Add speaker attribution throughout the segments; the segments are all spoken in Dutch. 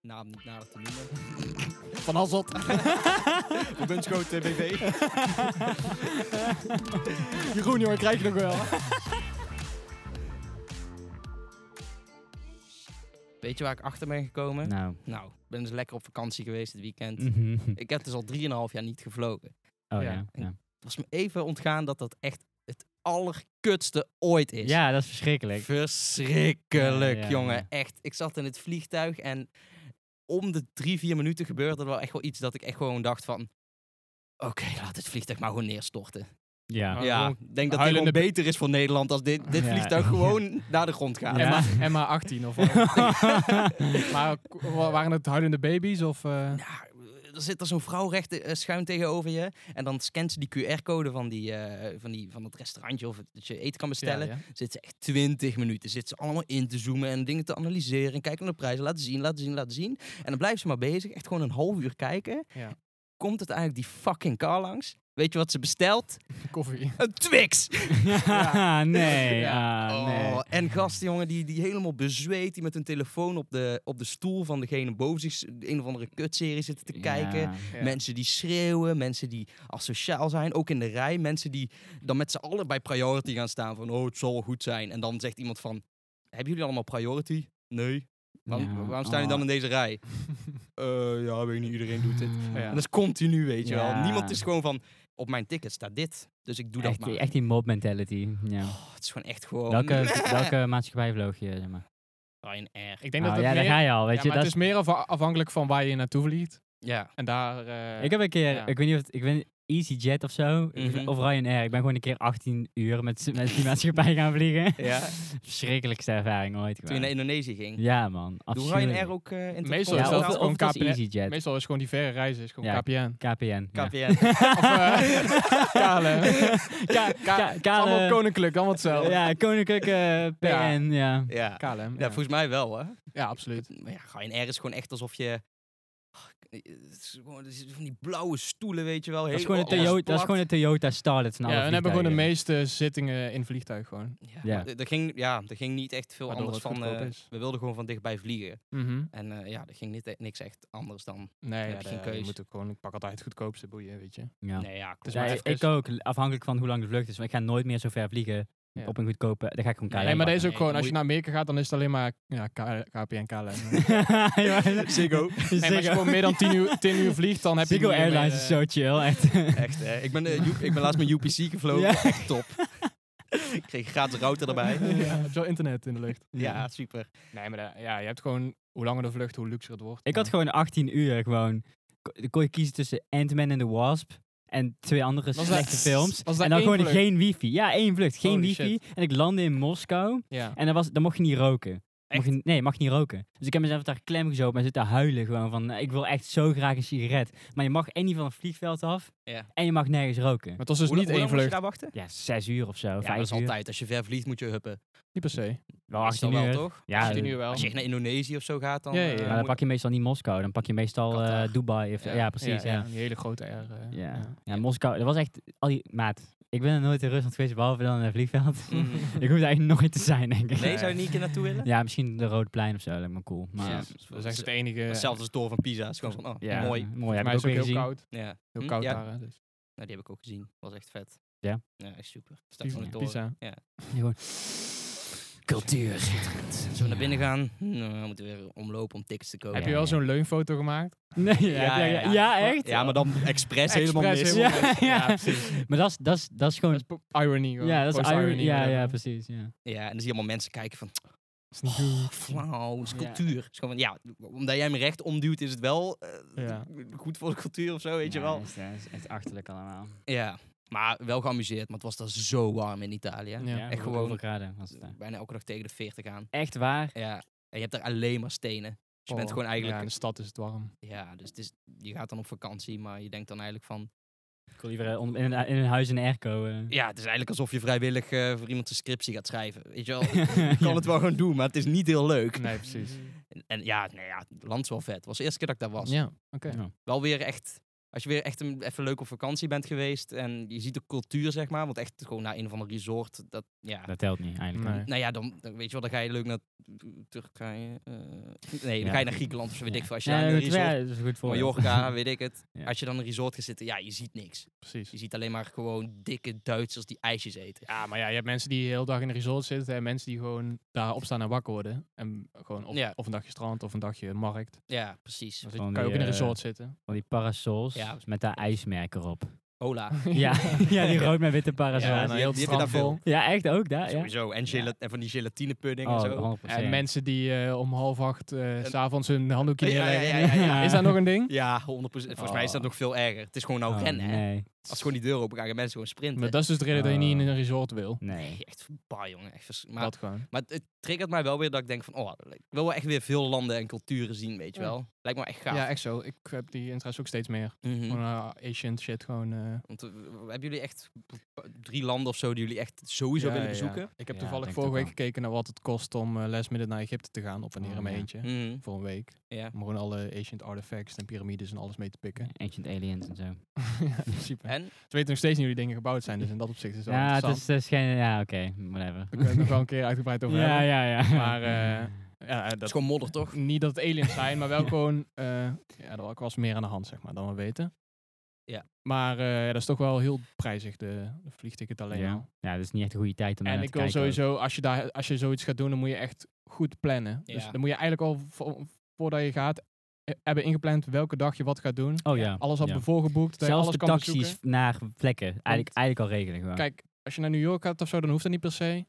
Speaker 1: naam niet nader te noemen.
Speaker 2: Van Hazot.
Speaker 3: De Bunchcoat eh, BV.
Speaker 2: Jeroen, jongen, krijg je nog wel.
Speaker 1: Weet je waar ik achter ben gekomen?
Speaker 4: Nou.
Speaker 1: Nou, ik ben dus lekker op vakantie geweest dit weekend.
Speaker 4: Mm.
Speaker 1: Ik heb dus al 3,5 jaar niet gevlogen.
Speaker 4: Oh
Speaker 2: Ja.
Speaker 4: ja. Ja,
Speaker 1: Het was me even ontgaan dat dat echt het allerkutste ooit is.
Speaker 4: ja dat is verschrikkelijk.
Speaker 1: Verschrikkelijk,
Speaker 4: Ja, ja,
Speaker 1: jongen.
Speaker 4: ja.
Speaker 1: Echt. Ik zat in het vliegtuig en om de drie, vier minuten gebeurde er wel echt wel iets dat ik echt gewoon dacht van... Oké, laat het vliegtuig maar gewoon neerstorten.
Speaker 4: Ja.
Speaker 1: Oh, ja,
Speaker 2: gewoon
Speaker 1: ik denk dat het
Speaker 2: huilende-
Speaker 1: gewoon beter is voor Nederland als dit, dit
Speaker 4: Ja.
Speaker 1: vliegtuig gewoon naar de grond gaat.
Speaker 4: Ja.
Speaker 2: Emma, Emma 18 of wat. maar ook- wa- waren het huilende baby's of... eh,
Speaker 1: Ja, er zit er zo'n vrouw recht eh, schuin tegenover je. En dan scant ze die QR-code van, die, eh, van, die, van dat restaurantje of dat je eten kan bestellen.
Speaker 2: ja, ja.
Speaker 1: Zit ze echt 20 minuten. Zit ze allemaal in te zoomen en dingen te analyseren. En kijken naar de prijzen. Laten zien, laten zien, laten zien. En dan blijft ze maar bezig. Echt gewoon een half uur kijken.
Speaker 2: Ja.
Speaker 1: Komt uiteindelijk die fucking car langs. Weet je wat ze bestelt?
Speaker 2: Koffie.
Speaker 1: Een Twix!
Speaker 4: Ja, nee. ah, nee.
Speaker 1: Oh, en gasten, jongen, die, die helemaal bezweet. Die met hun telefoon op de, op de stoel van degene boven zich... s- een of andere kutserie zitten te kijken.
Speaker 4: Ja.
Speaker 2: Ja.
Speaker 1: Mensen die schreeuwen, mensen die asociaal zijn, ook in de rij. Mensen die dan met z'n allen bij priority gaan staan van, oh, het zal wel goed zijn. En dan zegt iemand van, hebben jullie allemaal priority? Nee. Waarom,
Speaker 4: Ja.
Speaker 1: waarom staan jullie dan
Speaker 4: Oh.
Speaker 1: in deze rij? Eh, ja, weet ik niet, iedereen doet dit.
Speaker 4: Ah.
Speaker 1: En
Speaker 2: Ja.
Speaker 1: dat is continu, weet je wel.
Speaker 4: Ja.
Speaker 1: Niemand is gewoon van, op mijn ticket staat dit, dus ik doe dat
Speaker 4: echt,
Speaker 1: maar.
Speaker 4: die- echt die mob mentality. Ja.
Speaker 1: Oh, het is gewoon echt gewoon...
Speaker 4: Welke, welke maatschappij vloog je? Zeg maar?
Speaker 1: Ryanair.
Speaker 2: Ik denk
Speaker 4: Oh,
Speaker 2: dat het
Speaker 4: ja, daar
Speaker 2: meer...
Speaker 4: ga je al. Weet
Speaker 2: ja,
Speaker 4: je,
Speaker 2: maar
Speaker 4: dat
Speaker 2: het
Speaker 4: is
Speaker 2: is meer afha- afhankelijk van waar je naartoe vliegt.
Speaker 1: Ja.
Speaker 2: En daar... eh,
Speaker 4: Ik heb een keer,
Speaker 2: Ja.
Speaker 4: ik weet niet of het, ik ben EasyJet of zo,
Speaker 1: Mhm.
Speaker 4: of Ryanair. Ik ben gewoon een keer 18 uur met, z'n- met die maatschappij gaan vliegen.
Speaker 1: ja.
Speaker 4: Verschrikkelijkste ervaring ooit.
Speaker 1: Toen je naar
Speaker 4: gewoon.
Speaker 1: Indonesië ging.
Speaker 4: Ja man,
Speaker 1: Doe
Speaker 4: absoluut.
Speaker 1: Ryanair ook eh
Speaker 2: Meestal
Speaker 4: ja,
Speaker 2: is
Speaker 4: of,
Speaker 2: dat
Speaker 4: of,
Speaker 2: gewoon
Speaker 4: het was
Speaker 2: KPN.
Speaker 4: EasyJet,
Speaker 2: Meestal is gewoon die verre reizen, is gewoon
Speaker 4: Ja.
Speaker 2: KPN.
Speaker 4: KPN. ja.
Speaker 1: KPN.
Speaker 2: Of eh, KLM.
Speaker 4: Ka- ka-
Speaker 2: Ka- Allemaal
Speaker 4: KLM.
Speaker 2: koninklijk, allemaal hetzelfde.
Speaker 4: Ja, koninklijke eh,
Speaker 2: Ja.
Speaker 4: PN, ja.
Speaker 1: Ja.
Speaker 2: KLM,
Speaker 1: ja,
Speaker 2: ja.
Speaker 1: volgens mij wel, hè?
Speaker 2: Ja, absoluut.
Speaker 1: Maar ja, Ryanair is gewoon echt alsof je... Ah, ik- Het is gewoon er zitten van die blauwe stoelen, weet je wel.
Speaker 4: Dat is gewoon een
Speaker 1: helemaal alles
Speaker 4: Toyota, dat is
Speaker 1: plat.
Speaker 4: gewoon een Toyota Starlet. van
Speaker 2: Ja,
Speaker 4: alle
Speaker 2: en hebben gewoon de
Speaker 4: vliegtuigen.
Speaker 2: meeste zittingen in het vliegtuig gewoon.
Speaker 1: Ja,
Speaker 4: Ja.
Speaker 1: maar er- er ging, ja, er ging niet echt veel
Speaker 2: Waardoor
Speaker 1: anders
Speaker 2: het
Speaker 1: van.
Speaker 2: goedkoop
Speaker 1: eh,
Speaker 2: is.
Speaker 1: we wilden gewoon van dichtbij vliegen.
Speaker 2: Mhm.
Speaker 1: En eh, ja, er ging niet, e- niks echt anders dan...
Speaker 2: Nee,
Speaker 1: heb
Speaker 2: ja,
Speaker 1: je geen
Speaker 2: daar-
Speaker 1: keus.
Speaker 2: Je moet ook gewoon, ik pak altijd het goedkoopste boeien, weet je.
Speaker 4: Ja. Dus
Speaker 1: Nee, ja, klopt.
Speaker 2: maar
Speaker 4: Ja,
Speaker 2: even
Speaker 4: ik ook, afhankelijk van hoe lang de vlucht is. Maar ik ga nooit meer zo ver vliegen
Speaker 2: Ja.
Speaker 4: op een goedkope. Dan ga ik gewoon KLM.
Speaker 2: Nee, maar dat is ook
Speaker 1: nee,
Speaker 2: gewoon,
Speaker 1: dan
Speaker 2: als je
Speaker 1: moet
Speaker 2: naar Amerika gaat, dan is het alleen maar ja, K- KPN, KLM.
Speaker 4: pakken.
Speaker 1: Ziggo.
Speaker 2: Nee, maar als je gewoon meer dan 10 uur, 10 uur vliegt, dan heb je...
Speaker 4: Ziggo
Speaker 2: niet meer,
Speaker 4: Airlines
Speaker 2: eh,
Speaker 4: is zo chill, echt.
Speaker 1: Echt, hè. Ik ben, eh, Joep- ik ben laatst met UPC gevlogen.
Speaker 4: Ja.
Speaker 1: Echt top. ik kreeg gratis router erbij.
Speaker 2: Ja, heb je wel internet in de lucht.
Speaker 1: Ja, super.
Speaker 2: Nee, maar da- ja, je hebt gewoon, hoe langer de vlucht, hoe luxer het wordt.
Speaker 4: Ik had
Speaker 2: Ja.
Speaker 4: gewoon 18 uur gewoon. Ko- Dan kon je kiezen tussen Ant-Man and the Wasp en twee andere
Speaker 2: Was dat-
Speaker 4: slechte films.
Speaker 2: was dat
Speaker 4: en dan
Speaker 2: één
Speaker 4: gewoon
Speaker 2: vlucht?
Speaker 4: geen wifi. Ja, één vlucht, geen
Speaker 2: Holy
Speaker 4: wifi. En ik landde in Moskou
Speaker 2: Ja.
Speaker 4: en dan, was, dan mocht je niet roken. Mocht je, nee, mag je niet roken. Dus ik heb mezelf daar klem gezopen en zitten huilen gewoon van... eh, Ik wil echt zo graag een sigaret. Maar je mag en niet van het vliegveld af
Speaker 1: Ja.
Speaker 4: en je mag nergens roken.
Speaker 2: Maar het was dus
Speaker 1: Hoe-
Speaker 2: niet
Speaker 1: hoe lang
Speaker 2: één
Speaker 1: moest je
Speaker 2: vlucht.
Speaker 1: daar wachten?
Speaker 4: Ja, zes uur of zo,
Speaker 1: Ja, maar
Speaker 4: vijf
Speaker 1: dat is
Speaker 4: uur.
Speaker 1: altijd. Als je ver vliegt, moet je huppen.
Speaker 2: Niet per se.
Speaker 4: Wel
Speaker 1: Meestal
Speaker 4: 18 uur.
Speaker 1: wel, toch?
Speaker 4: Ja,
Speaker 2: 18 uur wel.
Speaker 1: Als je echt naar Indonesië of zo gaat, dan...
Speaker 2: Ja, ja,
Speaker 1: eh,
Speaker 2: ja.
Speaker 4: maar
Speaker 2: Ja,
Speaker 1: moet-
Speaker 4: dan pak je meestal niet Moskou, dan pak je meestal eh,
Speaker 1: Qatar.
Speaker 4: Dubai. Of, ja. precies, ja.
Speaker 2: Een hele grote R. eh,
Speaker 4: Ja.
Speaker 2: ja.
Speaker 4: Ja, Moskou, dat was echt al die maat. Ik ben er nooit in Rusland geweest, behalve dan in het vliegveld.
Speaker 1: Mhm.
Speaker 4: ik hoef daar eigenlijk nooit te zijn, denk ik.
Speaker 1: Nee, zou je niet een keer naartoe willen?
Speaker 4: Ja, misschien de Roodplein of zo, lijkt me cool. Maar
Speaker 1: Ja,
Speaker 4: ja,
Speaker 2: Dus Dat is echt het enige.
Speaker 1: Hetzelfde als de toren van Pisa. is gewoon van, oh, mooi.
Speaker 4: mooi. Mooi, heb ik
Speaker 2: Maar het
Speaker 4: ook
Speaker 2: is ook
Speaker 4: weer
Speaker 2: heel
Speaker 4: gezien.
Speaker 2: koud.
Speaker 1: Ja.
Speaker 2: Heel
Speaker 1: Hm?
Speaker 2: koud
Speaker 1: Ja.
Speaker 2: daar. hè, Dus.
Speaker 1: Nou, die heb ik ook gezien. Was echt vet.
Speaker 4: Ja?
Speaker 1: Ja, echt super. Staat van de
Speaker 2: Pisa.
Speaker 1: toren.
Speaker 2: Pisa.
Speaker 4: Gewoon... Cultuur.
Speaker 1: Zullen we naar binnen gaan? Nou, we moeten weer omlopen om tickets te kopen.
Speaker 2: Heb je
Speaker 4: ja,
Speaker 2: wel
Speaker 4: ja.
Speaker 2: zo'n leunfoto gemaakt?
Speaker 4: Nee, ja, ja, ja, ja, echt?
Speaker 1: Ja, maar dan expres helemaal mis.
Speaker 2: Expres helemaal
Speaker 4: Ja,
Speaker 2: mis.
Speaker 4: ja.
Speaker 2: ja, precies.
Speaker 4: Maar dat is- dat is- dat is
Speaker 2: Dat
Speaker 4: gewoon...
Speaker 2: is po- irony. gewoon.
Speaker 4: Ja, dat is
Speaker 2: Post
Speaker 4: irony. Ja,
Speaker 2: whatever.
Speaker 4: ja, precies. Ja.
Speaker 1: Ja, en dan zie je allemaal mensen kijken van,
Speaker 2: Is niet goed.
Speaker 1: oh, flauw, dat is
Speaker 4: Ja.
Speaker 1: cultuur. Het is gewoon van, ja, omdat jij hem recht omduwt, is het wel eh,
Speaker 2: Ja.
Speaker 1: goed voor de cultuur of zo, weet je
Speaker 4: Ja,
Speaker 1: wel.
Speaker 4: dat is- Dat is echt achterlijk allemaal.
Speaker 1: Ja, maar wel geamuseerd, maar het was daar zo warm in Italië.
Speaker 2: Ja.
Speaker 4: Ja,
Speaker 1: echt
Speaker 4: hoe-
Speaker 1: gewoon-
Speaker 4: hoeveel graden was het daar?
Speaker 1: Bijna elke dag tegen de 40 aan.
Speaker 4: Echt waar?
Speaker 1: Ja, en je hebt daar alleen maar stenen. Dus je bent
Speaker 2: Oh,
Speaker 1: gewoon eigenlijk
Speaker 2: Ja, in de stad is het warm.
Speaker 1: Ja, dus het is, je gaat dan op vakantie, maar je denkt dan eigenlijk van...
Speaker 4: Ik wil liever eh, on- in, een, in een huis in airco. eh.
Speaker 1: Ja, het is eigenlijk alsof je vrijwillig eh, voor iemand zijn scriptie gaat schrijven. Weet je wel, ik kan het wel gewoon doen, maar het is niet heel leuk.
Speaker 2: Nee, precies.
Speaker 1: En, en ja, nee, ja, het land is wel vet. Het was de eerste keer dat ik daar was.
Speaker 4: Nou,
Speaker 2: Ja, oké.
Speaker 4: Ja.
Speaker 1: Wel weer echt, Als je weer echt een, even leuk op vakantie bent geweest en je ziet de cultuur, zeg maar. Want echt gewoon naar een of ander resort, dat, ja.
Speaker 4: Dat telt niet, eigenlijk.
Speaker 2: Nee.
Speaker 1: Nou ja, dan, dan weet je wel, dan ga je leuk naar Turkije. eh, nee, dan
Speaker 4: Ja.
Speaker 1: ga je naar Griekenland of zo, weet ik veel. Als je
Speaker 4: Ja,
Speaker 1: naar een
Speaker 4: dat-
Speaker 1: resort, Oh,
Speaker 4: ja, dat is een goed voor.
Speaker 1: Mallorca, weet ik het.
Speaker 4: Ja.
Speaker 1: Als je dan in een resort gaat zitten, ja, je ziet niks.
Speaker 2: Precies.
Speaker 1: Je ziet alleen maar gewoon dikke Duitsers die ijsjes eten.
Speaker 2: Ja, maar ja, je hebt mensen die heel dag in de resort zitten en mensen die gewoon daar opstaan en wakker worden. En gewoon op,
Speaker 1: Ja.
Speaker 2: of een dagje strand of een dagje markt.
Speaker 1: Ja, precies.
Speaker 2: Dan zit-
Speaker 4: Van
Speaker 2: kan je ook
Speaker 4: die,
Speaker 2: in een
Speaker 4: eh,
Speaker 2: resort zitten.
Speaker 4: Van die parasols
Speaker 1: Ja.
Speaker 4: met daar ijsmerk erop.
Speaker 1: Hola.
Speaker 4: ja, ja, die rood met witte parasol.
Speaker 1: Ja,
Speaker 4: Ja,
Speaker 1: nou,
Speaker 2: heel
Speaker 1: die heb je daar
Speaker 2: strandvol.
Speaker 1: veel.
Speaker 4: echt ook daar. Ja.
Speaker 1: Sowieso. En, gela- en van die gelatinepudding en zo.
Speaker 4: Oh, 100%.
Speaker 2: En mensen die eh, om half acht eh, s s'avonds hun handdoekje
Speaker 1: Ja, ja,
Speaker 2: neerleggen.
Speaker 1: ja, ja,
Speaker 4: ja.
Speaker 2: Is dat nog een ding?
Speaker 1: Ja, 100%. Volgens mij is dat nog veel erger. Het is gewoon nou
Speaker 4: Oh,
Speaker 1: rennen. hè.
Speaker 4: Nee.
Speaker 1: Als gewoon die deur open gaan, gaan mensen gewoon sprinten.
Speaker 2: Maar dat is dus de reden dat je niet in
Speaker 4: Oh.
Speaker 2: een resort wil.
Speaker 4: Nee.
Speaker 1: Nee, echt baar, jongen. Echt vers- maar,
Speaker 2: Dat gewoon.
Speaker 1: maar het- het triggert mij wel weer dat ik denk van... Oh, ik wil wel echt weer veel landen en culturen zien, weet je
Speaker 2: Ja.
Speaker 1: wel. Lijkt me echt gaaf.
Speaker 2: Ja, echt zo. Ik heb die interesse ook steeds meer.
Speaker 1: Mhm.
Speaker 2: Gewoon eh, Asian shit gewoon. eh,
Speaker 1: Want, eh, hebben jullie echt drie landen of zo die jullie echt sowieso
Speaker 2: ja,
Speaker 1: willen
Speaker 2: ja, ja.
Speaker 1: bezoeken?
Speaker 2: Ik heb
Speaker 4: Ja,
Speaker 2: toevallig
Speaker 4: denk
Speaker 2: vorige
Speaker 4: het
Speaker 2: week
Speaker 4: wel.
Speaker 2: gekeken naar wat het kost om eh last minute naar Egypte te gaan. Op en neer
Speaker 4: Oh,
Speaker 2: in mijn
Speaker 4: ja.
Speaker 2: eentje.
Speaker 1: Mhm.
Speaker 2: Voor een week.
Speaker 1: Ja.
Speaker 2: Om gewoon alle ancient artifacts en piramides en alles mee te pikken.
Speaker 4: Ancient aliens en zo.
Speaker 2: ja, in principe.
Speaker 1: En?
Speaker 2: Ze weten nog steeds niet hoe die dingen gebouwd zijn, dus in dat opzicht is het wel
Speaker 4: Ja, het
Speaker 2: interessant.
Speaker 4: is, het is geen... Ja, oké. whatever.
Speaker 2: Daar kunnen we het nog wel een keer uitgebreid over
Speaker 4: ja,
Speaker 2: hebben.
Speaker 4: ja, ja.
Speaker 2: Maar eh, ja,
Speaker 1: Dat is
Speaker 2: dat,
Speaker 1: gewoon modder, toch?
Speaker 2: niet dat het aliens zijn, maar wel
Speaker 4: Ja.
Speaker 2: gewoon... eh, ja, er was meer aan de hand, zeg maar, dan we weten.
Speaker 1: Ja.
Speaker 2: Maar eh, dat is toch wel heel prijzig, de, de vliegticket alleen al.
Speaker 4: ja. ja, dat is niet echt een goede tijd om naar
Speaker 2: En
Speaker 4: te
Speaker 2: ik wil
Speaker 4: kijken ook.
Speaker 2: sowieso, als je, daar, als je zoiets gaat doen, dan moet je echt goed plannen. Dus
Speaker 1: Ja.
Speaker 2: dan moet je eigenlijk al vo- voordat je gaat eh, hebben ingepland welke dag je wat gaat doen.
Speaker 4: Oh ja.
Speaker 2: Alles al
Speaker 4: ja.
Speaker 2: bevoorgeboekt, dat je
Speaker 4: Zelfs
Speaker 2: alles
Speaker 4: de
Speaker 2: kan bezoeken.
Speaker 4: taxis naar plekken. Eigenlijk, eigenlijk al regelen gewoon.
Speaker 2: Kijk, als je naar New York gaat of zo, dan hoeft dat niet per se.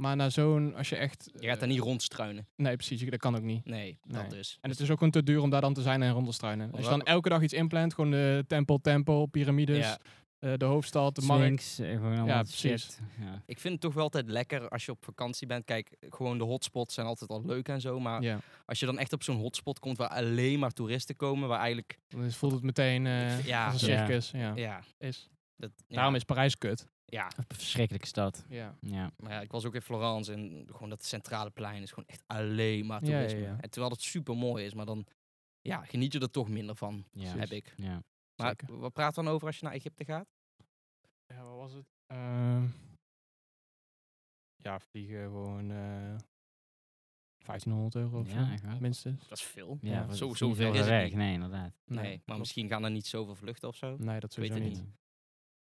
Speaker 2: Maar naar zo'n, als je echt... eh,
Speaker 1: Je gaat daar niet rondstruinen.
Speaker 2: Nee, precies, je- dat kan ook niet.
Speaker 1: Nee,
Speaker 2: Nee.
Speaker 1: dat dus.
Speaker 2: En het is ook gewoon te duur om daar dan te zijn en rond te struinen. Als je dan
Speaker 1: wel-
Speaker 2: elke dag iets inplant, gewoon de tempel, tempel, piramides,
Speaker 1: Ja.
Speaker 2: eh, de hoofdstad, de markt.
Speaker 4: Sphinx, eh, gewoon allemaal
Speaker 2: precies.
Speaker 4: shit. Ja.
Speaker 1: Ik vind het toch wel altijd lekker als je op vakantie bent. Kijk, gewoon de hotspots zijn altijd al leuk en zo. Maar
Speaker 2: Ja,
Speaker 1: als je dan echt op zo'n hotspot komt waar alleen maar toeristen komen, waar eigenlijk...
Speaker 2: dan voelt het meteen eh,
Speaker 1: Ja.
Speaker 2: als een
Speaker 4: Ja.
Speaker 2: circus. Ja.
Speaker 1: Ja,
Speaker 2: Is.
Speaker 1: dat, ja,
Speaker 2: Daarom is Parijs kut.
Speaker 1: Ja,
Speaker 4: Verschrikkelijke stad.
Speaker 2: Ja.
Speaker 4: Ja.
Speaker 1: maar ja, ik was ook in Florence en gewoon dat centrale plein is gewoon echt alleen maar
Speaker 2: Ja, ja,
Speaker 1: toerisme.
Speaker 2: ja.
Speaker 1: En terwijl het super mooi is, maar dan ja, geniet je er toch minder van,
Speaker 4: Ja.
Speaker 1: heb ik.
Speaker 4: Ja.
Speaker 1: Maar
Speaker 2: Zeker.
Speaker 1: wat praat dan over als je naar Egypte gaat?
Speaker 2: Ja, wat was het? Ehm, ja, vliegen gewoon eh 1500 euro of
Speaker 4: Ja,
Speaker 2: zo,
Speaker 4: echt wel.
Speaker 2: minstens.
Speaker 1: Dat is veel.
Speaker 4: Ja,
Speaker 2: Ja,
Speaker 4: want
Speaker 1: zo-
Speaker 4: het is
Speaker 1: zo
Speaker 4: niet
Speaker 1: ver
Speaker 4: veel
Speaker 1: is het
Speaker 4: weg.
Speaker 1: niet.
Speaker 4: Nee, inderdaad.
Speaker 1: Nee, maar
Speaker 2: klopt.
Speaker 1: misschien gaan er niet zoveel vluchten of zo. Die
Speaker 2: Nee, dat
Speaker 1: weet
Speaker 2: sowieso
Speaker 1: het
Speaker 2: niet.
Speaker 1: niet.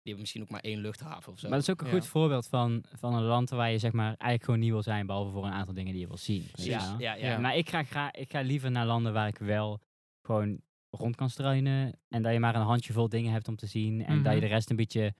Speaker 1: hebben misschien ook maar één luchthaven of zo.
Speaker 4: Maar dat is ook een
Speaker 2: Ja.
Speaker 4: goed voorbeeld van, van een land waar je zeg maar eigenlijk gewoon niet wil zijn, behalve voor een aantal dingen die je wil zien. weet je
Speaker 1: ja,
Speaker 4: wel.
Speaker 1: ja, ja,
Speaker 2: Ja.
Speaker 4: Maar ik ga, gra- ik ga liever naar landen waar ik wel gewoon rond kan struinen en dat je maar een handjevol dingen hebt om te zien en dat je
Speaker 2: Mhm.
Speaker 4: de rest een beetje,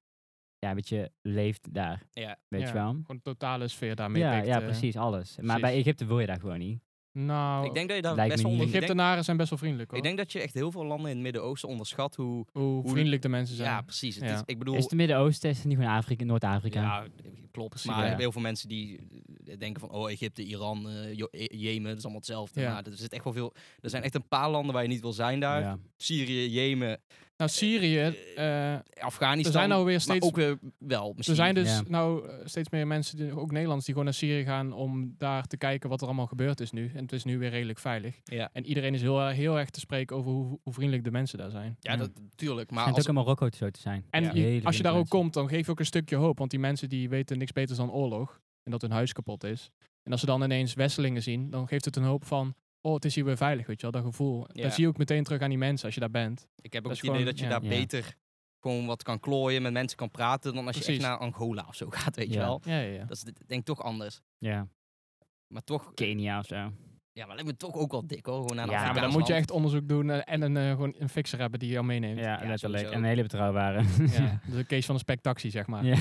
Speaker 4: ja, een beetje leeft daar.
Speaker 1: Ja.
Speaker 4: Weet
Speaker 2: Ja,
Speaker 4: je wel?
Speaker 2: Gewoon de totale sfeer daarmee.
Speaker 4: Ja,
Speaker 2: pikt,
Speaker 4: ja,
Speaker 2: eh.
Speaker 4: precies, alles. Maar
Speaker 2: precies.
Speaker 4: bij Egypte wil je daar gewoon niet.
Speaker 2: Nou,
Speaker 1: Ik denk dat je daar
Speaker 4: Oh, Lijkt
Speaker 1: best
Speaker 4: me
Speaker 1: wel onder...
Speaker 4: niet.
Speaker 1: ik denk-
Speaker 2: Egyptenaren zijn best wel vriendelijk hoor.
Speaker 1: Ik denk dat je echt heel veel landen in het Midden-Oosten onderschat hoe...
Speaker 2: hoe
Speaker 1: hoe-
Speaker 2: vriendelijk de mensen zijn.
Speaker 1: Ja, eh, precies. Het
Speaker 2: Ja.
Speaker 1: Is, ik bedoel...
Speaker 4: Is het Midden-Oosten, is het niet gewoon Afrika, Noord-Afrika?
Speaker 1: ja, klopt.
Speaker 4: Precies,
Speaker 1: Maar
Speaker 4: ja.
Speaker 1: heel veel mensen die eh, denken van... Oh, Egypte, Iran, eh, Jo- eh, Jemen, dat is allemaal hetzelfde.
Speaker 2: Ja.
Speaker 1: Maar er, zit echt wel veel, er zijn echt een paar landen waar je niet wil zijn daar.
Speaker 4: Ja.
Speaker 1: Syrië, Jemen,
Speaker 2: nou, Syrië, eh, er
Speaker 1: Afghanistan.
Speaker 2: zijn nou weer
Speaker 1: maar
Speaker 2: steeds...
Speaker 1: ook weer wel, misschien.
Speaker 2: er zijn dus
Speaker 4: Ja.
Speaker 2: nou eh, steeds meer mensen, die, ook Nederlands, die gewoon naar Syrië gaan om daar te kijken wat er allemaal gebeurd is nu. En het is nu weer redelijk veilig.
Speaker 1: Ja,
Speaker 2: En iedereen is heel, heel erg te spreken over hoe, hoe vriendelijk de mensen daar zijn.
Speaker 1: ja,
Speaker 4: Ja.
Speaker 1: Dat, tuurlijk.
Speaker 4: Maar
Speaker 1: Maar
Speaker 4: het
Speaker 1: als,
Speaker 4: ook in Marokko zo te zijn.
Speaker 2: En
Speaker 1: Ja.
Speaker 2: je-
Speaker 4: Hele
Speaker 2: als je daar ook
Speaker 4: mensen.
Speaker 2: komt, dan geef je ook een stukje hoop. Want die mensen die weten niks beters dan oorlog. En dat hun huis kapot is. En als ze dan ineens Wesselingen zien, dan geeft het een hoop van... Oh, het is hier weer veilig, weet je wel, dat gevoel.
Speaker 1: Ja.
Speaker 2: Dat zie je ook meteen terug aan die mensen als je daar bent.
Speaker 1: Ik heb ook
Speaker 2: Dat
Speaker 1: het
Speaker 2: is
Speaker 1: idee
Speaker 2: gewoon-
Speaker 1: dat je
Speaker 2: ja.
Speaker 1: daar
Speaker 4: Ja.
Speaker 1: beter gewoon wat kan klooien, met mensen kan praten, dan als je
Speaker 2: Precies.
Speaker 1: echt naar Angola of zo gaat, weet je
Speaker 4: Ja.
Speaker 1: wel.
Speaker 2: Ja, ja, ja.
Speaker 1: Dat is d- denk ik toch anders.
Speaker 4: Ja,
Speaker 1: Maar toch,
Speaker 4: Kenia of zo.
Speaker 1: ja, maar lijkt me toch ook wel dik hoor. Gewoon naar een
Speaker 4: Ja,
Speaker 2: maar dan
Speaker 1: Afrikaans
Speaker 2: moet je
Speaker 1: land.
Speaker 2: echt onderzoek doen eh, en een, eh, gewoon een fixer hebben die jou meeneemt. Ja.
Speaker 4: Ja, letterlijk.
Speaker 1: sowieso.
Speaker 4: En een hele betrouwbare.
Speaker 2: Dus een case van een spectaxi, zeg maar.
Speaker 4: Ja.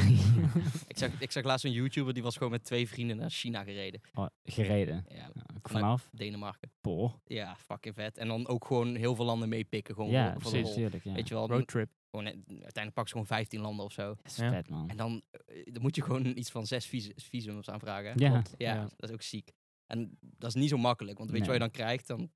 Speaker 1: Ik zag, ik zag laatst een YouTuber die was gewoon met twee vrienden naar China gereden.
Speaker 4: Oh, gereden.
Speaker 1: Ja,
Speaker 4: Vanaf?
Speaker 1: Denemarken.
Speaker 4: Poor.
Speaker 1: Ja, fucking vet. En dan ook gewoon heel veel landen meepikken. Gewoon
Speaker 4: Ja,
Speaker 1: voor, voor de
Speaker 4: precies.
Speaker 1: lol.
Speaker 4: Tuurlijk, ja.
Speaker 1: Weet je wel, dan-
Speaker 2: Roadtrip.
Speaker 1: gewoon, eh, uiteindelijk pak ze gewoon 15 landen of zo.
Speaker 4: Dat is
Speaker 2: Ja.
Speaker 4: vet, man.
Speaker 1: En dan, eh, dan moet je gewoon iets van zes vis- visums aanvragen.
Speaker 4: Ja.
Speaker 1: Ja,
Speaker 2: Ja.
Speaker 1: dat is ook ziek. En dat is niet zo makkelijk, want weet je
Speaker 4: Nee.
Speaker 1: wat je dan krijgt? Dan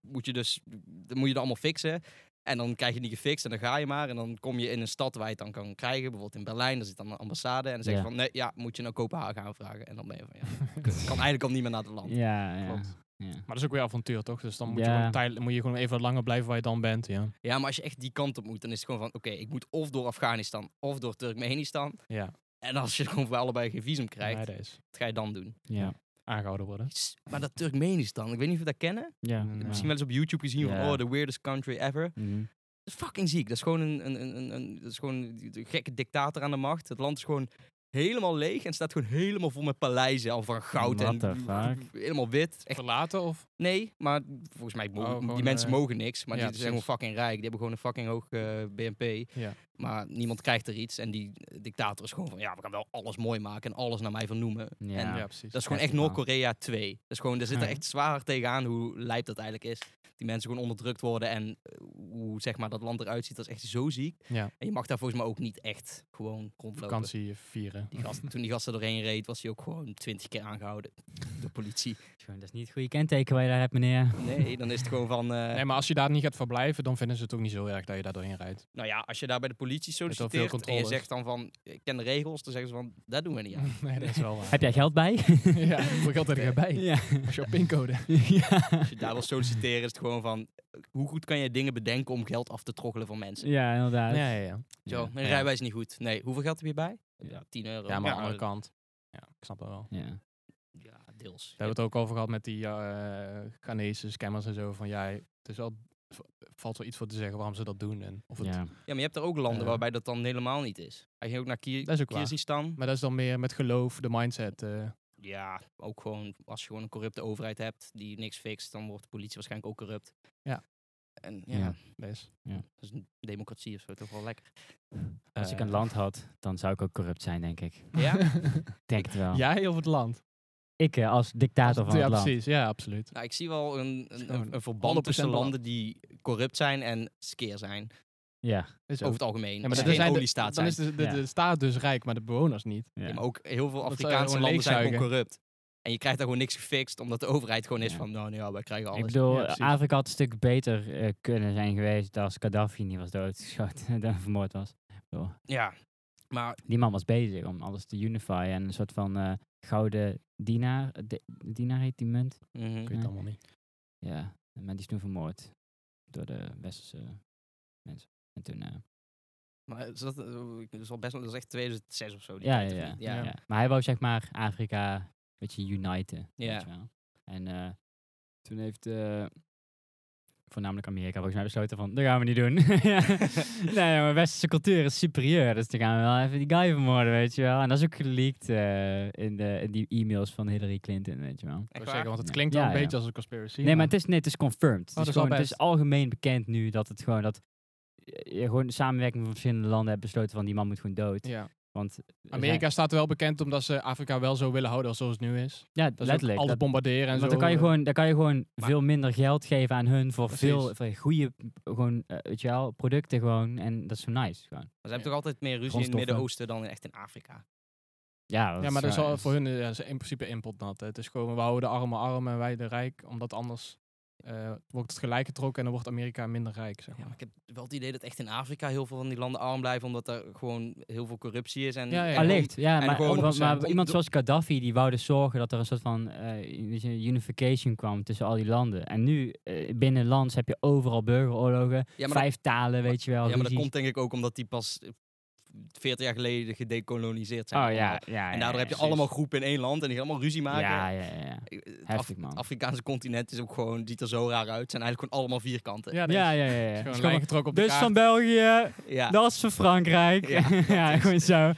Speaker 1: moet je dus, dan moet je dat allemaal fixen. En dan krijg je het niet gefixt en dan ga je maar. En dan kom je in een stad waar je het dan kan krijgen. Bijvoorbeeld in Berlijn, daar zit dan een ambassade. En dan zeg je
Speaker 4: Ja.
Speaker 1: van, nee, ja, moet je naar Kopenhagen aanvragen. En dan ben je van, ja, ik kan eigenlijk al niet meer naar het land.
Speaker 4: Ja, ja.
Speaker 2: Klopt.
Speaker 4: Ja.
Speaker 2: Maar dat is ook weer avontuur, toch? Dus dan moet, je,
Speaker 4: Ja.
Speaker 2: gewoon tijdelijk- moet je gewoon even wat langer blijven waar je dan bent. Ja.
Speaker 1: Ja, maar als je echt die kant op moet, dan is het gewoon van... Oké, ik moet of door Afghanistan of door Turkmenistan.
Speaker 2: Ja.
Speaker 1: En als je gewoon voor allebei geen visum krijgt,
Speaker 2: Nee, dat is
Speaker 1: wat ga je dan doen?
Speaker 4: Ja.
Speaker 2: aangehouden worden.
Speaker 1: Iets- Maar dat Turkmenistan, ik weet niet of we dat kennen. Ik
Speaker 4: Ja.
Speaker 2: Nee.
Speaker 1: heb misschien wel eens op YouTube gezien van...
Speaker 4: Ja.
Speaker 1: Oh, the weirdest country ever.
Speaker 4: Mhm.
Speaker 1: Dat is fucking ziek. Dat is gewoon een, een, een, een, een- dat is gewoon een gekke dictator aan de macht. Het land is gewoon helemaal leeg en staat gewoon helemaal vol met paleizen. Al van goud
Speaker 4: What
Speaker 1: en
Speaker 4: the fuck?
Speaker 1: helemaal wit. Echt,
Speaker 2: Verlaten of?
Speaker 1: nee, maar volgens mij mogen-
Speaker 2: Oh, gewoon,
Speaker 1: die mensen
Speaker 2: eh,
Speaker 1: mogen niks. Maar
Speaker 2: ja,
Speaker 1: die zijn gewoon
Speaker 2: precies.
Speaker 1: fucking rijk. Die hebben gewoon een fucking hoog eh, BNP.
Speaker 2: Ja.
Speaker 1: Maar niemand krijgt er iets. En die eh, dictator is gewoon van, ja, we gaan wel alles mooi maken en alles naar mij vernoemen.
Speaker 4: Ja.
Speaker 1: En eh,
Speaker 2: Ja,
Speaker 4: Ja.
Speaker 2: precies.
Speaker 1: dat is gewoon
Speaker 4: echt
Speaker 1: echt
Speaker 4: wel.
Speaker 1: Noord-Korea 2. Dat is gewoon, daar zit er
Speaker 2: Ja.
Speaker 1: echt zwaar tegenaan hoe lijp dat eigenlijk is. Die mensen gewoon onderdrukt worden en eh, hoe zeg maar, dat land eruit ziet, dat is echt zo ziek.
Speaker 2: Ja.
Speaker 1: En je mag daar volgens mij ook niet echt gewoon rondlopen.
Speaker 2: Vakantie vieren.
Speaker 1: Die gast, toen die gast er doorheen reed, was hij ook gewoon twintig keer aangehouden door politie.
Speaker 4: Gewoon, Dat is niet het goede kenteken waar je daar hebt, meneer.
Speaker 1: Nee, dan is het gewoon van... eh,
Speaker 2: Nee, maar als je daar niet gaat verblijven, dan vinden ze het ook niet zo erg dat je daar doorheen rijdt.
Speaker 1: Nou ja, als je daar bij de politie
Speaker 2: al veel
Speaker 1: solliciteert en je
Speaker 2: controles.
Speaker 1: zegt dan van, "Eh, ik ken de regels, dan zeggen ze van, dat doen we niet aan.
Speaker 2: nee, dat is wel waar.
Speaker 4: Heb jij geld bij?
Speaker 2: ja, ik altijd erbij.
Speaker 4: ja.
Speaker 2: Als je pincode.
Speaker 1: Als je daar wil solliciteren, is het gewoon van, eh, hoe goed kan jij dingen bedenken om geld af te troggelen van mensen?
Speaker 4: Ja, inderdaad.
Speaker 2: Ja, ja, ja.
Speaker 1: Zo,
Speaker 4: Ja.
Speaker 1: mijn
Speaker 2: Ja.
Speaker 1: rijbewijs is niet goed. Nee, hoeveel geld heb je bij?
Speaker 4: Ja.
Speaker 1: Ja, 10 euro.
Speaker 2: Ja, maar aan de andere
Speaker 1: maar-
Speaker 2: kant. Ja, ik snap dat wel.
Speaker 4: Ja.
Speaker 1: Ja, deels.
Speaker 2: We hebben het ook over gehad met die eh Ghanese scammers en zo. Van ja, het is wel, v- valt wel iets voor te zeggen waarom ze dat doen. En of het,
Speaker 4: Ja.
Speaker 1: Ja, maar je hebt er ook landen
Speaker 2: Eh.
Speaker 1: waarbij dat dan helemaal niet is. Als je ook naar Kier
Speaker 2: Dat is ook waar.
Speaker 1: Kyrgyzstan,
Speaker 2: Maar dat is dan meer met geloof, de mindset. eh.
Speaker 1: ja, ook gewoon als je gewoon een corrupte overheid hebt die niks fixt, dan wordt de politie waarschijnlijk ook corrupt.
Speaker 2: Ja.
Speaker 1: En ja,
Speaker 4: Ja.
Speaker 2: dat is.
Speaker 1: dat is een democratie of zo toch wel lekker.
Speaker 4: Als ik
Speaker 2: eh,
Speaker 4: een land had, dan zou ik ook corrupt zijn, denk ik.
Speaker 1: Ja?
Speaker 4: Denk het wel.
Speaker 2: Jij of het land?
Speaker 4: Ik eh, als dictator van
Speaker 2: ja,
Speaker 4: het land.
Speaker 2: precies. Ja, absoluut.
Speaker 1: nou, ik zie wel een, een,
Speaker 2: gewoon
Speaker 1: een, een verband
Speaker 2: 100%
Speaker 1: tussen
Speaker 2: belang.
Speaker 1: landen die corrupt zijn en skeer zijn.
Speaker 4: Ja.
Speaker 2: Is ook.
Speaker 1: Over het algemeen. maar
Speaker 2: Ja, dat
Speaker 1: dat is geen
Speaker 2: zijn de-
Speaker 1: oliestaat
Speaker 2: Dan
Speaker 1: zijn.
Speaker 2: is de, de,
Speaker 4: Ja.
Speaker 2: de staat dus rijk, maar de bewoners niet.
Speaker 4: Ja.
Speaker 1: Ja, maar ook heel veel
Speaker 2: Dat ze
Speaker 1: Afrikaanse
Speaker 2: gewoon
Speaker 1: landen zijn gewoon
Speaker 2: leegzuigen.
Speaker 1: corrupt. En je krijgt daar gewoon niks gefixt, omdat de overheid gewoon is
Speaker 4: Ja.
Speaker 1: van, nou, nou ja, wij krijgen
Speaker 4: Ik
Speaker 1: alles.
Speaker 4: bedoel,
Speaker 2: Ja, precies.
Speaker 4: Afrika had een stuk beter eh, kunnen zijn geweest als Gaddafi niet was doodgeschoten dan vermoord was. Ik bedoel,
Speaker 1: Ja, maar
Speaker 4: Die man was bezig om alles te unifyen en een soort van eh, gouden dienaar. eh, de- dienaar heet die munt.
Speaker 1: Mhm.
Speaker 2: Ik weet het allemaal niet.
Speaker 4: Ja, maar die is toen vermoord door de westerse mensen. En toen, eh,
Speaker 1: Maar is dat, eh, dat is al best wel, dat is echt 2006 of zo. die
Speaker 4: ja,
Speaker 1: tijd,
Speaker 4: ja,
Speaker 1: of
Speaker 4: ja,
Speaker 1: niet?
Speaker 4: ja. Maar hij wou zeg maar Afrika een beetje uniten.
Speaker 1: Ja.
Speaker 4: weet je wel. En eh, toen heeft eh, voornamelijk Amerika volgens mij besloten van, dat gaan we niet doen. nee, maar westerse cultuur is superieur, dus dan gaan we wel even die guy vermoorden, weet je wel. En dat is ook geleakt eh, in, de, in die e-mails van Hillary Clinton, weet je wel.
Speaker 2: Ik
Speaker 1: Echt
Speaker 2: wou
Speaker 1: waar?
Speaker 2: zeggen, want het
Speaker 4: Ja.
Speaker 2: klinkt wel
Speaker 4: Ja,
Speaker 2: een
Speaker 4: ja.
Speaker 2: beetje als een conspiracy.
Speaker 4: Nee, maar het is, nee, het is confirmed.
Speaker 2: Oh, dat
Speaker 4: het,
Speaker 2: is
Speaker 4: is
Speaker 2: wel
Speaker 4: gewoon, het is
Speaker 2: best.
Speaker 4: algemeen bekend nu dat het gewoon dat eh, je gewoon de samenwerking van verschillende landen hebt besloten van die man moet gewoon dood.
Speaker 2: Ja.
Speaker 4: Want eh,
Speaker 2: Amerika staat er wel bekend omdat ze Afrika wel zo willen houden als zoals het nu is. Dat
Speaker 4: ja,
Speaker 2: is ook
Speaker 4: letterlijk.
Speaker 2: Alles
Speaker 4: dat-
Speaker 2: bombarderen en
Speaker 4: Want
Speaker 2: zo. eh,
Speaker 4: dan kan je gewoon, dan kan je gewoon
Speaker 1: Maar-
Speaker 4: veel minder geld geven aan hun voor
Speaker 2: Precies.
Speaker 4: veel voor goede gewoon, eh, weet je wel, producten gewoon. En dat is zo nice. Gewoon.
Speaker 1: Maar ze hebben toch altijd meer ruzie in het
Speaker 4: Grondstoffen.
Speaker 1: Midden-Oosten dan in- echt in Afrika.
Speaker 4: Ja,
Speaker 2: Ja, maar dat is al
Speaker 4: wel
Speaker 2: voor hun eh, ja, is in principe inpotnat. hè. Het is gewoon, we houden de armen arm en wij de rijk. Omdat anders eh, wordt het gelijk getrokken en dan wordt Amerika minder rijk, zeg
Speaker 1: Ja,
Speaker 2: maar.
Speaker 1: maar ik heb wel het idee dat echt in Afrika heel veel van die landen arm blijven, omdat er gewoon heel veel corruptie is. En
Speaker 2: Ja, ja.
Speaker 4: Allicht, ja,
Speaker 1: en
Speaker 4: maar,
Speaker 1: gewoon-
Speaker 4: want- maar
Speaker 1: om-
Speaker 4: iemand
Speaker 1: do-
Speaker 4: zoals Gaddafi die wou dus zorgen dat er een soort van eh, weet je, unification kwam tussen al die landen. En nu eh, binnenlands heb je overal burgeroorlogen,
Speaker 1: Ja, maar,
Speaker 4: vijf talen, weet je wel.
Speaker 1: dat, ja, maar dat
Speaker 4: ruzies.
Speaker 1: komt denk ik ook omdat die pas eh, 40 jaar geleden gedecoloniseerd zijn.
Speaker 4: Oh ja,
Speaker 1: allemaal.
Speaker 4: ja, ja.
Speaker 1: En daardoor heb je
Speaker 4: precies.
Speaker 1: allemaal groepen in één land en die gaan allemaal ruzie maken.
Speaker 4: Ja, ja, ja. ja.
Speaker 1: Eh, Het Af-
Speaker 4: Heftig man.
Speaker 1: Afrikaanse continent is ook gewoon, ziet er zo raar uit. zijn eigenlijk gewoon allemaal vierkanten.
Speaker 2: Ja, dat
Speaker 4: Ja,
Speaker 2: is-
Speaker 4: ja, ja. ja.
Speaker 2: is gewoon
Speaker 4: Dus
Speaker 2: een
Speaker 4: gewoon-
Speaker 2: lijn getrokken op de
Speaker 4: dus
Speaker 2: kaart.
Speaker 4: van België,
Speaker 1: Ja.
Speaker 4: dat is van Frankrijk.
Speaker 1: Ja,
Speaker 4: Ja, gewoon zo.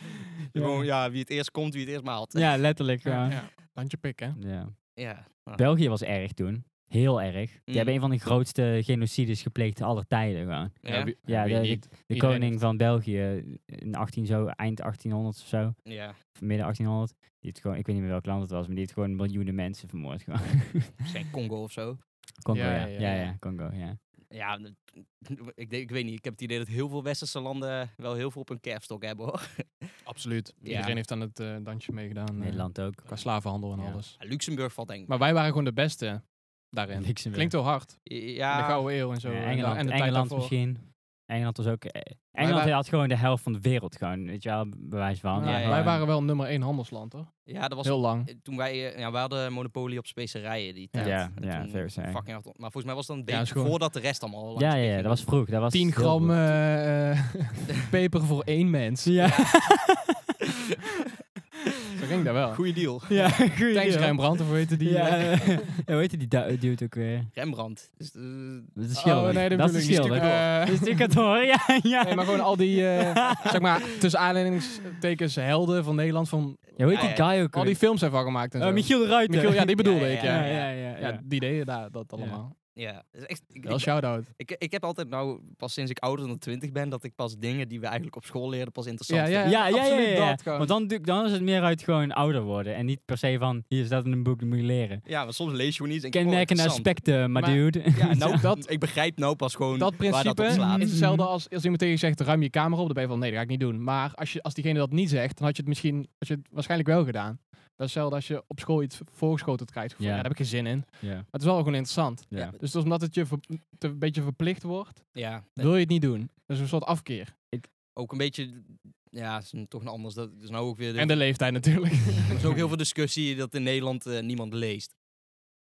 Speaker 1: Gewoon, ja, wie het eerst komt, wie het eerst maalt.
Speaker 4: Ja, letterlijk.
Speaker 2: Ja,
Speaker 4: gewoon.
Speaker 2: ja. Landje pik, hè?
Speaker 4: Ja.
Speaker 1: Ja. Nou,
Speaker 4: België was erg toen. Heel erg. Die
Speaker 1: Mm.
Speaker 4: hebben een van de grootste genocides gepleegd aller tijden. Gewoon.
Speaker 1: ja.
Speaker 2: wie-
Speaker 4: Ja,
Speaker 2: wie
Speaker 4: de-
Speaker 2: niet?
Speaker 4: De
Speaker 2: Iedereen
Speaker 4: koning
Speaker 2: heeft-
Speaker 4: van België eh, in 18 zo, eind 1800 of zo,
Speaker 1: ja.
Speaker 4: of midden 1800. Die heeft gewoon, ik weet niet meer welk land het was, maar die heeft gewoon miljoenen mensen vermoord. Gewoon.
Speaker 1: zijn Congo of zo.
Speaker 4: Congo,
Speaker 2: Ja,
Speaker 4: ja. Ja,
Speaker 2: ja,
Speaker 4: ja,
Speaker 2: ja.
Speaker 4: Congo, ja.
Speaker 1: Ja, n- ik, denk- ik weet niet. Ik heb het idee dat heel veel westerse landen wel heel veel op hun kerfstok hebben hoor.
Speaker 2: Absoluut.
Speaker 1: Ja.
Speaker 2: Iedereen heeft aan het eh, dansje meegedaan. eh,
Speaker 4: Nederland ook.
Speaker 2: Qua slavenhandel en
Speaker 4: Ja.
Speaker 2: alles.
Speaker 1: Ja, Luxemburg valt denk ik.
Speaker 2: Maar wij waren gewoon de beste daarin.
Speaker 4: Luxemburg.
Speaker 2: Klinkt wel hard.
Speaker 1: I-
Speaker 2: In de
Speaker 1: ja,
Speaker 2: Gouden Eeuw en zo.
Speaker 4: Ja,
Speaker 2: en da-
Speaker 4: Engeland,
Speaker 2: en de tijd
Speaker 4: Engeland
Speaker 2: daarvoor.
Speaker 4: misschien. Engeland was ook... eh, Engeland
Speaker 2: wa-
Speaker 4: had gewoon de helft van de wereld gewoon, weet je wel, bewijs van.
Speaker 2: Ja,
Speaker 1: Ja, ja.
Speaker 2: Wij waren wel nummer één handelsland, hoor.
Speaker 1: Ja, dat was
Speaker 2: Heel lang.
Speaker 1: eh, toen wij... eh, Ja, we hadden monopolie op specerijen die
Speaker 2: Ja.
Speaker 1: tijd.
Speaker 4: Ja,
Speaker 1: En
Speaker 4: ja,
Speaker 1: toen
Speaker 4: fair saying.
Speaker 1: Fucking hard. Maar volgens mij was dat een
Speaker 2: Ja,
Speaker 1: beetje
Speaker 2: is gewoon-
Speaker 1: voordat de rest allemaal... langs
Speaker 4: Ja, ja, ja,
Speaker 1: ging.
Speaker 4: dat was vroeg. Dat was
Speaker 2: 10
Speaker 4: heel
Speaker 2: gram
Speaker 4: vroeg.
Speaker 2: eh, eh, peper voor één mens.
Speaker 4: Ja.
Speaker 2: Zo ging dat wel.
Speaker 1: Goeie deal.
Speaker 4: ja, goeie
Speaker 2: Thanks
Speaker 4: deal.
Speaker 2: Rembrandt, of hoe heette die?
Speaker 4: Ja,
Speaker 2: eh?
Speaker 4: eh, hoe heette die du- dude ook weer?
Speaker 1: Rembrandt. Dus, eh,
Speaker 4: Dat is de
Speaker 2: Oh,
Speaker 4: schilder.
Speaker 2: nee, dat
Speaker 4: dat is de
Speaker 2: bedoel ik niet.
Speaker 4: schilder.
Speaker 2: Eh,
Speaker 4: Dat is natuurlijk het hoor, ja. ja.
Speaker 2: Nee, maar gewoon al die, eh, zeg maar, tussen aanleidingstekens helden van Nederland. Van,
Speaker 4: Ja, hoe heet
Speaker 1: Ja,
Speaker 4: die guy ook
Speaker 2: al die
Speaker 4: weer?
Speaker 2: films hebben we gemaakt en zo.
Speaker 4: Eh, Michiel de Ruiter.
Speaker 2: Michiel, ja, die bedoelde
Speaker 1: Ja, ja,
Speaker 2: ik, ja.
Speaker 4: ja,
Speaker 2: Ja,
Speaker 4: ja, ja, ja.
Speaker 2: die deden daar dat
Speaker 4: Ja.
Speaker 2: allemaal.
Speaker 1: ja, dat is echt... Ik,
Speaker 2: Wel
Speaker 1: ik-
Speaker 2: shout-out.
Speaker 1: Ik, ik heb altijd nou, pas sinds ik ouder dan 20 ben, dat ik pas dingen die we eigenlijk op school leerden pas interessant
Speaker 2: Ja,
Speaker 1: vind.
Speaker 2: ja.
Speaker 4: Ja, ja, ja. ja,
Speaker 2: absoluut
Speaker 4: ja.
Speaker 2: dat gewoon.
Speaker 4: Want dan, doe ik- dan is het meer uit gewoon ouder worden. En niet per se van, hier staat in een boek, dat moet je leren.
Speaker 1: Ja, maar soms lees je gewoon iets en denk je, oh,
Speaker 4: Kenmerken en
Speaker 1: interessant.
Speaker 4: aspecten, maar
Speaker 2: Maar-
Speaker 4: dude.
Speaker 1: Ja, nou,
Speaker 2: Ja.
Speaker 1: dat, ik begrijp nou pas gewoon
Speaker 2: Dat
Speaker 1: waar
Speaker 2: principe
Speaker 1: dat op slaat.
Speaker 2: is hetzelfde als als iemand tegen je zegt, ruim je kamer op. Dan ben je van, nee, dat ga ik niet doen. Maar als, je, als diegene dat niet zegt, dan had je het misschien had je het waarschijnlijk wel gedaan. Dat is hetzelfde als je op school iets voorgeschoteld krijgt. Van,
Speaker 4: Ja.
Speaker 2: ja, daar heb ik geen zin in. Maar
Speaker 4: Ja,
Speaker 2: het is wel gewoon interessant.
Speaker 4: ja.
Speaker 2: Dus het is omdat het je ver- te- een beetje verplicht wordt,
Speaker 1: Ja,
Speaker 2: wil je het niet doen. Dat is een soort afkeer.
Speaker 1: ook een beetje... Ja, is een- toch een anders. Dat is nou ook weer... de-
Speaker 2: En de leeftijd natuurlijk.
Speaker 1: er is ook heel veel discussie dat in Nederland eh, niemand leest.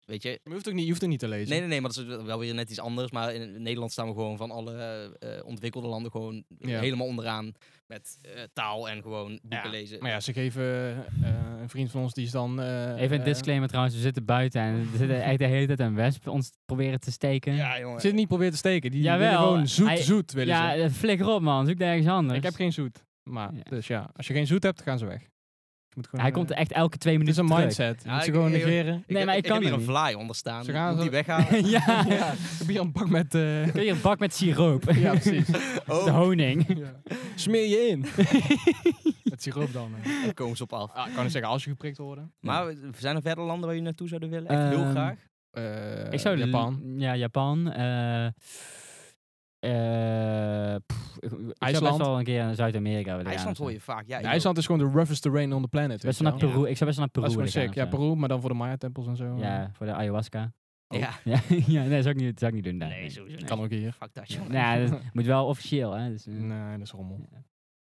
Speaker 1: Weet je?
Speaker 2: Je hoeft ook niet, je hoeft ook niet te lezen.
Speaker 1: Nee, nee, nee, maar dat is wel weer net iets anders. Maar in in Nederland staan we gewoon van alle eh, eh, ontwikkelde landen gewoon
Speaker 2: Ja.
Speaker 1: helemaal onderaan met eh, taal en gewoon boeken
Speaker 2: Ja,
Speaker 1: lezen.
Speaker 2: Maar ja, ze geven eh, een vriend van ons, die is dan... eh,
Speaker 4: Even een
Speaker 2: eh,
Speaker 4: disclaimer trouwens, we zitten buiten en er zitten echt de hele tijd een wesp ons proberen te steken.
Speaker 1: ja, jongen.
Speaker 2: Zit niet proberen te steken. Die
Speaker 4: Jawel,
Speaker 2: willen gewoon zoet,
Speaker 4: hij-
Speaker 2: zoet willen ze.
Speaker 4: Ja, eh, flikker op man, zoek nergens anders.
Speaker 2: Ik heb geen zoet. Maar,
Speaker 4: Ja.
Speaker 2: Dus ja, als je geen zoet hebt, gaan ze weg. Je moet gewoon,
Speaker 4: Hij
Speaker 2: eh,
Speaker 4: komt echt elke twee
Speaker 2: Het is
Speaker 4: minuten
Speaker 2: een
Speaker 4: terug.
Speaker 2: mindset. Je
Speaker 1: Ja,
Speaker 2: moet ze
Speaker 1: ik-
Speaker 2: gewoon
Speaker 1: ik-
Speaker 2: negeren.
Speaker 1: Ik
Speaker 4: Nee,
Speaker 1: heb-
Speaker 4: maar ik kan
Speaker 1: heb hier
Speaker 4: het
Speaker 1: een
Speaker 4: niet.
Speaker 1: fly onder staan.
Speaker 2: Ze gaan
Speaker 1: Moet
Speaker 2: zo-
Speaker 1: die weghalen?
Speaker 4: ja.
Speaker 2: Ja, ik heb hier een bak met... eh,
Speaker 4: Kun je een bak met siroop?
Speaker 2: ja, precies. Eh,
Speaker 4: De
Speaker 1: Oh,
Speaker 4: honing.
Speaker 2: Ja. Smeer je in. met siroop dan. eh.
Speaker 1: daar komen ze op af.
Speaker 2: Ah, ik kan niet zeggen als je geprikt wordt. hè.
Speaker 1: Maar we- zijn er verder landen waar je naartoe zouden willen? Echt heel
Speaker 4: Ehm,
Speaker 1: graag.
Speaker 2: Eh,
Speaker 4: ik zou l-
Speaker 2: Japan.
Speaker 4: Ja, Japan. eh, eh, pff, ik- ik zou best
Speaker 2: IJsland.
Speaker 4: wel een keer naar Zuid-Amerika willen gaan
Speaker 1: IJsland
Speaker 4: of zo.
Speaker 1: hoor je vaak. Ja, ik
Speaker 2: IJsland is gewoon de roughest terrain on the planet. weet
Speaker 4: Best
Speaker 2: je
Speaker 4: wel naar
Speaker 2: wel.
Speaker 4: Peru. Ik zou best wel naar Peru
Speaker 2: Dat is gewoon
Speaker 4: willen gaan
Speaker 2: sick. Ja,
Speaker 4: of zo.
Speaker 2: Peru, maar dan voor de Maya-tempels en zo.
Speaker 4: Ja, voor de ayahuasca.
Speaker 1: ook. Ja,
Speaker 4: Ja, ja, nee, dat zou ik niet, zou ik niet doen. daar.
Speaker 1: Nee, sowieso
Speaker 2: Kan ook hier.
Speaker 1: fuck dat
Speaker 4: Ja,
Speaker 1: jongen.
Speaker 4: nou, dat moet wel officieel. Hè? Dus, eh,
Speaker 2: Nee, dat is rommel.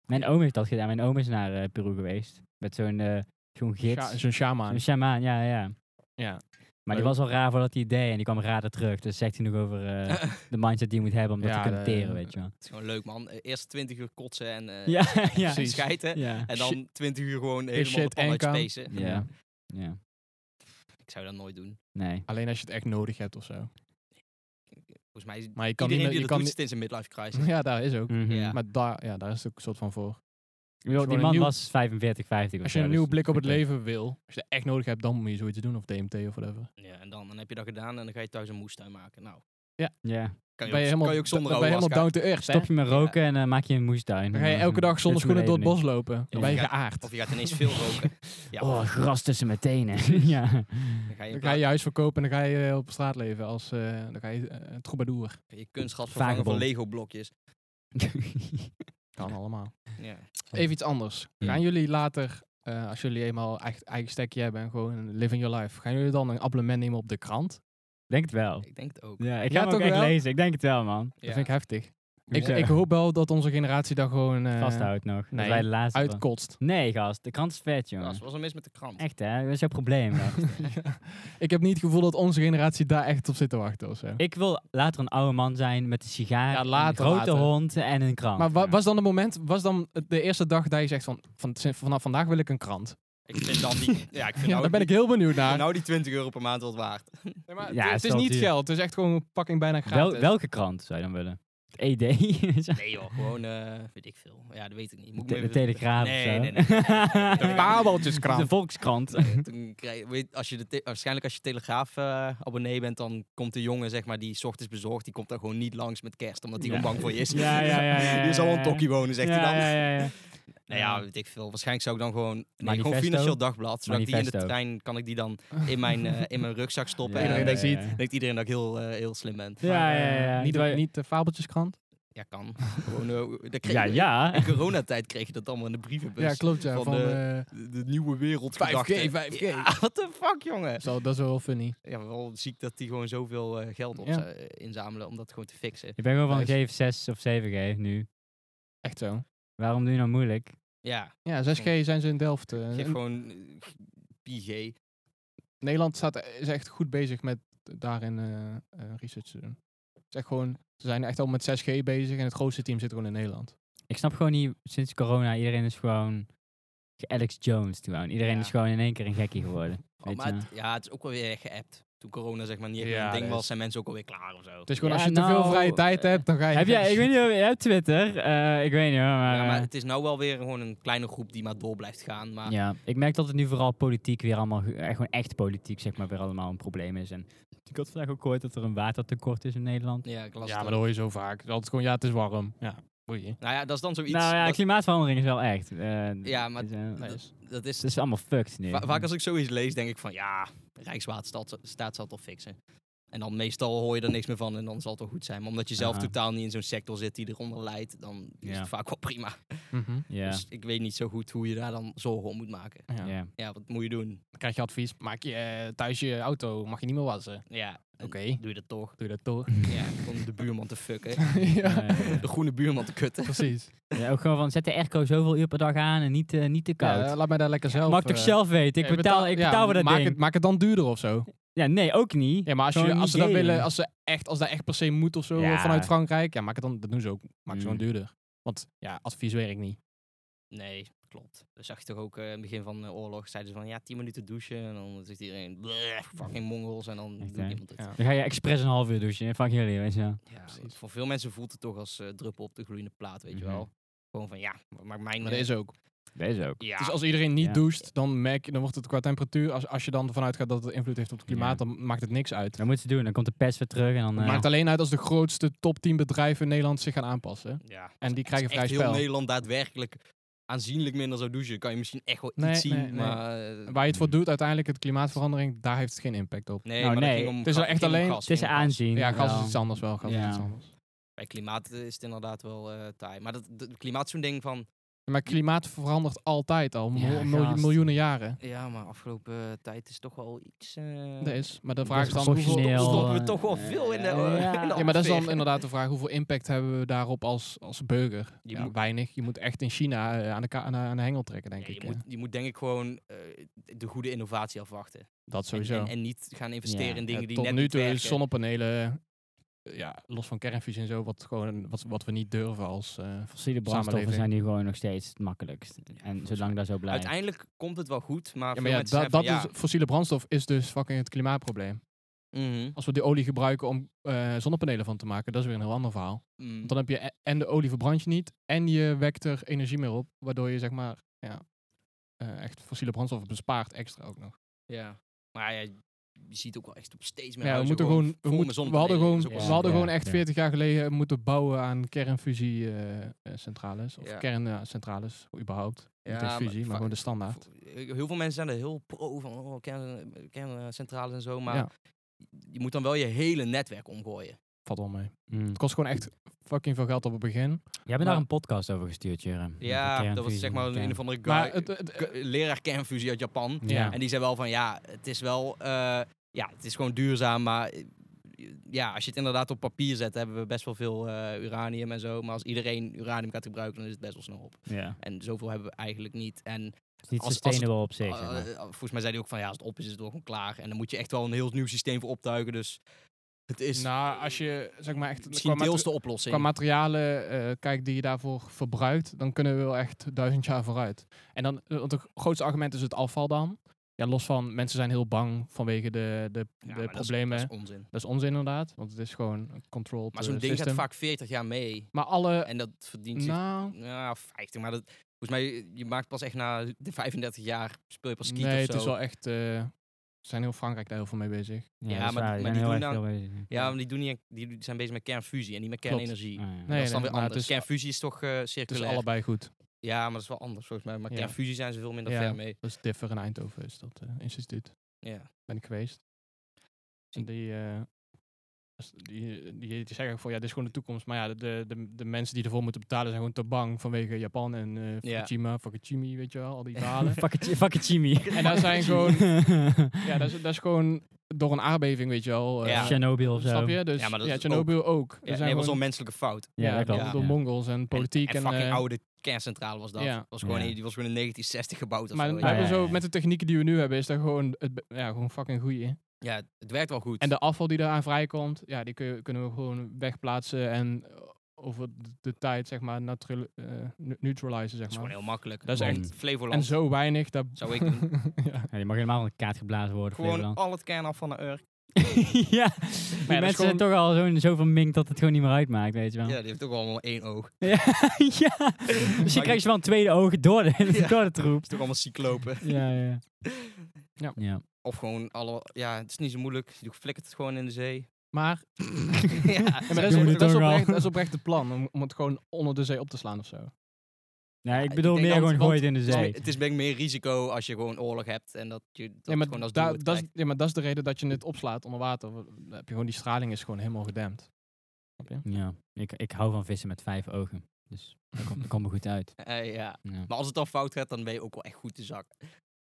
Speaker 4: Mijn oom heeft dat gedaan. Mijn oom is naar eh, Peru geweest. Met zo'n eh zo'n
Speaker 2: Sha-
Speaker 4: gids.
Speaker 2: Zo'n shaman.
Speaker 4: Zo'n shamaan, ja, ja.
Speaker 2: Ja.
Speaker 4: Maar die
Speaker 2: Leuk.
Speaker 4: was al raar voordat hij het deed. En die kwam raar terug. Dus zegt hij nog over eh, de mindset die je moet hebben om dat
Speaker 2: Ja,
Speaker 4: te kunnen
Speaker 2: de-
Speaker 4: teren, weet je wel.
Speaker 1: Het is gewoon leuk man. Eh, Eerst 20 uur kotsen en eh
Speaker 4: Ja, ja.
Speaker 1: en
Speaker 2: precies.
Speaker 1: schijten.
Speaker 4: Ja.
Speaker 1: En dan 20 uur gewoon helemaal de
Speaker 2: shit
Speaker 1: pan
Speaker 2: en kan.
Speaker 1: uitspacen.
Speaker 4: Ja. ja.
Speaker 1: Ik zou dat nooit doen.
Speaker 4: Nee.
Speaker 2: Alleen als je het echt nodig hebt of zo.
Speaker 1: Volgens mij is
Speaker 2: Maar je kan
Speaker 1: iedereen
Speaker 2: niet...
Speaker 1: die
Speaker 2: Je
Speaker 1: dat
Speaker 2: kan
Speaker 1: doet
Speaker 2: niet
Speaker 1: zit in zijn midlife crisis.
Speaker 2: ja, daar is ook.
Speaker 4: Mhm.
Speaker 1: Ja.
Speaker 2: Maar daar, ja, daar is het ook een soort van voor.
Speaker 4: Ik bedoel,
Speaker 2: gewoon
Speaker 4: die
Speaker 2: een
Speaker 4: man
Speaker 2: nieuw-
Speaker 4: was 45, 50 of
Speaker 2: Als je
Speaker 4: zo,
Speaker 2: een
Speaker 4: dus
Speaker 2: nieuwe blik op het
Speaker 4: oké.
Speaker 2: leven wil, als je het echt nodig hebt, dan moet je zoiets doen. Of DMT of whatever.
Speaker 1: Ja, en dan, dan heb je dat gedaan en dan ga je thuis een moestuin maken. Nou,
Speaker 4: Ja.
Speaker 1: kan je,
Speaker 2: ben je
Speaker 1: ook,
Speaker 2: helemaal,
Speaker 1: kan je ook zonder
Speaker 2: dan ben je helemaal
Speaker 1: ayahuasca.
Speaker 2: down to earth. hè?
Speaker 4: Stop je met roken en eh, maak je een moestuin.
Speaker 2: Dan ga je elke dag zonder
Speaker 4: Dit is
Speaker 2: schoenen door
Speaker 4: mijn
Speaker 2: het bos lopen. Dan ben je
Speaker 1: Ja.
Speaker 2: geaard.
Speaker 1: Of je gaat ineens veel roken. Ja,
Speaker 4: Oh,
Speaker 1: of
Speaker 4: gras tussen mijn tenen. ja.
Speaker 1: dan ga je,
Speaker 2: Dan ga je je huis verkopen en dan ga je eh, op straat leven. Als, eh, dan ga je eh, troubadour.
Speaker 1: je kunstgat vervangen van
Speaker 4: Vagebond.
Speaker 1: Lego blokjes.
Speaker 2: Kan allemaal.
Speaker 1: Ja.
Speaker 2: Even iets anders.
Speaker 4: Ja.
Speaker 1: Hmm.
Speaker 2: Gaan jullie later, eh, als jullie eenmaal echt eigen stekje hebben en gewoon living your life, gaan jullie dan een abonnement nemen op de krant?
Speaker 4: Denk het wel.
Speaker 1: Ik denk het ook.
Speaker 4: Ja, ik
Speaker 2: Ja,
Speaker 4: ga het ook
Speaker 2: toch
Speaker 4: echt
Speaker 2: wel?
Speaker 4: lezen. Ik denk het wel, man.
Speaker 1: Ja.
Speaker 2: Dat vind ik heftig. Ik,
Speaker 4: Hoezo?
Speaker 2: ik hoop wel dat onze generatie daar gewoon eh,
Speaker 4: Vasthoudt nog. Dat
Speaker 2: nee.
Speaker 4: wij de laatste van-
Speaker 2: uitkotst.
Speaker 4: Nee, gast. De krant is vet,
Speaker 1: Ja,
Speaker 4: jongen.
Speaker 1: was er mis met de krant.
Speaker 4: Echt, hè? Dat is jouw probleem. hè.
Speaker 2: ik heb niet het gevoel dat onze generatie daar echt op zit te wachten of zo.
Speaker 4: ik wil later een oude man zijn met een sigaar,
Speaker 2: Ja,
Speaker 4: een
Speaker 2: later,
Speaker 4: grote
Speaker 2: later.
Speaker 4: hond en een krant.
Speaker 2: maar wa-
Speaker 4: Ja.
Speaker 2: was dan het moment, was dan het- de eerste dag dat je zegt van, van sinds- vanaf vandaag wil ik een krant?
Speaker 4: Nou,
Speaker 1: Ik vind dan die... Ja, ik vind
Speaker 2: Ja,
Speaker 1: nou,
Speaker 2: daar ben ik heel benieuwd naar.
Speaker 1: nou die 20 euro per maand wat waard.
Speaker 2: Nee, maar
Speaker 4: Ja, het
Speaker 2: het, het
Speaker 4: is
Speaker 2: is
Speaker 4: wel
Speaker 2: niet
Speaker 4: duur.
Speaker 2: geld, het is echt gewoon een pakking bijna gratis.
Speaker 4: Wel, welke krant zou je dan willen? Het ED? De,
Speaker 1: Nee joh, gewoon eh, weet ik veel. Ja, dat weet ik niet. Moet ik me
Speaker 4: de
Speaker 1: even-
Speaker 4: Telegraaf
Speaker 1: Nee,
Speaker 4: of zo?
Speaker 1: nee, nee, nee. De
Speaker 4: De
Speaker 2: Babeltjeskrant.
Speaker 4: Volkskrant.
Speaker 1: Nee, toen krijg, weet, als je de te- waarschijnlijk als je Telegraaf eh, abonnee bent, dan komt de jongen zeg maar, die 's ochtends bezorgd, die komt daar gewoon niet langs met kerst, omdat hij
Speaker 4: Ja.
Speaker 1: gewoon bang voor je is.
Speaker 4: Ja, ja, ja, ja,
Speaker 1: Die zal wel
Speaker 4: ja,
Speaker 1: een
Speaker 4: ja.
Speaker 1: tokkie wonen, zegt
Speaker 4: ja,
Speaker 1: hij dan.
Speaker 4: Ja, ja, ja.
Speaker 1: Nou ja, weet ik veel. Waarschijnlijk zou ik dan gewoon... Nee, gewoon
Speaker 4: Manifesto.
Speaker 1: Financieel Dagblad. Zodat ik die in de
Speaker 4: Manifesto.
Speaker 1: trein kan ik die dan in mijn, eh, in mijn rugzak stoppen.
Speaker 4: Ja,
Speaker 1: en dan
Speaker 2: iedereen
Speaker 1: denkt,
Speaker 2: dat
Speaker 1: denkt iedereen dat ik heel, eh, heel slim ben.
Speaker 4: Ja, ja, ja.
Speaker 2: Niet,
Speaker 4: Terwijl-
Speaker 2: niet de fabeltjeskrant?
Speaker 1: Ja, kan. Gewoon, eh, dat kreeg
Speaker 4: Ja,
Speaker 1: je-
Speaker 4: ja.
Speaker 1: In coronatijd kreeg je dat allemaal in de
Speaker 4: Dus
Speaker 1: brievenbus.
Speaker 2: Ja, klopt ja.
Speaker 1: van
Speaker 2: Van,
Speaker 1: de-
Speaker 2: eh,
Speaker 1: de, de nieuwe wereld
Speaker 2: 5G, 5G.
Speaker 1: Ja, what the fuck, jongen.
Speaker 2: zo, dat is wel funny.
Speaker 1: Ja, wel ziek dat die gewoon zoveel eh, geld op
Speaker 2: Ja.
Speaker 1: eh, inzamelen om dat gewoon te fixen.
Speaker 4: Ik ben gewoon van
Speaker 2: Nice.
Speaker 4: geef 6 of 7G nu.
Speaker 2: Echt zo.
Speaker 4: Waarom doe je nou moeilijk?
Speaker 1: Ja,
Speaker 2: Ja, 6G zijn ze in Delft. eh,
Speaker 1: geef
Speaker 2: en
Speaker 1: gewoon eh, PG.
Speaker 2: Nederland staat, eh, is echt goed bezig met daarin eh, eh, research te doen. Het is echt gewoon, ze zijn echt al met 6G bezig en het grootste team zit gewoon in Nederland.
Speaker 4: Ik snap gewoon niet, sinds corona, iedereen is gewoon ge- Alex Jones gewoon. Iedereen
Speaker 1: Ja.
Speaker 4: is gewoon in één keer een gekkie geworden.
Speaker 1: Oh,
Speaker 4: Weet
Speaker 1: maar
Speaker 4: je
Speaker 1: het, ja, het is ook wel weer geappt. Toen corona zeg maar niet echt
Speaker 2: Ja,
Speaker 1: meer een ding
Speaker 2: dat
Speaker 1: was,
Speaker 2: is-
Speaker 1: zijn mensen ook alweer klaar of zo.
Speaker 2: Dus gewoon
Speaker 4: Ja,
Speaker 2: als je te veel
Speaker 4: nou,
Speaker 2: vrije tijd
Speaker 4: eh,
Speaker 2: hebt, dan ga je...
Speaker 4: Heb jij, ik weet niet, of- jij hebt Twitter. Eh, ik weet niet hoor, maar...
Speaker 1: ja, maar
Speaker 4: eh,
Speaker 1: het is nou wel weer gewoon een kleine groep die maar door blijft gaan. Maar
Speaker 4: Ja, ik merk dat het nu vooral politiek weer allemaal, ge- eh, gewoon echt politiek zeg maar, weer allemaal een probleem is. En ik had vandaag ook gehoord dat er een watertekort is in Nederland.
Speaker 1: ja, ik las het
Speaker 2: Ja, maar dat
Speaker 1: ook.
Speaker 2: hoor je zo vaak. Het is Altijd gewoon, ja, het is warm. Ja, boeien.
Speaker 1: Nou ja, dat is dan zoiets.
Speaker 4: nou ja,
Speaker 1: dat,
Speaker 4: klimaatverandering is wel echt. eh,
Speaker 1: Ja, maar
Speaker 4: dus, eh,
Speaker 1: nee.
Speaker 2: Nice.
Speaker 1: dat is
Speaker 4: Het is allemaal fucked nu.
Speaker 1: Va- vaak als ik zoiets lees, denk ik van ja, Rijkswaterstaat staat zal het wel fixen. En dan meestal hoor je er niks meer van en dan zal het wel goed zijn. Maar omdat je zelf
Speaker 4: Aha.
Speaker 1: totaal niet in zo'n sector zit die eronder leidt, dan is
Speaker 4: Ja.
Speaker 1: het vaak wel prima.
Speaker 2: Mhm.
Speaker 4: Ja,
Speaker 1: Dus ik weet niet zo goed hoe je daar dan zorgen om moet maken.
Speaker 2: Ja.
Speaker 4: ja.
Speaker 1: Ja, wat moet je doen?
Speaker 2: Dan krijg je advies, maak je eh, thuis je auto, mag je niet meer wassen.
Speaker 1: Ja, en
Speaker 2: Oké.
Speaker 1: doe je dat toch?
Speaker 2: Doe je dat toch?
Speaker 1: Ja, gewoon de buurman te fucken.
Speaker 2: ja,
Speaker 4: Eh,
Speaker 1: De groene buurman te kutten.
Speaker 2: precies.
Speaker 4: ja, ook gewoon van zet de airco zoveel uur per dag aan en niet, eh, niet te koud.
Speaker 2: Ja, laat mij daar lekker zelf...
Speaker 4: Mag ik toch
Speaker 2: eh,
Speaker 4: zelf weten? Ik
Speaker 2: ja,
Speaker 4: betaal, ik
Speaker 2: ja,
Speaker 4: betaal voor dat
Speaker 2: maak
Speaker 4: ding.
Speaker 2: Het, maak het dan duurder of zo.
Speaker 4: Ja, nee, ook niet.
Speaker 2: Ja, maar als, je,
Speaker 4: Gewoon
Speaker 2: als ze
Speaker 4: niet
Speaker 2: dat
Speaker 4: delen.
Speaker 2: willen, als, ze echt, als dat echt per se moet of zo
Speaker 4: Ja.
Speaker 2: eh, vanuit Frankrijk, ja, maak het dan, dat doen ze ook. Maak het gewoon
Speaker 4: Mm.
Speaker 2: duurder. Want ja, advies werkt niet.
Speaker 1: Nee, klopt. Dat zag je toch ook eh, in het begin van de oorlog. Zeiden ze van ja, 10 minuten douchen. En dan zegt iedereen "Bleh, fucking mongols. En dan
Speaker 4: Echt,
Speaker 1: doet
Speaker 4: hè?
Speaker 1: niemand het.
Speaker 2: Ja.
Speaker 4: Dan ga je expres een half uur douchen. Fuck jullie, weet je wel.
Speaker 1: Ja,
Speaker 2: Precies.
Speaker 1: want voor veel mensen voelt het toch als eh, druppel op de gloeiende plaat, weet
Speaker 4: Mhm.
Speaker 1: je wel. Gewoon van ja, maar mijn... eh,
Speaker 2: Maar dat is ook.
Speaker 4: Deze ook.
Speaker 1: ja,
Speaker 2: Dus als iedereen niet
Speaker 4: Ja.
Speaker 2: doucht, dan, merk, je- dan wordt het qua temperatuur, als, als je dan ervan uitgaat dat het invloed heeft op het klimaat,
Speaker 4: Ja.
Speaker 2: dan maakt het niks uit.
Speaker 4: Dan moeten ze doen. Dan komt de pers weer terug en dan...
Speaker 2: Het
Speaker 4: eh,
Speaker 2: maakt alleen uit als de grootste top 10 bedrijven in Nederland zich gaan aanpassen.
Speaker 1: ja.
Speaker 2: En die
Speaker 1: Als
Speaker 2: krijgen vrij
Speaker 1: echt heel
Speaker 2: spel.
Speaker 1: Nederland daadwerkelijk aanzienlijk minder zou douchen, kan je misschien echt wel
Speaker 2: Nee,
Speaker 1: iets zien,
Speaker 2: nee, Nou, nee.
Speaker 1: maar... eh,
Speaker 2: Waar je het voor doet, uiteindelijk het klimaatverandering, daar heeft het geen impact op.
Speaker 1: Nee,
Speaker 4: Nou,
Speaker 1: maar dat
Speaker 4: nee,
Speaker 1: ging om
Speaker 2: het is
Speaker 1: ga-
Speaker 2: wel echt
Speaker 1: ging om
Speaker 2: alleen-
Speaker 1: gas,
Speaker 4: het is
Speaker 1: ging om gas.
Speaker 4: aanzien.
Speaker 2: Ja, gas is
Speaker 4: wel.
Speaker 2: iets anders wel. Gas
Speaker 4: Ja.
Speaker 2: is iets anders.
Speaker 1: Bij klimaat eh, is het inderdaad wel eh taai. Maar dat, dat- klimaat is zo'n ding van...
Speaker 2: Ja, Maar klimaat verandert altijd al, mil-
Speaker 4: Ja,
Speaker 2: mil-
Speaker 4: gast.
Speaker 2: miljoenen jaren.
Speaker 1: Ja, maar afgelopen eh, tijd is toch wel iets... eh
Speaker 2: Dat is, maar de
Speaker 4: Dat
Speaker 2: vraag
Speaker 4: is
Speaker 2: is dan hoeveel,
Speaker 4: professioneel.
Speaker 1: hoeveel- stoppen we
Speaker 4: eh,
Speaker 1: toch wel veel in de-
Speaker 4: ja.
Speaker 1: in de
Speaker 2: Ja, maar dat is dan
Speaker 1: Ongeveer.
Speaker 2: inderdaad de vraag. Hoeveel impact hebben we daarop als, als burger?
Speaker 1: Je
Speaker 2: ja,
Speaker 1: moet-
Speaker 2: weinig. Je moet echt in China eh, aan, de ka- aan, de- aan de hengel trekken, denk
Speaker 1: Ja, je,
Speaker 2: ik. eh.
Speaker 1: moet, je moet denk ik gewoon eh, de goede innovatie afwachten. En-
Speaker 2: dat sowieso.
Speaker 1: En, en, niet gaan investeren
Speaker 4: Ja,
Speaker 1: in
Speaker 2: Ja,
Speaker 1: dingen die
Speaker 2: Eh, tot
Speaker 1: net
Speaker 2: nu
Speaker 1: niet
Speaker 2: toe
Speaker 1: werken.
Speaker 2: is zonnepanelen, eh, ja, los van kernfusie en zo, wat, gewoon, wat, wat we niet durven als... eh,
Speaker 4: Fossiele brandstoffen
Speaker 2: Samenleving.
Speaker 4: zijn nu gewoon nog steeds het makkelijkst. En zolang dat zo blijft.
Speaker 1: Uiteindelijk komt het wel goed, maar
Speaker 2: ja,
Speaker 1: veel
Speaker 2: maar ja,
Speaker 1: mensen
Speaker 2: dat, dat
Speaker 1: zeggen van,
Speaker 2: is, fossiele brandstof is dus fucking het klimaatprobleem.
Speaker 1: ja, mhm,
Speaker 2: Als we die olie gebruiken om eh, zonnepanelen van te maken, dat is weer een heel ander verhaal.
Speaker 1: mm,
Speaker 2: Want dan heb je e- en de olie verbrand je niet en je wekt er energie meer op, waardoor je zeg maar ja, eh, echt fossiele brandstoffen bespaart extra ook nog.
Speaker 1: ja. Maar ja, je ziet ook wel echt op steeds meer
Speaker 2: Maar ja, we
Speaker 1: huizen
Speaker 2: moeten gewoon, we,
Speaker 1: vol met
Speaker 2: moeten- we
Speaker 1: zonnepanelen.
Speaker 2: hadden
Speaker 1: Dat
Speaker 2: gewoon,
Speaker 1: is
Speaker 2: we
Speaker 1: ook wel
Speaker 4: zonne-
Speaker 2: hadden
Speaker 4: Ja,
Speaker 2: gewoon echt
Speaker 4: ja.
Speaker 2: 40 jaar geleden moeten bouwen aan kernfusiecentrales of
Speaker 1: Ja.
Speaker 2: kerncentrales überhaupt.
Speaker 1: Ja,
Speaker 2: Niet eens
Speaker 1: maar
Speaker 2: fusie, maar,
Speaker 1: va-
Speaker 2: gewoon de standaard.
Speaker 1: zonne- Heel veel mensen zijn er heel pro van oh, kern- kerncentrales en zo, maar
Speaker 2: Ja.
Speaker 1: je moet dan wel je hele netwerk omgooien.
Speaker 2: Valt wel mee.
Speaker 4: Mm.
Speaker 2: Het kost gewoon echt fucking veel geld op het begin.
Speaker 4: Jij bent
Speaker 2: Maar-
Speaker 4: daar een podcast over gestuurd, Jerem.
Speaker 1: Ja, dat was zeg maar een of andere
Speaker 2: Maar
Speaker 1: guy,
Speaker 2: het, het-
Speaker 1: gu- leraar kernfusie uit Japan.
Speaker 4: Ja.
Speaker 2: Ja.
Speaker 1: En die zei wel van ja, het is wel, eh, ja, het is gewoon duurzaam, maar eh, ja, als je het inderdaad op papier zet, hebben we best wel veel eh, uranium en zo. Maar als iedereen uranium gaat gebruiken, dan is het best wel snel op.
Speaker 4: Ja.
Speaker 1: En zoveel hebben we eigenlijk niet. En
Speaker 4: Het is niet
Speaker 1: Als- als het-
Speaker 4: sustainable op zich. zeg
Speaker 1: eh, eh,
Speaker 4: maar.
Speaker 1: volgens mij zei hij ook van ja, als het op is, is het wel gewoon klaar. En dan moet je echt wel een heel nieuw systeem voor optuigen. Dus het is
Speaker 2: nou, als je zeg maar echt
Speaker 1: misschien
Speaker 2: qua
Speaker 1: deels
Speaker 2: mater-
Speaker 1: de oplossing.
Speaker 2: Qua materialen, eh, kijk, die je daarvoor verbruikt, dan kunnen we wel echt duizend jaar vooruit. En dan, eh, want het grootste argument is het afval dan. Ja, los van, mensen zijn heel bang vanwege de, de,
Speaker 1: Ja, maar
Speaker 2: de
Speaker 1: dat is-
Speaker 2: problemen.
Speaker 1: Dat
Speaker 2: Dat
Speaker 1: is,
Speaker 2: is,
Speaker 1: onzin.
Speaker 2: onzin inderdaad, want het is gewoon een controlled
Speaker 1: Maar zo'n
Speaker 2: eh,
Speaker 1: ding gaat
Speaker 2: system.
Speaker 1: vaak 40 jaar mee.
Speaker 2: Maar alle,
Speaker 1: En dat verdient zich.
Speaker 2: nou,
Speaker 1: Ja, 50. Maar dat, volgens mij, je maakt pas echt na de 35 jaar speel je pas skiet
Speaker 2: nee,
Speaker 1: of
Speaker 2: het
Speaker 1: zo.
Speaker 2: is wel echt, eh, zijn heel Frankrijk daar heel veel mee bezig.
Speaker 4: Ja,
Speaker 1: ja,
Speaker 4: dat is
Speaker 1: maar-
Speaker 4: waar,
Speaker 1: maar
Speaker 4: zijn
Speaker 1: die
Speaker 4: heel
Speaker 1: doen
Speaker 4: erg
Speaker 1: dan-
Speaker 4: veel bezig.
Speaker 1: Ja, want die, doen niet, aan- die zijn bezig met kernfusie en niet met
Speaker 2: Klopt.
Speaker 1: kernenergie.
Speaker 4: Ah, ja.
Speaker 1: dat
Speaker 2: Nee,
Speaker 1: is dan weer
Speaker 2: nee, maar het
Speaker 1: anders.
Speaker 2: is-
Speaker 1: kernfusie is toch eh
Speaker 2: Het is
Speaker 1: circulair?
Speaker 2: allebei goed.
Speaker 1: Ja, maar dat is wel anders volgens mij. Maar
Speaker 2: Ja.
Speaker 1: kernfusie zijn ze veel minder
Speaker 2: Ja.
Speaker 1: ver mee.
Speaker 2: Dat is Differ in Eindhoven, is dat eh, instituut.
Speaker 1: Ja.
Speaker 2: Ben ik geweest. En die, eh, Dus Die, die, die zeggen eigenlijk van ja, dit is gewoon de toekomst. Maar ja, de, de, de mensen die ervoor moeten betalen zijn gewoon te bang vanwege Japan en eh Fukushima, Fukushimi, weet je wel, al die verhalen.
Speaker 4: Fuck Fukushimi.
Speaker 2: en daar zijn gewoon, ja, dat is, dat is gewoon door een aardbeving, weet je wel. eh,
Speaker 1: Ja.
Speaker 4: Chernobyl of zo.
Speaker 2: Snap je? Dus,
Speaker 1: Ja,
Speaker 2: ja,
Speaker 1: maar dat is
Speaker 2: Chernobyl ook. Er
Speaker 1: Ja,
Speaker 2: zijn
Speaker 1: nee, was
Speaker 2: gewoon-
Speaker 1: onmenselijke fout.
Speaker 4: Ja, dat klopt.
Speaker 2: door-
Speaker 1: ja.
Speaker 2: door Mongols en politiek.
Speaker 1: en, en fucking
Speaker 2: eh,
Speaker 1: oude kerncentrale was dat.
Speaker 2: ja.
Speaker 1: Was gewoon,
Speaker 4: Ja.
Speaker 1: Die was gewoon in 1960 gebouwd of
Speaker 2: Maar
Speaker 1: zo.
Speaker 2: we
Speaker 1: weet je.
Speaker 4: ja,
Speaker 2: hebben
Speaker 4: ja,
Speaker 2: zo,
Speaker 4: ja.
Speaker 2: met de technieken die we nu hebben, is dat gewoon, het, be- ja, gewoon fucking goeie.
Speaker 1: Ja, het- het werkt wel goed.
Speaker 2: En de afval die eraan vrijkomt, ja, die kun je- kunnen we gewoon wegplaatsen en eh, over de, de tijd, zeg maar, naturali- eh, nu- neutralizen,
Speaker 1: dat is
Speaker 2: zeg
Speaker 1: gewoon
Speaker 2: maar.
Speaker 1: heel makkelijk.
Speaker 2: Dat is
Speaker 1: Gewoon
Speaker 4: echt-
Speaker 2: En
Speaker 1: Flevoland.
Speaker 2: zo weinig, dat...
Speaker 1: Zou ik doen.
Speaker 2: ja.
Speaker 4: Ja, die mag helemaal van de kaart geblazen worden.
Speaker 1: Gewoon Oh.
Speaker 4: Flevoland.
Speaker 1: al het kernaf van de Urk.
Speaker 4: ja, die
Speaker 2: dat is
Speaker 4: mensen zijn toch al zo, zo verminkt dat het gewoon niet meer uitmaakt, weet je wel.
Speaker 1: Ja,
Speaker 4: Ja,
Speaker 1: die heeft ook allemaal één oog. Het
Speaker 4: ja. misschien
Speaker 1: Maar-
Speaker 4: krijg je wel een tweede oog door de,
Speaker 1: Ja.
Speaker 4: door de troep.
Speaker 1: is toch allemaal cyclopen.
Speaker 4: Ja, ja.
Speaker 2: Ja.
Speaker 4: ja.
Speaker 1: Of gewoon alle... Ja, het is niet zo moeilijk. Je flikkert het gewoon in de zee.
Speaker 2: Maar,
Speaker 1: ja,
Speaker 2: ja, maar dat,
Speaker 4: doen
Speaker 2: is,
Speaker 4: het
Speaker 2: dat, is
Speaker 4: ook al.
Speaker 2: oprecht, dat is oprecht het plan, om, om het gewoon onder de zee op te slaan of zo.
Speaker 4: Nee,
Speaker 2: eh,
Speaker 4: ik
Speaker 1: ik
Speaker 4: bedoel
Speaker 1: denk
Speaker 4: meer
Speaker 1: dat-
Speaker 4: gewoon
Speaker 1: want-
Speaker 4: gooien in de
Speaker 1: Het is,
Speaker 4: zee.
Speaker 1: me- het is denk ik meer risico als je gewoon oorlog hebt en dat je dat
Speaker 2: Ja, maar,
Speaker 1: gewoon als
Speaker 2: da-
Speaker 1: doel
Speaker 2: dat is, ja, maar dat is de reden dat je het opslaat onder water. want Dan heb je gewoon, die straling is gewoon helemaal gedempt. Snap je?
Speaker 4: Ja, ik, ik hou van vissen met vijf ogen. Dus dat komt, dat komt me goed uit.
Speaker 1: Eh, ja.
Speaker 4: Ja,
Speaker 1: Maar als het dan fout gaat, dan ben je ook wel echt goed te zak.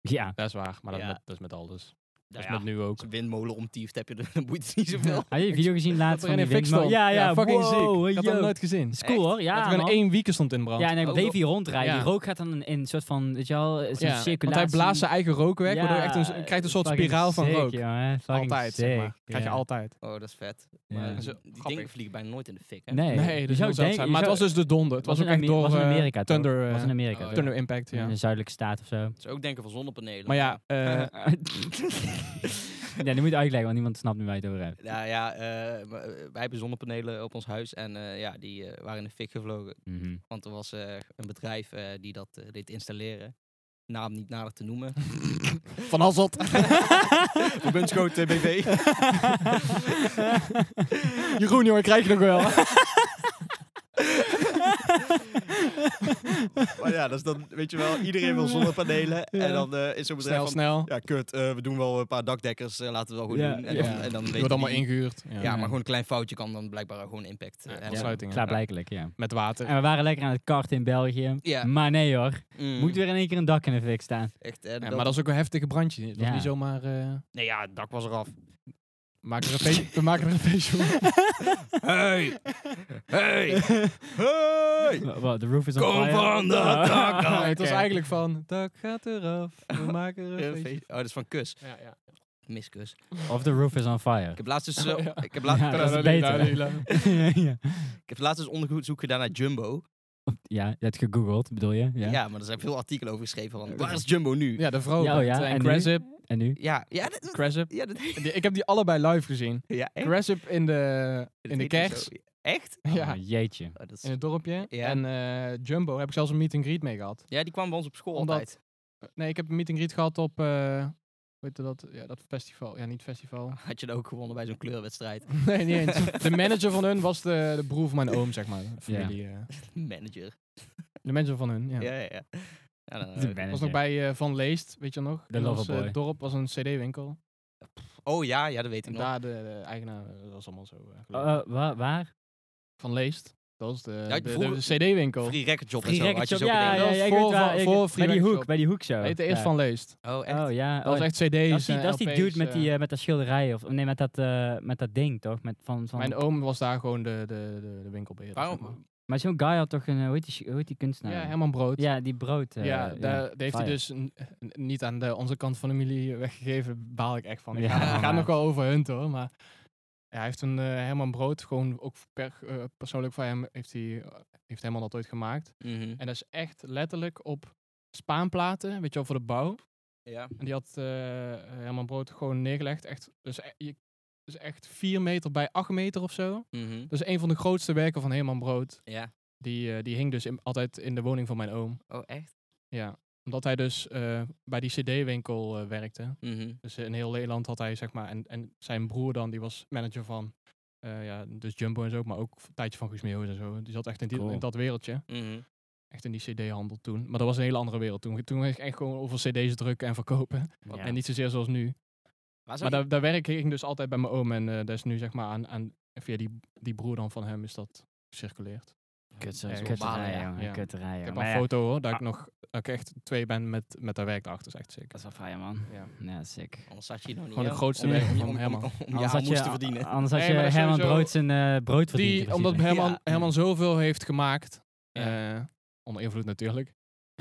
Speaker 4: ja.
Speaker 2: Dat is waar, maar dat,
Speaker 1: Ja.
Speaker 2: met- dat is met alles. Dat
Speaker 1: Nou
Speaker 2: is
Speaker 1: ja,
Speaker 2: met nu ook.
Speaker 1: als een windmolen omtieft, heb je er, dan boeit het niet zoveel.
Speaker 4: Had je die video gezien
Speaker 2: Dat
Speaker 4: laatst van
Speaker 2: er in
Speaker 4: die
Speaker 2: een fik
Speaker 4: windmolen?
Speaker 2: stond.
Speaker 4: Ja, ja,
Speaker 2: fucking
Speaker 4: wow,
Speaker 2: ziek. Ik had dat
Speaker 4: yo.
Speaker 2: nooit gezien.
Speaker 4: is cool
Speaker 1: Echt?
Speaker 4: hoor,
Speaker 2: dat
Speaker 4: ja
Speaker 2: er gewoon
Speaker 4: man.
Speaker 2: één wieken stond in brand.
Speaker 4: Ja, en dan
Speaker 1: Oh,
Speaker 4: Davy rondrijden.
Speaker 2: Ja.
Speaker 4: Die rook gaat dan in in een soort van, weet je wel, zo'n
Speaker 2: Ja,
Speaker 4: circulatie.
Speaker 2: Want hij blaast zijn eigen rook weg,
Speaker 4: Ja,
Speaker 2: waardoor je echt een, krijgt een soort
Speaker 4: fucking
Speaker 2: spiraal van
Speaker 4: sick,
Speaker 2: rook.
Speaker 4: jongen. Fucking
Speaker 2: Altijd, zeg maar.
Speaker 4: sick,
Speaker 2: Krijg je
Speaker 4: ja.
Speaker 2: altijd.
Speaker 1: Oh, dat is vet.
Speaker 4: Ja.
Speaker 1: Maar
Speaker 2: Dat is
Speaker 1: die
Speaker 2: wel grappig.
Speaker 1: dingen vliegen bijna nooit in de fik, hè?
Speaker 4: Nee,
Speaker 2: Nee,
Speaker 4: je
Speaker 2: dat
Speaker 4: zou
Speaker 2: is heel
Speaker 4: denken-
Speaker 2: zeldzaam.
Speaker 4: je
Speaker 2: Maar het
Speaker 4: zou-
Speaker 2: was dus de donder. Het was
Speaker 4: was
Speaker 2: ook
Speaker 4: in
Speaker 2: echt
Speaker 4: Ameri-
Speaker 2: door
Speaker 4: was in
Speaker 2: eh,
Speaker 4: Amerika, toch?
Speaker 2: Thunder, eh,
Speaker 4: was in Amerika.
Speaker 1: oh, ja.
Speaker 2: Thunder Impact,
Speaker 4: In
Speaker 2: ja.
Speaker 4: een zuidelijke staat of zo.
Speaker 1: Dat is ook denken van zonnepanelen.
Speaker 2: Maar ja, eh,
Speaker 4: ja, die moet je uitleggen, want niemand snapt nu waar je het over hebt.
Speaker 1: Nou ja, eh, m- eh, wij hebben zonnepanelen op ons huis en eh, ja, die eh, waren in de fik gevlogen.
Speaker 4: Mhm.
Speaker 1: Want er was eh, een bedrijf eh, die dat eh, deed installeren. Naam niet nader te noemen.
Speaker 2: van Hazot.
Speaker 3: Op Bunschoot eh, BV.
Speaker 2: Jeroen, jongen, krijg je nog wel.
Speaker 1: Maar ja, dat is dan, weet je wel, iedereen wil zonnepanelen. En dan eh, is zo'n bedrijf
Speaker 2: snel,
Speaker 1: van,
Speaker 2: snel.
Speaker 1: ja kut, eh, we doen wel een paar dakdekkers, eh, laten we wel goed
Speaker 4: Ja,
Speaker 1: doen. En
Speaker 4: ja.
Speaker 1: dan, en dan
Speaker 2: Je
Speaker 1: weet
Speaker 2: wordt allemaal
Speaker 1: die-
Speaker 2: ingehuurd.
Speaker 1: Ja,
Speaker 2: Ja.
Speaker 1: maar gewoon een klein foutje kan dan blijkbaar gewoon impact eh,
Speaker 2: Ja,
Speaker 1: hebben.
Speaker 2: absoluut.
Speaker 4: Ja, Klaarblijkelijk, ja.
Speaker 2: Met water.
Speaker 4: En we waren lekker aan het karten in België.
Speaker 1: Ja.
Speaker 4: Maar nee hoor,
Speaker 1: Mm.
Speaker 4: moet weer in één keer een dak in de fik staan.
Speaker 1: Echt, eh,
Speaker 2: Ja,
Speaker 1: dat-
Speaker 2: maar dat is ook een heftige brandje. Dat is
Speaker 4: Ja.
Speaker 2: niet zomaar... eh,
Speaker 1: Nee, ja, het dak was eraf.
Speaker 2: maak er een feestje- We maken er een feestje van.
Speaker 1: Hey! Hey! Hey!
Speaker 4: Wa- wa- De roof is on
Speaker 1: Kom
Speaker 4: fire.
Speaker 1: van dat
Speaker 4: Oh.
Speaker 1: dak af.
Speaker 2: Het was
Speaker 1: Oké.
Speaker 2: eigenlijk van... Dak gaat eraf. We maken er
Speaker 1: Eh,
Speaker 2: een feestje
Speaker 1: feest- Oh, dat is van kus.
Speaker 2: Ja, ja.
Speaker 1: Miskus.
Speaker 4: Of the roof is on fire.
Speaker 1: Ik heb laatst dus, eh,
Speaker 2: Oh, ja.
Speaker 1: ik heb laatst,
Speaker 4: Ja, dat is
Speaker 1: ik
Speaker 4: beter, hè? ja.
Speaker 1: heb laatst dus onderzoek gedaan naar Jumbo.
Speaker 4: ja, je hebt gegoogeld, bedoel je? Ja.
Speaker 1: Ja. maar er zijn veel artikelen over geschreven. Van, waar is Jumbo nu?
Speaker 2: Ja, de vrouw.
Speaker 4: Ja, oh ja,
Speaker 2: En
Speaker 4: en
Speaker 2: Crasip.
Speaker 4: En nu?
Speaker 1: Ja, ja, dat, dat-
Speaker 2: Crasip.
Speaker 1: ja, dat,
Speaker 2: Die- Ik heb die allebei live gezien.
Speaker 1: ja echt?
Speaker 2: Crasip in de,
Speaker 1: Dat
Speaker 2: in de
Speaker 1: heet niet
Speaker 2: kerst.
Speaker 1: zo. Echt?
Speaker 2: Ja.
Speaker 4: Oh, jeetje.
Speaker 1: Oh, dat is-
Speaker 2: In het dorpje.
Speaker 1: Ja.
Speaker 2: En eh, Jumbo heb ik zelfs een meet and greet mee gehad.
Speaker 1: Ja, die kwam bij ons op school
Speaker 2: Omdat-
Speaker 1: altijd.
Speaker 2: Eh, Nee, ik heb een meet and greet gehad op. eh weet je dat? Ja, dat festival. Ja, niet festival.
Speaker 4: Ah.
Speaker 1: Had je dat ook gewonnen bij zo'n kleurwedstrijd.
Speaker 2: nee, niet eens. De manager van hun was de, de broer van mijn oom, zeg maar. De Familie, eh.
Speaker 1: Manager.
Speaker 2: De manager van hun, ja.
Speaker 1: Ja, ja, ja. Ja, dan, eh,
Speaker 4: De manager.
Speaker 2: Was nog bij eh, Van Leest, weet je nog?
Speaker 4: De
Speaker 2: In ons, eh,
Speaker 4: Loverboy.
Speaker 2: dorp was een CD-winkel.
Speaker 1: oh ja, ja, dat weet ik
Speaker 2: En
Speaker 1: nog.
Speaker 2: daar de, de eigenaar eh, was allemaal zo. eh,
Speaker 4: Oh, eh, wa- waar?
Speaker 2: van Leest. Dat was de, de, de-
Speaker 1: vroeger-
Speaker 2: de CD-winkel.
Speaker 1: Free record job en
Speaker 4: Free
Speaker 1: zo.
Speaker 4: Record
Speaker 1: had je
Speaker 4: Shop.
Speaker 1: zulke
Speaker 4: Ja,
Speaker 1: dingen.
Speaker 4: ja, ja, ik
Speaker 2: Voor-
Speaker 4: weet waar.
Speaker 2: voor-
Speaker 4: ik-
Speaker 2: voor
Speaker 4: bij
Speaker 2: Free
Speaker 4: die
Speaker 2: Record
Speaker 4: hoek,
Speaker 2: Shop.
Speaker 4: bij die hoek zo.
Speaker 2: Heette eerst
Speaker 4: Ja.
Speaker 2: Van Leest.
Speaker 1: Oh, echt?
Speaker 4: Oh ja.
Speaker 2: Dat
Speaker 4: oh,
Speaker 2: was echt CD's.
Speaker 4: dat is die,
Speaker 2: en
Speaker 4: dat is die
Speaker 2: LP's,
Speaker 4: dude met, die,
Speaker 2: eh.
Speaker 4: eh, met dat schilderij. Of, nee, met dat, eh, met dat ding toch? Met, van, van,
Speaker 2: Mijn oom was daar gewoon de, de, de, de winkelbeheerder.
Speaker 1: Waarom-
Speaker 2: zeg maar.
Speaker 4: maar zo'n guy had toch een. eh, Hoe heet die, sch- hoe heet die kunstenaar?
Speaker 2: Ja, Herman Brood.
Speaker 4: Ja, die brood. eh,
Speaker 2: ja, daar daar heeft
Speaker 4: Fire.
Speaker 2: hij dus n- n- niet aan de, onze kant van de familie weggegeven. Daar baal ik echt van.
Speaker 4: Ja.
Speaker 2: Ja. Het gaat nog wel over hun hoor, maar ja, hij heeft een eh, Herman Brood gewoon ook per, eh, persoonlijk van hem heeft hij eh, heeft helemaal dat ooit gemaakt.
Speaker 1: Mhm.
Speaker 2: En dat is echt letterlijk op spaanplaten, weet je wel, voor de bouw.
Speaker 1: Ja.
Speaker 2: En die had eh Herman Brood gewoon neergelegd. Echt, dus, e- je, dus echt 4 meter bij 8 meter of zo.
Speaker 1: Mhm.
Speaker 2: Dat is een van de grootste werken van Herman Brood.
Speaker 1: Ja.
Speaker 2: Die, eh, die hing dus in- altijd in de woning van mijn oom.
Speaker 1: Oh, echt?
Speaker 2: Ja, omdat hij dus eh, bij die cd-winkel eh, werkte.
Speaker 1: Mhm.
Speaker 2: Dus in heel Nederland had hij, zeg maar, en, en zijn broer dan, die was manager van, eh, ja, dus Jumbo en zo, maar ook een tijdje van Guusmeeuwis en zo. Die zat echt in, die-
Speaker 4: Cool.
Speaker 2: in dat wereldje.
Speaker 1: Mhm.
Speaker 2: Echt in die cd-handel toen. Maar dat was een hele andere wereld toen. Toen ging het echt gewoon over cd's drukken en verkopen.
Speaker 4: Ja.
Speaker 2: En niet zozeer zoals nu.
Speaker 1: Waar
Speaker 2: Maar
Speaker 1: zou je-
Speaker 2: daar, daar werk ik dus altijd bij mijn oom. En eh, dat is nu zeg maar aan, aan via die, die broer dan van hem is dat gecirculeerd.
Speaker 4: Kutse,
Speaker 2: Ja,
Speaker 1: globale,
Speaker 4: kutterij,
Speaker 1: ja.
Speaker 4: jongen.
Speaker 2: Ja.
Speaker 4: Kutterij,
Speaker 2: ik
Speaker 4: jongen.
Speaker 2: heb
Speaker 4: Maar
Speaker 2: een
Speaker 4: ja,
Speaker 2: foto hoor, dat ik
Speaker 4: Ah.
Speaker 2: nog dat ik echt twee ben met, met daar werk erachter. is echt zeker.
Speaker 4: Dat is wel fijn, man.
Speaker 2: Ja.
Speaker 4: Ja, sick.
Speaker 1: Anders had je hier nog niet.
Speaker 2: Gewoon de
Speaker 1: hè?
Speaker 2: grootste
Speaker 1: Om-
Speaker 2: werk
Speaker 1: om-
Speaker 2: van
Speaker 1: om- om-
Speaker 2: Herman.
Speaker 1: Om om je
Speaker 4: Anders
Speaker 1: aan
Speaker 4: had je-
Speaker 1: moest te verdienen.
Speaker 4: Anders had
Speaker 2: Nee,
Speaker 4: je
Speaker 2: maar dat is
Speaker 4: Herman
Speaker 2: sowieso-
Speaker 4: Brood zijn eh, brood verdiend.
Speaker 2: Die,
Speaker 4: in
Speaker 2: omdat
Speaker 4: principe.
Speaker 2: Herman,
Speaker 1: Ja.
Speaker 2: Herman zoveel heeft gemaakt,
Speaker 1: Ja.
Speaker 2: eh, onder invloed natuurlijk.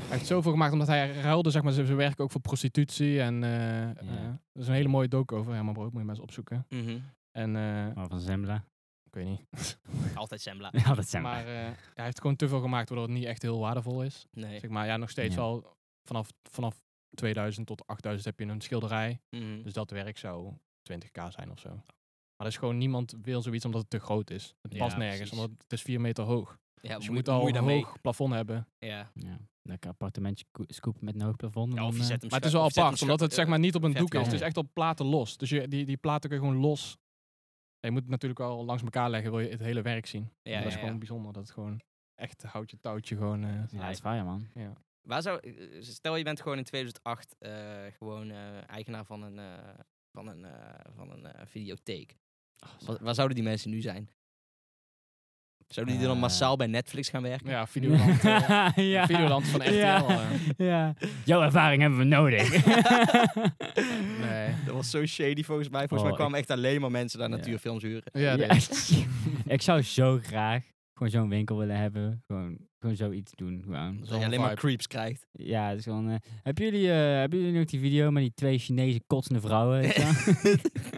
Speaker 2: Hij heeft zoveel gemaakt omdat hij ruilde zeg maar, zijn zijn werk ook voor prostitutie. En eh, eh, er is een hele mooie docu over Herman Brood, moet je mensen opzoeken.
Speaker 1: Mhm.
Speaker 2: En eh,
Speaker 4: Maar Oh, van Zembla.
Speaker 2: ik weet niet.
Speaker 1: Altijd Sembla.
Speaker 4: Ja, dat Zembla.
Speaker 2: Maar eh, hij heeft gewoon te veel gemaakt waardoor het niet echt heel waardevol is.
Speaker 1: Nee.
Speaker 2: Zeg maar, ja, nog steeds
Speaker 4: Ja.
Speaker 2: wel vanaf, vanaf 2000 tot 8000 heb je een schilderij.
Speaker 1: Mhm.
Speaker 2: Dus dat werk zou 20k zijn of zo. Maar dat is gewoon niemand wil zoiets omdat het te groot is. Het
Speaker 4: Ja,
Speaker 2: past nergens,
Speaker 1: precies.
Speaker 2: omdat het is 4 meter hoog.
Speaker 1: Ja,
Speaker 2: Dus je moet al een
Speaker 1: daarmee-
Speaker 2: hoog plafond hebben.
Speaker 1: Ja.
Speaker 4: Ja, lekker appartementje ko- scoop met een hoog plafond. en
Speaker 1: Ja, of je
Speaker 4: dan,
Speaker 1: zet hem
Speaker 2: eh, Maar het is
Speaker 1: schu-
Speaker 2: wel
Speaker 1: of zet hem
Speaker 2: apart,
Speaker 1: schu-
Speaker 2: omdat het zeg
Speaker 1: eh,
Speaker 2: maar niet op een doek is.
Speaker 1: verticaal.
Speaker 2: Het is echt op platen los. Dus je, die, die platen kun je gewoon los. En je moet het natuurlijk wel langs elkaar leggen, wil je het hele werk zien.
Speaker 1: Ja,
Speaker 2: dat is
Speaker 1: ja, ja.
Speaker 2: gewoon bijzonder, dat het gewoon echt houtje touwtje gewoon... eh,
Speaker 4: Ja, dat is fijn, man.
Speaker 1: Waar zou, eh, stel je bent gewoon in 2008 eh, gewoon eh, eigenaar van een, eh, van een, eh, van een eh, videotheek. Wa- waar zouden die mensen nu zijn? Zouden die dan
Speaker 4: Eh.
Speaker 1: massaal bij Netflix gaan werken?
Speaker 2: ja, Videoland. eh,
Speaker 4: ja.
Speaker 2: Videoland van RTL,
Speaker 4: Ja.
Speaker 2: eh.
Speaker 4: ja. Jouw ervaring hebben we nodig.
Speaker 2: nee.
Speaker 1: Dat was zo shady volgens mij. Volgens
Speaker 4: Oh,
Speaker 1: mij kwamen echt alleen maar mensen daar
Speaker 4: Ja.
Speaker 1: natuurfilms huren.
Speaker 2: Ja,
Speaker 4: Ja.
Speaker 2: dat is-
Speaker 4: ik zou zo graag gewoon zo'n winkel willen hebben. Gewoon, gewoon zoiets doen. Gewoon.
Speaker 1: Dat
Speaker 2: wel
Speaker 1: je
Speaker 2: een
Speaker 1: alleen maar
Speaker 2: vibe.
Speaker 1: creeps krijgt.
Speaker 4: Ja, het is gewoon... eh, hebben, jullie, eh, hebben jullie nog die video met die twee Chinese kotsende vrouwen? weet je wel?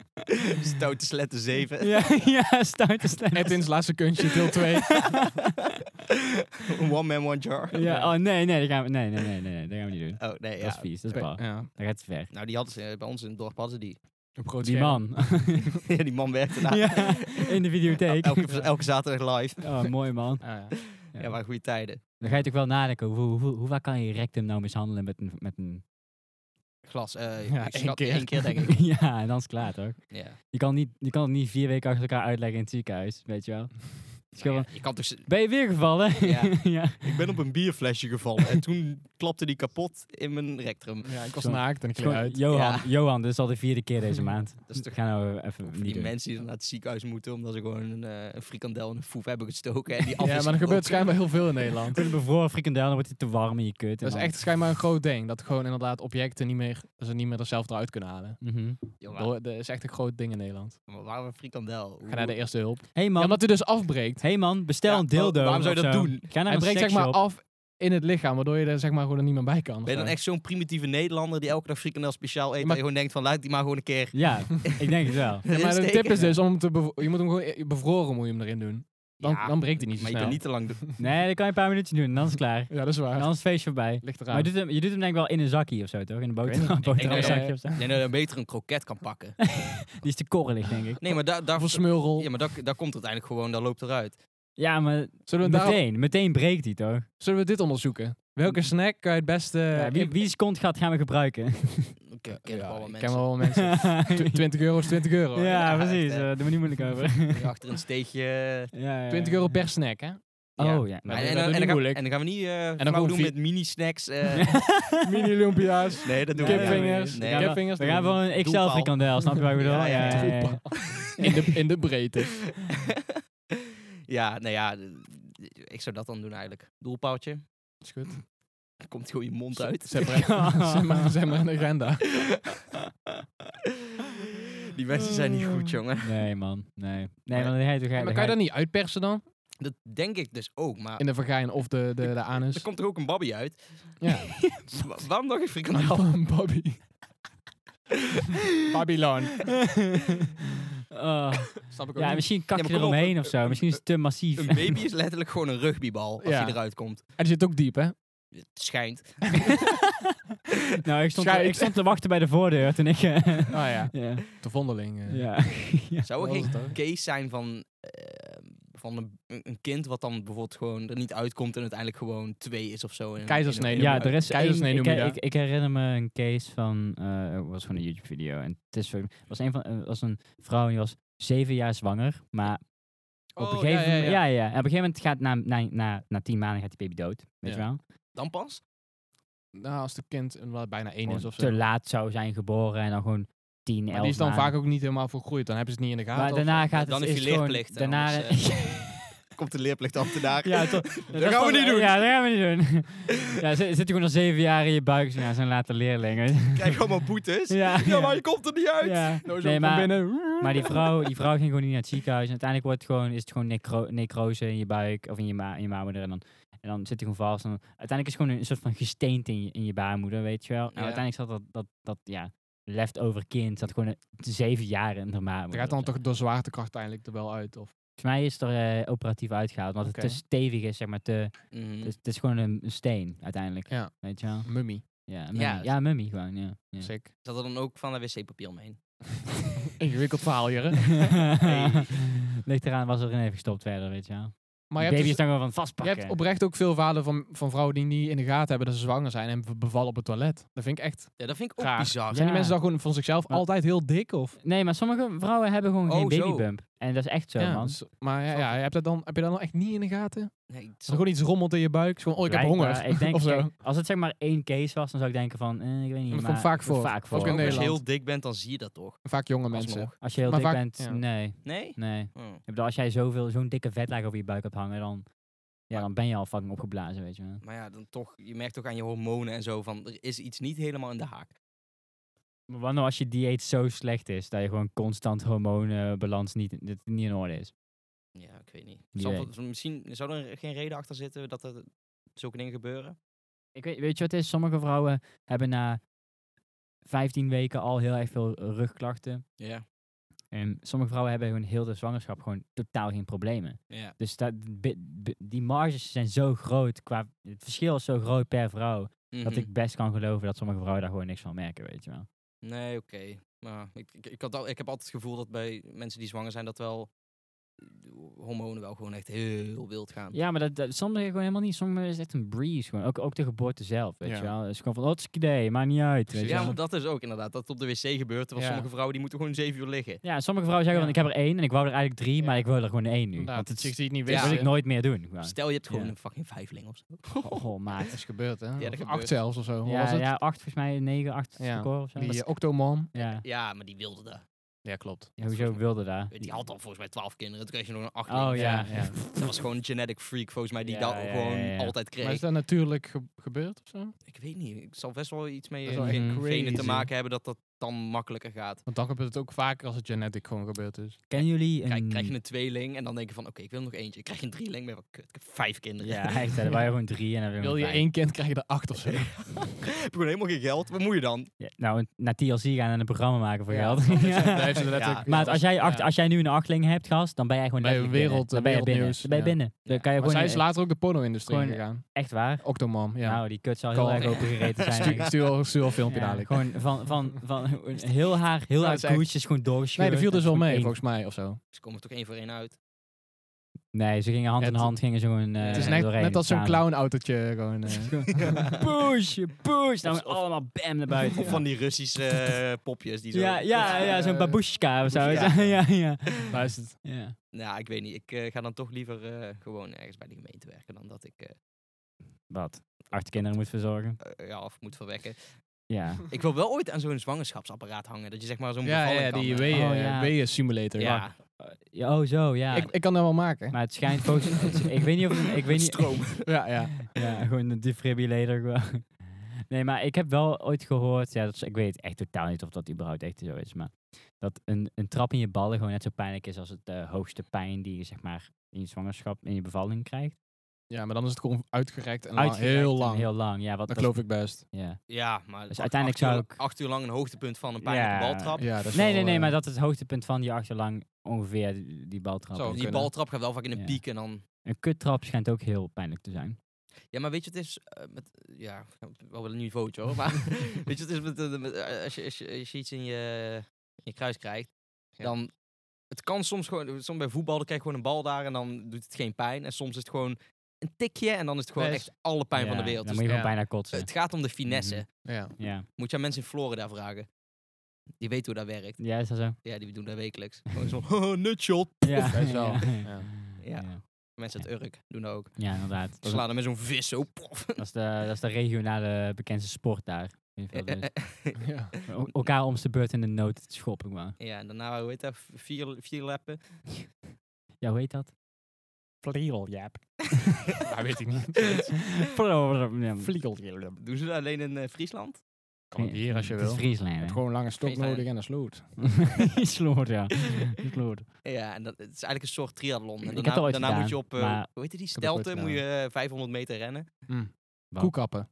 Speaker 1: Stoute Dus sletten 7.
Speaker 4: ja, ja, stuiters.
Speaker 2: Edwin's laatste kuntje, deel 2.
Speaker 1: one man, one jar.
Speaker 4: Ja, oh nee, nee, dat gaan we, nee, nee, nee, nee, nee, dat gaan we niet doen.
Speaker 1: Oh, nee,
Speaker 4: Dat
Speaker 1: ja.
Speaker 4: is vies, dat is bar.
Speaker 2: Ja,
Speaker 4: Dat gaat te ver.
Speaker 1: Nou, die hadden ze eh, bij ons in het dorp hadden die.
Speaker 2: op groot
Speaker 4: Die
Speaker 2: scherm.
Speaker 4: man.
Speaker 1: Ja, die man werkte daar.
Speaker 4: ja, in de videotheek.
Speaker 1: Elke, elke zaterdag live.
Speaker 4: Oh, mooi man.
Speaker 2: Ah, ja.
Speaker 4: Ja.
Speaker 1: Ja, maar goede tijden.
Speaker 4: Dan ga je toch wel nadenken, hoe, hoe, hoe vaak kan je je rectum nou mishandelen met een... Met een...
Speaker 1: Glas, eh
Speaker 2: Ja,
Speaker 1: ik
Speaker 2: één
Speaker 1: snap-
Speaker 2: keer.
Speaker 1: één keer denk ik.
Speaker 4: ja, en dan is het klaar toch?
Speaker 1: Ja.
Speaker 4: Je kan, niet, je kan het niet vier weken achter elkaar uitleggen in het ziekenhuis, weet je wel. Dus gewoon,
Speaker 1: Nou ja, je kan toch... z-
Speaker 4: Ben je weer gevallen?
Speaker 1: Ja.
Speaker 4: ja.
Speaker 1: Ik ben op een bierflesje gevallen en toen klapte die kapot in mijn rectrum.
Speaker 2: ja, ik was
Speaker 4: Zo.
Speaker 2: naakt en ik ging
Speaker 4: Gewoon,
Speaker 2: uit.
Speaker 4: Johan,
Speaker 1: Ja.
Speaker 4: Johan, dit is al de vierde keer deze maand.
Speaker 1: Dat is toch
Speaker 4: Ga nou even
Speaker 1: voor
Speaker 4: niet
Speaker 1: die
Speaker 4: doen.
Speaker 1: mensen die dan naar het ziekenhuis moeten omdat ze gewoon een, eh, een frikandel in een foef hebben gestoken. En die
Speaker 2: Ja,
Speaker 1: af is
Speaker 2: maar er gebeurt
Speaker 1: gebroken.
Speaker 2: schijnbaar heel veel in Nederland.
Speaker 4: Met een bevroren frikandel, dan wordt hij te warm in je kut. en
Speaker 2: Dat is
Speaker 4: dan-
Speaker 2: echt schijnbaar een groot ding. Dat gewoon inderdaad objecten niet meer, dat ze niet meer er zelf eruit kunnen halen.
Speaker 4: Mhm.
Speaker 1: Ja, maar-
Speaker 2: Dat dat is echt een groot ding in Nederland.
Speaker 1: maar waarom een frikandel?
Speaker 2: Ga naar de eerste hulp.
Speaker 4: hey
Speaker 2: Ja,
Speaker 4: man,
Speaker 2: omdat hij dus afbreekt.
Speaker 4: hey man, bestel
Speaker 1: Ja,
Speaker 4: een dildo.
Speaker 1: waarom zou je
Speaker 4: of
Speaker 1: dat
Speaker 4: zo.
Speaker 1: doen?
Speaker 4: Ga naar
Speaker 2: Hij
Speaker 4: een
Speaker 2: breekt zeg maar
Speaker 4: seksshop.
Speaker 2: af in het lichaam, waardoor je er zeg maar gewoon er niet meer bij kan. of
Speaker 1: Ben je dan
Speaker 2: zo.
Speaker 1: echt zo'n primitieve Nederlander die elke dag frikandel speciaal eet
Speaker 2: maar-
Speaker 1: en je gewoon denkt van laat die maar gewoon een keer...
Speaker 4: Ja, ik denk het wel.
Speaker 2: Ja, maar de
Speaker 1: insteken?
Speaker 2: tip is dus, om hem te bevo- je moet hem gewoon e- bevroren moet je hem erin doen. Dan,
Speaker 1: Ja,
Speaker 2: dan breekt hij niet zo
Speaker 1: Maar je kan
Speaker 2: snel.
Speaker 1: niet te lang doen.
Speaker 4: Nee, dat kan je een paar minuutjes doen, dan is het klaar.
Speaker 2: Ja, dat is waar.
Speaker 4: Dan is het feestje voorbij.
Speaker 2: Ligt eraan.
Speaker 4: Maar je doet, hem, je doet hem denk ik wel in een zakje of zo, toch? In een
Speaker 2: weet niet.
Speaker 4: boter- boterhamzakje
Speaker 2: eh,
Speaker 4: of zo.
Speaker 1: Nee, nou, dan beter een kroket kan pakken.
Speaker 4: Die is te korrelig, denk ik.
Speaker 1: Nee, maar daar,
Speaker 2: Of een
Speaker 1: daarvoor...
Speaker 2: smeulrol.
Speaker 1: Ja, maar daar, daar komt het uiteindelijk gewoon, daar loopt eruit.
Speaker 4: Ja, maar
Speaker 2: Zullen we daar
Speaker 4: meteen, meteen breekt hij toch?
Speaker 2: Zullen we dit onderzoeken? Welke snack kan je het beste...
Speaker 4: Ja, wie, wie's kont gaat gaan we gebruiken?
Speaker 1: Ik ik ken
Speaker 2: Ja,
Speaker 1: wel wat
Speaker 2: ik
Speaker 1: mensen.
Speaker 2: ken wel wat mensen. Tw- 20 euro is 20 euro. hè?
Speaker 4: ja,
Speaker 1: Ja,
Speaker 4: precies.
Speaker 1: echt, hè.
Speaker 4: eh, Doe me niet moeilijk over.
Speaker 1: Die Achter een steegje.
Speaker 4: Ja, ja,
Speaker 2: 20
Speaker 4: ja.
Speaker 2: euro per snack, hè?
Speaker 1: Oh, ja.
Speaker 4: Oh ja.
Speaker 2: Maar-
Speaker 1: en,
Speaker 2: dat
Speaker 1: en,
Speaker 2: doe
Speaker 1: en,
Speaker 2: niet
Speaker 1: dan gaan,
Speaker 2: moeilijk.
Speaker 1: en dan gaan we niet eh
Speaker 2: dan
Speaker 1: flauw
Speaker 2: gewoon
Speaker 1: doen
Speaker 2: vi-
Speaker 1: met mini-snacks. eh.
Speaker 2: Mini Olympia's.
Speaker 1: nee, dat doen we
Speaker 4: Kipvingers.
Speaker 1: niet.
Speaker 2: Kipvingers.
Speaker 1: Nee.
Speaker 2: Kipvingers.
Speaker 4: We gaan
Speaker 2: doen
Speaker 4: voor een XL frikandel, snap je wat ik bedoel?
Speaker 1: Ja, ja, ja,
Speaker 2: ja. eh, In de, in de breedte.
Speaker 1: ja, nou ja, d- d- ik zou dat dan doen eigenlijk. Doelpaaltje.
Speaker 2: Is goed.
Speaker 1: Dan komt gewoon je mond uit.
Speaker 2: Zet maar, zet maar, zet maar een agenda.
Speaker 1: Die mensen zijn niet goed, jongen.
Speaker 4: Nee, man. Nee. Nee,
Speaker 2: Maar-
Speaker 4: want dan ga je toch...
Speaker 2: Ja, maar kan je dat niet uitpersen dan?
Speaker 1: Dat denk ik dus ook, maar
Speaker 2: In de vagijn of de, de, de
Speaker 1: er
Speaker 2: anus?
Speaker 1: komt er ook een babbie uit.
Speaker 2: Ja.
Speaker 1: Wa- Waarom nog een frikandel?
Speaker 2: Bobby. Babylon.
Speaker 4: Oh.
Speaker 2: Snap ik ook
Speaker 4: Ja,
Speaker 2: niet.
Speaker 4: misschien kak
Speaker 1: Ja,
Speaker 4: je
Speaker 1: maar kom op,
Speaker 4: eromheen
Speaker 1: eh,
Speaker 4: of zo. Misschien is het te massief.
Speaker 1: Een baby is letterlijk gewoon een rugbybal als
Speaker 2: Ja.
Speaker 1: je eruit komt.
Speaker 2: En die zit ook diep, hè?
Speaker 1: Het schijnt.
Speaker 4: nou, ik stond,
Speaker 2: Schijt.
Speaker 4: ik stond te wachten bij de voordeur toen ik... eh,
Speaker 2: Oh ja,
Speaker 4: ja.
Speaker 2: de vondeling. eh.
Speaker 4: Ja.
Speaker 1: Zou er
Speaker 2: Dat was
Speaker 1: geen
Speaker 2: het ook.
Speaker 1: case zijn van, eh, van een, een kind wat dan bijvoorbeeld gewoon er niet uitkomt en uiteindelijk gewoon twee is of zo? in een-
Speaker 2: Keizersnee,
Speaker 1: in een- in
Speaker 4: Ja,
Speaker 1: een-
Speaker 4: er is
Speaker 2: Keizers,
Speaker 4: één-
Speaker 2: nee,
Speaker 4: ik,
Speaker 2: noem je
Speaker 4: ik,
Speaker 2: dat.
Speaker 4: ik herinner me een case van, eh, het was gewoon een YouTube video. En het is, zo- was een van, eh, was een vrouw en die was zeven jaar zwanger, maar op een
Speaker 2: Oh,
Speaker 4: gegeven
Speaker 2: ja, ja,
Speaker 4: moment, ja,
Speaker 2: ja.
Speaker 4: ja. En op een gegeven moment gaat na, na, na, na tien maanden gaat die baby dood, weet je
Speaker 2: Ja.
Speaker 4: wel.
Speaker 1: Dan pas?
Speaker 2: Nou, als de kind een- wel bijna één
Speaker 4: Gewoon
Speaker 2: is of zo.
Speaker 4: te laat zou zijn geboren en dan gewoon 10, 11
Speaker 2: Maar die is dan
Speaker 4: maanden.
Speaker 2: vaak ook niet helemaal volgroeid. Dan hebben ze het niet in de gaten.
Speaker 4: Maar
Speaker 2: of
Speaker 4: daarna
Speaker 2: zo.
Speaker 4: gaat het
Speaker 1: Dan heeft
Speaker 4: is
Speaker 1: je
Speaker 4: gewoon-
Speaker 1: leerplicht, hè,
Speaker 4: Daarna,
Speaker 1: anders,
Speaker 2: eh.
Speaker 3: Komt de leerplichtambtenaar.
Speaker 4: ja, toch.
Speaker 3: Dat gaan we
Speaker 4: is wel-
Speaker 3: niet doen.
Speaker 4: Ja, dat gaan we niet doen. ja, zit, zit je gewoon al zeven jaar in je buik. zo, Ja, zijn later leerlingen.
Speaker 3: Krijg allemaal boetes.
Speaker 4: ja,
Speaker 3: Ja, maar je komt er niet uit.
Speaker 4: ja.
Speaker 3: Nou, zo
Speaker 4: Nee,
Speaker 3: van
Speaker 4: maar,
Speaker 3: binnen.
Speaker 4: maar die, vrouw, die vrouw ging gewoon niet naar het ziekenhuis. En uiteindelijk wordt het gewoon, is het gewoon necro- necrose in je buik of in je, ma in je baarmoeder. En dan, en dan zit hij gewoon vast. En dan- uiteindelijk is het gewoon een soort van gesteente in je, in je baarmoeder, weet je wel. En
Speaker 1: Ja.
Speaker 4: uiteindelijk zat dat, dat, dat ja, leftover kind zat gewoon een- zeven jaar in de
Speaker 2: Het
Speaker 4: baarmoeder.
Speaker 2: gaat dan toch door zwaartekracht uiteindelijk er wel uit. Of
Speaker 4: Volgens mij is er eh, operatief uitgehaald, want
Speaker 2: Oké. Hm.
Speaker 4: het te stevig is, zeg maar. Te,
Speaker 1: Mhm.
Speaker 4: het, is, het is gewoon een, een steen uiteindelijk.
Speaker 2: Ja.
Speaker 4: Weet je wel?
Speaker 2: mummie.
Speaker 4: Ja, mummy.
Speaker 1: Ja,
Speaker 4: Ja,
Speaker 1: het-
Speaker 4: mummy gewoon, ja. ja.
Speaker 2: Sick.
Speaker 1: Zat er dan ook van de wc-papier omheen?
Speaker 2: Ingewikkeld verhaal hier, hè?
Speaker 4: hey. Ligt eraan was er in even gestopt verder, weet je wel.
Speaker 2: Maar
Speaker 4: Die
Speaker 2: je
Speaker 4: baby
Speaker 2: hebt,
Speaker 4: is dan
Speaker 2: dus-
Speaker 4: gewoon van
Speaker 2: je
Speaker 4: vastpakken.
Speaker 2: hebt oprecht ook veel verhalen van, van vrouwen die niet in de gaten hebben dat ze zwanger zijn en be- bevallen op het toilet. Dat vind ik echt...
Speaker 1: Ja, dat vind ik ook
Speaker 2: Graag.
Speaker 1: bizar.
Speaker 4: Ja.
Speaker 2: Zijn die mensen dan gewoon van zichzelf
Speaker 4: Maar-
Speaker 2: altijd heel dik? Of?
Speaker 4: Nee, maar sommige vrouwen hebben gewoon
Speaker 1: Oh,
Speaker 4: geen
Speaker 1: zo.
Speaker 4: babybump. En dat is echt zo, man.
Speaker 2: dus- maar ja, ja, heb, dat dan, heb je dat dan echt niet in de gaten? Als
Speaker 1: Nee, ik
Speaker 2: er gewoon iets rommelt in je buik? is Gewoon, oh, ik heb
Speaker 4: Blijkbaar.
Speaker 2: honger.
Speaker 4: Eh, Ik denk,
Speaker 2: of zo.
Speaker 4: kijk, als het zeg maar één case was, dan zou ik denken van, eh, ik weet niet.
Speaker 2: Maar het
Speaker 4: maar
Speaker 2: komt vaak voor. Ook in
Speaker 1: Ook als je
Speaker 2: Nederland.
Speaker 1: heel dik bent, dan zie je dat toch?
Speaker 2: Vaak jonge
Speaker 1: Alsnog.
Speaker 2: mensen.
Speaker 4: Als je heel
Speaker 2: Maar
Speaker 4: dik
Speaker 2: vaak-
Speaker 4: bent,
Speaker 2: ja.
Speaker 4: nee.
Speaker 1: Nee?
Speaker 4: Nee. Ik
Speaker 1: Oh.
Speaker 4: bedoel, als jij zoveel, zo'n dikke vetlaag over je buik hebt hangen, dan, ja, dan ben je al fucking opgeblazen, weet je wel.
Speaker 1: Maar ja, dan toch, je merkt toch aan je hormonen en zo van, er is iets niet helemaal in de haak.
Speaker 4: Maar wat nou als je dieet zo slecht is, dat je gewoon constant hormonenbalans niet, dat het niet in orde is?
Speaker 1: Ja, ik weet niet.
Speaker 4: Wie
Speaker 1: Zal,
Speaker 4: weet.
Speaker 1: dat- misschien zou er geen reden achter zitten dat er zulke dingen gebeuren.
Speaker 4: Ik weet, weet je wat het is? Sommige vrouwen hebben na 15 weken al heel erg veel rugklachten.
Speaker 1: Ja.
Speaker 4: En sommige vrouwen hebben gewoon heel de zwangerschap gewoon totaal geen problemen.
Speaker 1: ja.
Speaker 4: Dus dat, bi- bi- die marges zijn zo groot, qua, het verschil is zo groot per vrouw, dat
Speaker 2: Mhm.
Speaker 1: Mhm.
Speaker 4: ik best kan geloven dat sommige vrouwen daar gewoon niks van merken, weet je wel.
Speaker 1: Nee, oké. Maar ik, ik, ik, had al, ik heb altijd het gevoel dat bij mensen die zwanger zijn, dat wel eh, hormonen wel gewoon echt heel wild gaan.
Speaker 4: Ja, maar dat, dat, sommige gewoon helemaal niet. Sommige is echt een breeze. Gewoon. Ook, ook de geboorte zelf, weet
Speaker 2: Ja.
Speaker 4: je wel. Het is gewoon van, oh, het is idee, maakt niet uit. Weet je
Speaker 1: Ja,
Speaker 4: wel.
Speaker 1: maar dat is ook inderdaad. Dat het op de wc gebeurt. Terwijl
Speaker 2: Ja.
Speaker 1: sommige vrouwen die moeten gewoon zeven uur liggen.
Speaker 4: Ja, sommige vrouwen zeggen van, ik
Speaker 2: Ja.
Speaker 4: heb er één en ik wou er eigenlijk drie,
Speaker 2: Ja.
Speaker 4: maar ik wil er gewoon één nu.
Speaker 2: Inderdaad,
Speaker 4: want het
Speaker 2: chicks
Speaker 4: is-
Speaker 2: die het niet
Speaker 1: Ja.
Speaker 4: dat wil
Speaker 2: wisten.
Speaker 4: ik nooit meer doen. gewoon.
Speaker 1: Stel, je hebt gewoon
Speaker 4: Ja.
Speaker 1: een fucking vijfling of zo.
Speaker 4: Oh,
Speaker 2: Dat
Speaker 4: maat.
Speaker 2: is gebeurd, hè?
Speaker 1: dat
Speaker 2: Of
Speaker 1: gebeurt.
Speaker 2: acht zelfs of zo. Wat was
Speaker 4: Ja,
Speaker 2: het?
Speaker 4: ja, acht volgens mij, negen, acht
Speaker 2: Ja.
Speaker 4: record of zo.
Speaker 2: Die
Speaker 4: Dat is-
Speaker 2: eh, Octomom.
Speaker 4: ja.
Speaker 1: Ja, maar die wilde dat.
Speaker 2: Ja, klopt.
Speaker 4: ja, hoezo wilde daar?
Speaker 1: Die had al volgens mij twaalf kinderen. Toen kreeg je nog een acht.
Speaker 4: Oh ja.
Speaker 2: Ja, ja.
Speaker 1: Dat was gewoon een genetic freak volgens mij die
Speaker 4: Ja,
Speaker 1: dat
Speaker 4: ja, ja,
Speaker 1: gewoon
Speaker 4: ja.
Speaker 1: altijd kreeg.
Speaker 2: Maar is dat natuurlijk ge- gebeurd of zo?
Speaker 1: Ik weet niet. Ik zal best wel iets mee
Speaker 2: Dat is
Speaker 1: eh,
Speaker 2: wel
Speaker 4: echt
Speaker 1: gen- genen te
Speaker 2: crazy.
Speaker 1: maken hebben dat dat dan makkelijker gaat.
Speaker 2: Want dan gebeurt het ook vaker als het genetic gewoon gebeurd is.
Speaker 4: Kennen jullie een...
Speaker 1: Krijg, krijg je een tweeling en dan denk je van, oké, ik wil nog eentje. Ik krijg een drieling, maar wat kut, ik heb vijf kinderen.
Speaker 4: Ja, echt. hè, Er waren gewoon drie en dan weer
Speaker 2: Wil je
Speaker 4: vijf.
Speaker 2: één kind, krijg je er acht of zo.
Speaker 1: Ik heb gewoon helemaal geen geld. Wat moet je dan?
Speaker 4: Ja, nou, naar TLC gaan en een programma maken voor
Speaker 2: Ja,
Speaker 4: geld.
Speaker 2: dat is-
Speaker 4: Ja.
Speaker 2: daar heeft ze letterlijk-
Speaker 4: Maar als jij, acht,
Speaker 2: Ja.
Speaker 4: als jij nu een achtling hebt, gast, dan ben jij gewoon
Speaker 2: Ben je
Speaker 4: letterlijk
Speaker 2: wereld-
Speaker 4: binnen. Dan ben je binnen.
Speaker 2: wereldnieuws,
Speaker 4: Dan ben je
Speaker 2: ja.
Speaker 4: binnen. Dan
Speaker 1: Ja.
Speaker 4: kan je
Speaker 2: Maar
Speaker 4: gewoon
Speaker 2: zij is
Speaker 4: eh,
Speaker 2: later ook de porno-industrie
Speaker 4: Gewoon-
Speaker 2: gegaan.
Speaker 4: echt waar.
Speaker 2: Octomom, ja.
Speaker 4: Nou, die kut zal heel
Speaker 2: Kan.
Speaker 4: erg opengereten zijn.
Speaker 2: Stuur-
Speaker 4: denk ik.
Speaker 2: Stuur al- stuur al een filmpje
Speaker 4: Ja,
Speaker 2: dadelijk.
Speaker 4: Gewoon van, van, van heel haar, heel
Speaker 2: Ja,
Speaker 4: haar
Speaker 2: dat is echt-
Speaker 4: koetjes gewoon doorgescheurd.
Speaker 2: Nee, dat viel dus wel
Speaker 4: Gewoon
Speaker 2: mee,
Speaker 4: één-
Speaker 2: volgens mij, of zo.
Speaker 1: Ze komen er toch één voor één uit.
Speaker 4: Nee, ze gingen hand in
Speaker 2: Het-
Speaker 4: hand, gingen ze gewoon eh,
Speaker 2: Het is net,
Speaker 4: doorheen
Speaker 2: net als zo'n
Speaker 4: samen.
Speaker 2: clown-autootje. Gewoon, eh.
Speaker 4: Push, push. Dan
Speaker 1: Of- of-
Speaker 4: allemaal bam naar buiten.
Speaker 1: Of van die Russische eh, popjes die zo...
Speaker 4: Ja, ja, ja, zo'n
Speaker 2: Eh,
Speaker 4: babushka of zo. Ja,
Speaker 1: babushka.
Speaker 4: ja, ja.
Speaker 2: Daar is het.
Speaker 4: ja.
Speaker 1: Nou, ik weet niet. Ik eh, ga dan toch liever eh, gewoon ergens bij de gemeente werken dan dat ik eh,
Speaker 4: Wat? Acht kinderen moet verzorgen.
Speaker 1: eh, ja, af moet verwekken.
Speaker 4: Ja.
Speaker 1: Ik wil wel ooit aan zo'n zwangerschapsapparaat hangen. Dat je zeg maar zo'n
Speaker 2: Ja,
Speaker 1: bevalling
Speaker 2: ja,
Speaker 1: kan,
Speaker 2: die
Speaker 1: eh,
Speaker 4: Oh, ja.
Speaker 2: weeën-simulator.
Speaker 1: Oh, Ja,
Speaker 4: Ja, Oh, zo, ja.
Speaker 2: Ik, ik kan dat wel maken.
Speaker 4: maar het schijnt volgens het- Ik weet niet of... Ik weet niet,
Speaker 1: stroom.
Speaker 2: Ja, ja.
Speaker 4: Ja, gewoon een defibrillator. gewoon. Nee, maar ik heb wel ooit gehoord, ja, dat is- ik weet echt totaal niet of dat überhaupt echt zo is, maar dat een, een trap in je ballen gewoon net zo pijnlijk is als het eh, hoogste pijn die je zeg maar in je zwangerschap, in je bevalling krijgt.
Speaker 2: Ja, maar dan is het gewoon uitgerekt en lang-
Speaker 4: Uitgerekt
Speaker 2: heel
Speaker 4: en
Speaker 2: lang.
Speaker 4: Heel lang, ja. Wat,
Speaker 2: Dat geloof ik best.
Speaker 4: Ja.
Speaker 1: Ja, maar
Speaker 4: Dus
Speaker 1: acht-
Speaker 4: uiteindelijk
Speaker 1: acht
Speaker 4: zou
Speaker 1: uur,
Speaker 4: ik-
Speaker 1: acht uur lang een hoogtepunt van een pijnlijke
Speaker 4: Ja.
Speaker 1: baltrap.
Speaker 2: Ja, dat is
Speaker 4: Nee,
Speaker 2: wel,
Speaker 4: nee, nee,
Speaker 2: eh,
Speaker 4: maar dat is het hoogtepunt van die achterlang ongeveer die, die baltrap.
Speaker 2: Zo,
Speaker 4: is.
Speaker 1: die
Speaker 2: kunnen.
Speaker 1: baltrap gaat wel vaak in een
Speaker 4: Ja.
Speaker 1: piek en dan...
Speaker 4: Een kuttrap schijnt ook heel pijnlijk te zijn.
Speaker 1: Ja, maar weet je, het is eh, met... Ja, wel wel een niveautje hoor, maar... weet je, het is met, eh, met, eh, als, je, als, je, als je iets in je, in je kruis krijgt,
Speaker 2: Ja.
Speaker 1: dan... Het kan soms gewoon... Soms bij voetbal, dan krijg je gewoon een bal daar en dan doet het geen pijn. En soms is het gewoon een tikje en dan is het gewoon
Speaker 2: Best.
Speaker 1: echt alle pijn van de
Speaker 4: Ja,
Speaker 1: wereld.
Speaker 4: Dan
Speaker 1: Dus
Speaker 4: moet je
Speaker 2: ja.
Speaker 4: gewoon bijna kotsen.
Speaker 1: het gaat om de finesse.
Speaker 4: Mhm.
Speaker 2: Ja.
Speaker 4: Ja.
Speaker 1: Moet je aan mensen in Florida vragen. Die weten hoe dat werkt.
Speaker 4: ja, is dat zo?
Speaker 1: Ja, die doen dat wekelijks. Gewoon "Oh, zo'n nutshot.
Speaker 4: Ja,
Speaker 2: Best wel.
Speaker 4: ja.
Speaker 2: Ja.
Speaker 1: Ja.
Speaker 4: ja.
Speaker 1: Mensen uit Urk doen dat ook.
Speaker 4: Ja, inderdaad. Dat is-
Speaker 1: Slaan er met zo'n vis zo. Pof.
Speaker 4: Dat is de, dat is de regionale bekendste sport daar. Weet je veel, dus.
Speaker 2: Ja.
Speaker 4: O- elkaar om de beurt in de nood te schoppen, maar.
Speaker 1: ja, en daarna, hoe heet dat? V- Vier, vier leppen.
Speaker 4: Ja, hoe heet dat?
Speaker 2: Vliegeljap. Ja, weet ik niet. Vliegeljap.
Speaker 1: Doen ze dat alleen in eh, Friesland?
Speaker 2: Mm. Kan ook hier als je
Speaker 4: Het is
Speaker 2: wil. Je
Speaker 4: Friesland,
Speaker 2: hebt
Speaker 4: hè?
Speaker 2: gewoon een lange stok
Speaker 1: Friesland.
Speaker 2: nodig en een sloot.
Speaker 4: Sloot, ja. Sloot.
Speaker 1: Ja, en dat het is eigenlijk een soort triathlon. En
Speaker 4: Ik heb
Speaker 1: daarna,
Speaker 4: dat ooit
Speaker 1: daarna
Speaker 4: gedaan,
Speaker 1: moet je op, eh,
Speaker 4: maar
Speaker 1: hoe heet het, die
Speaker 2: heb dat ooit
Speaker 1: stelte, moet je eh, 500 meter rennen.
Speaker 4: Mm. Wat?
Speaker 2: Koekappen.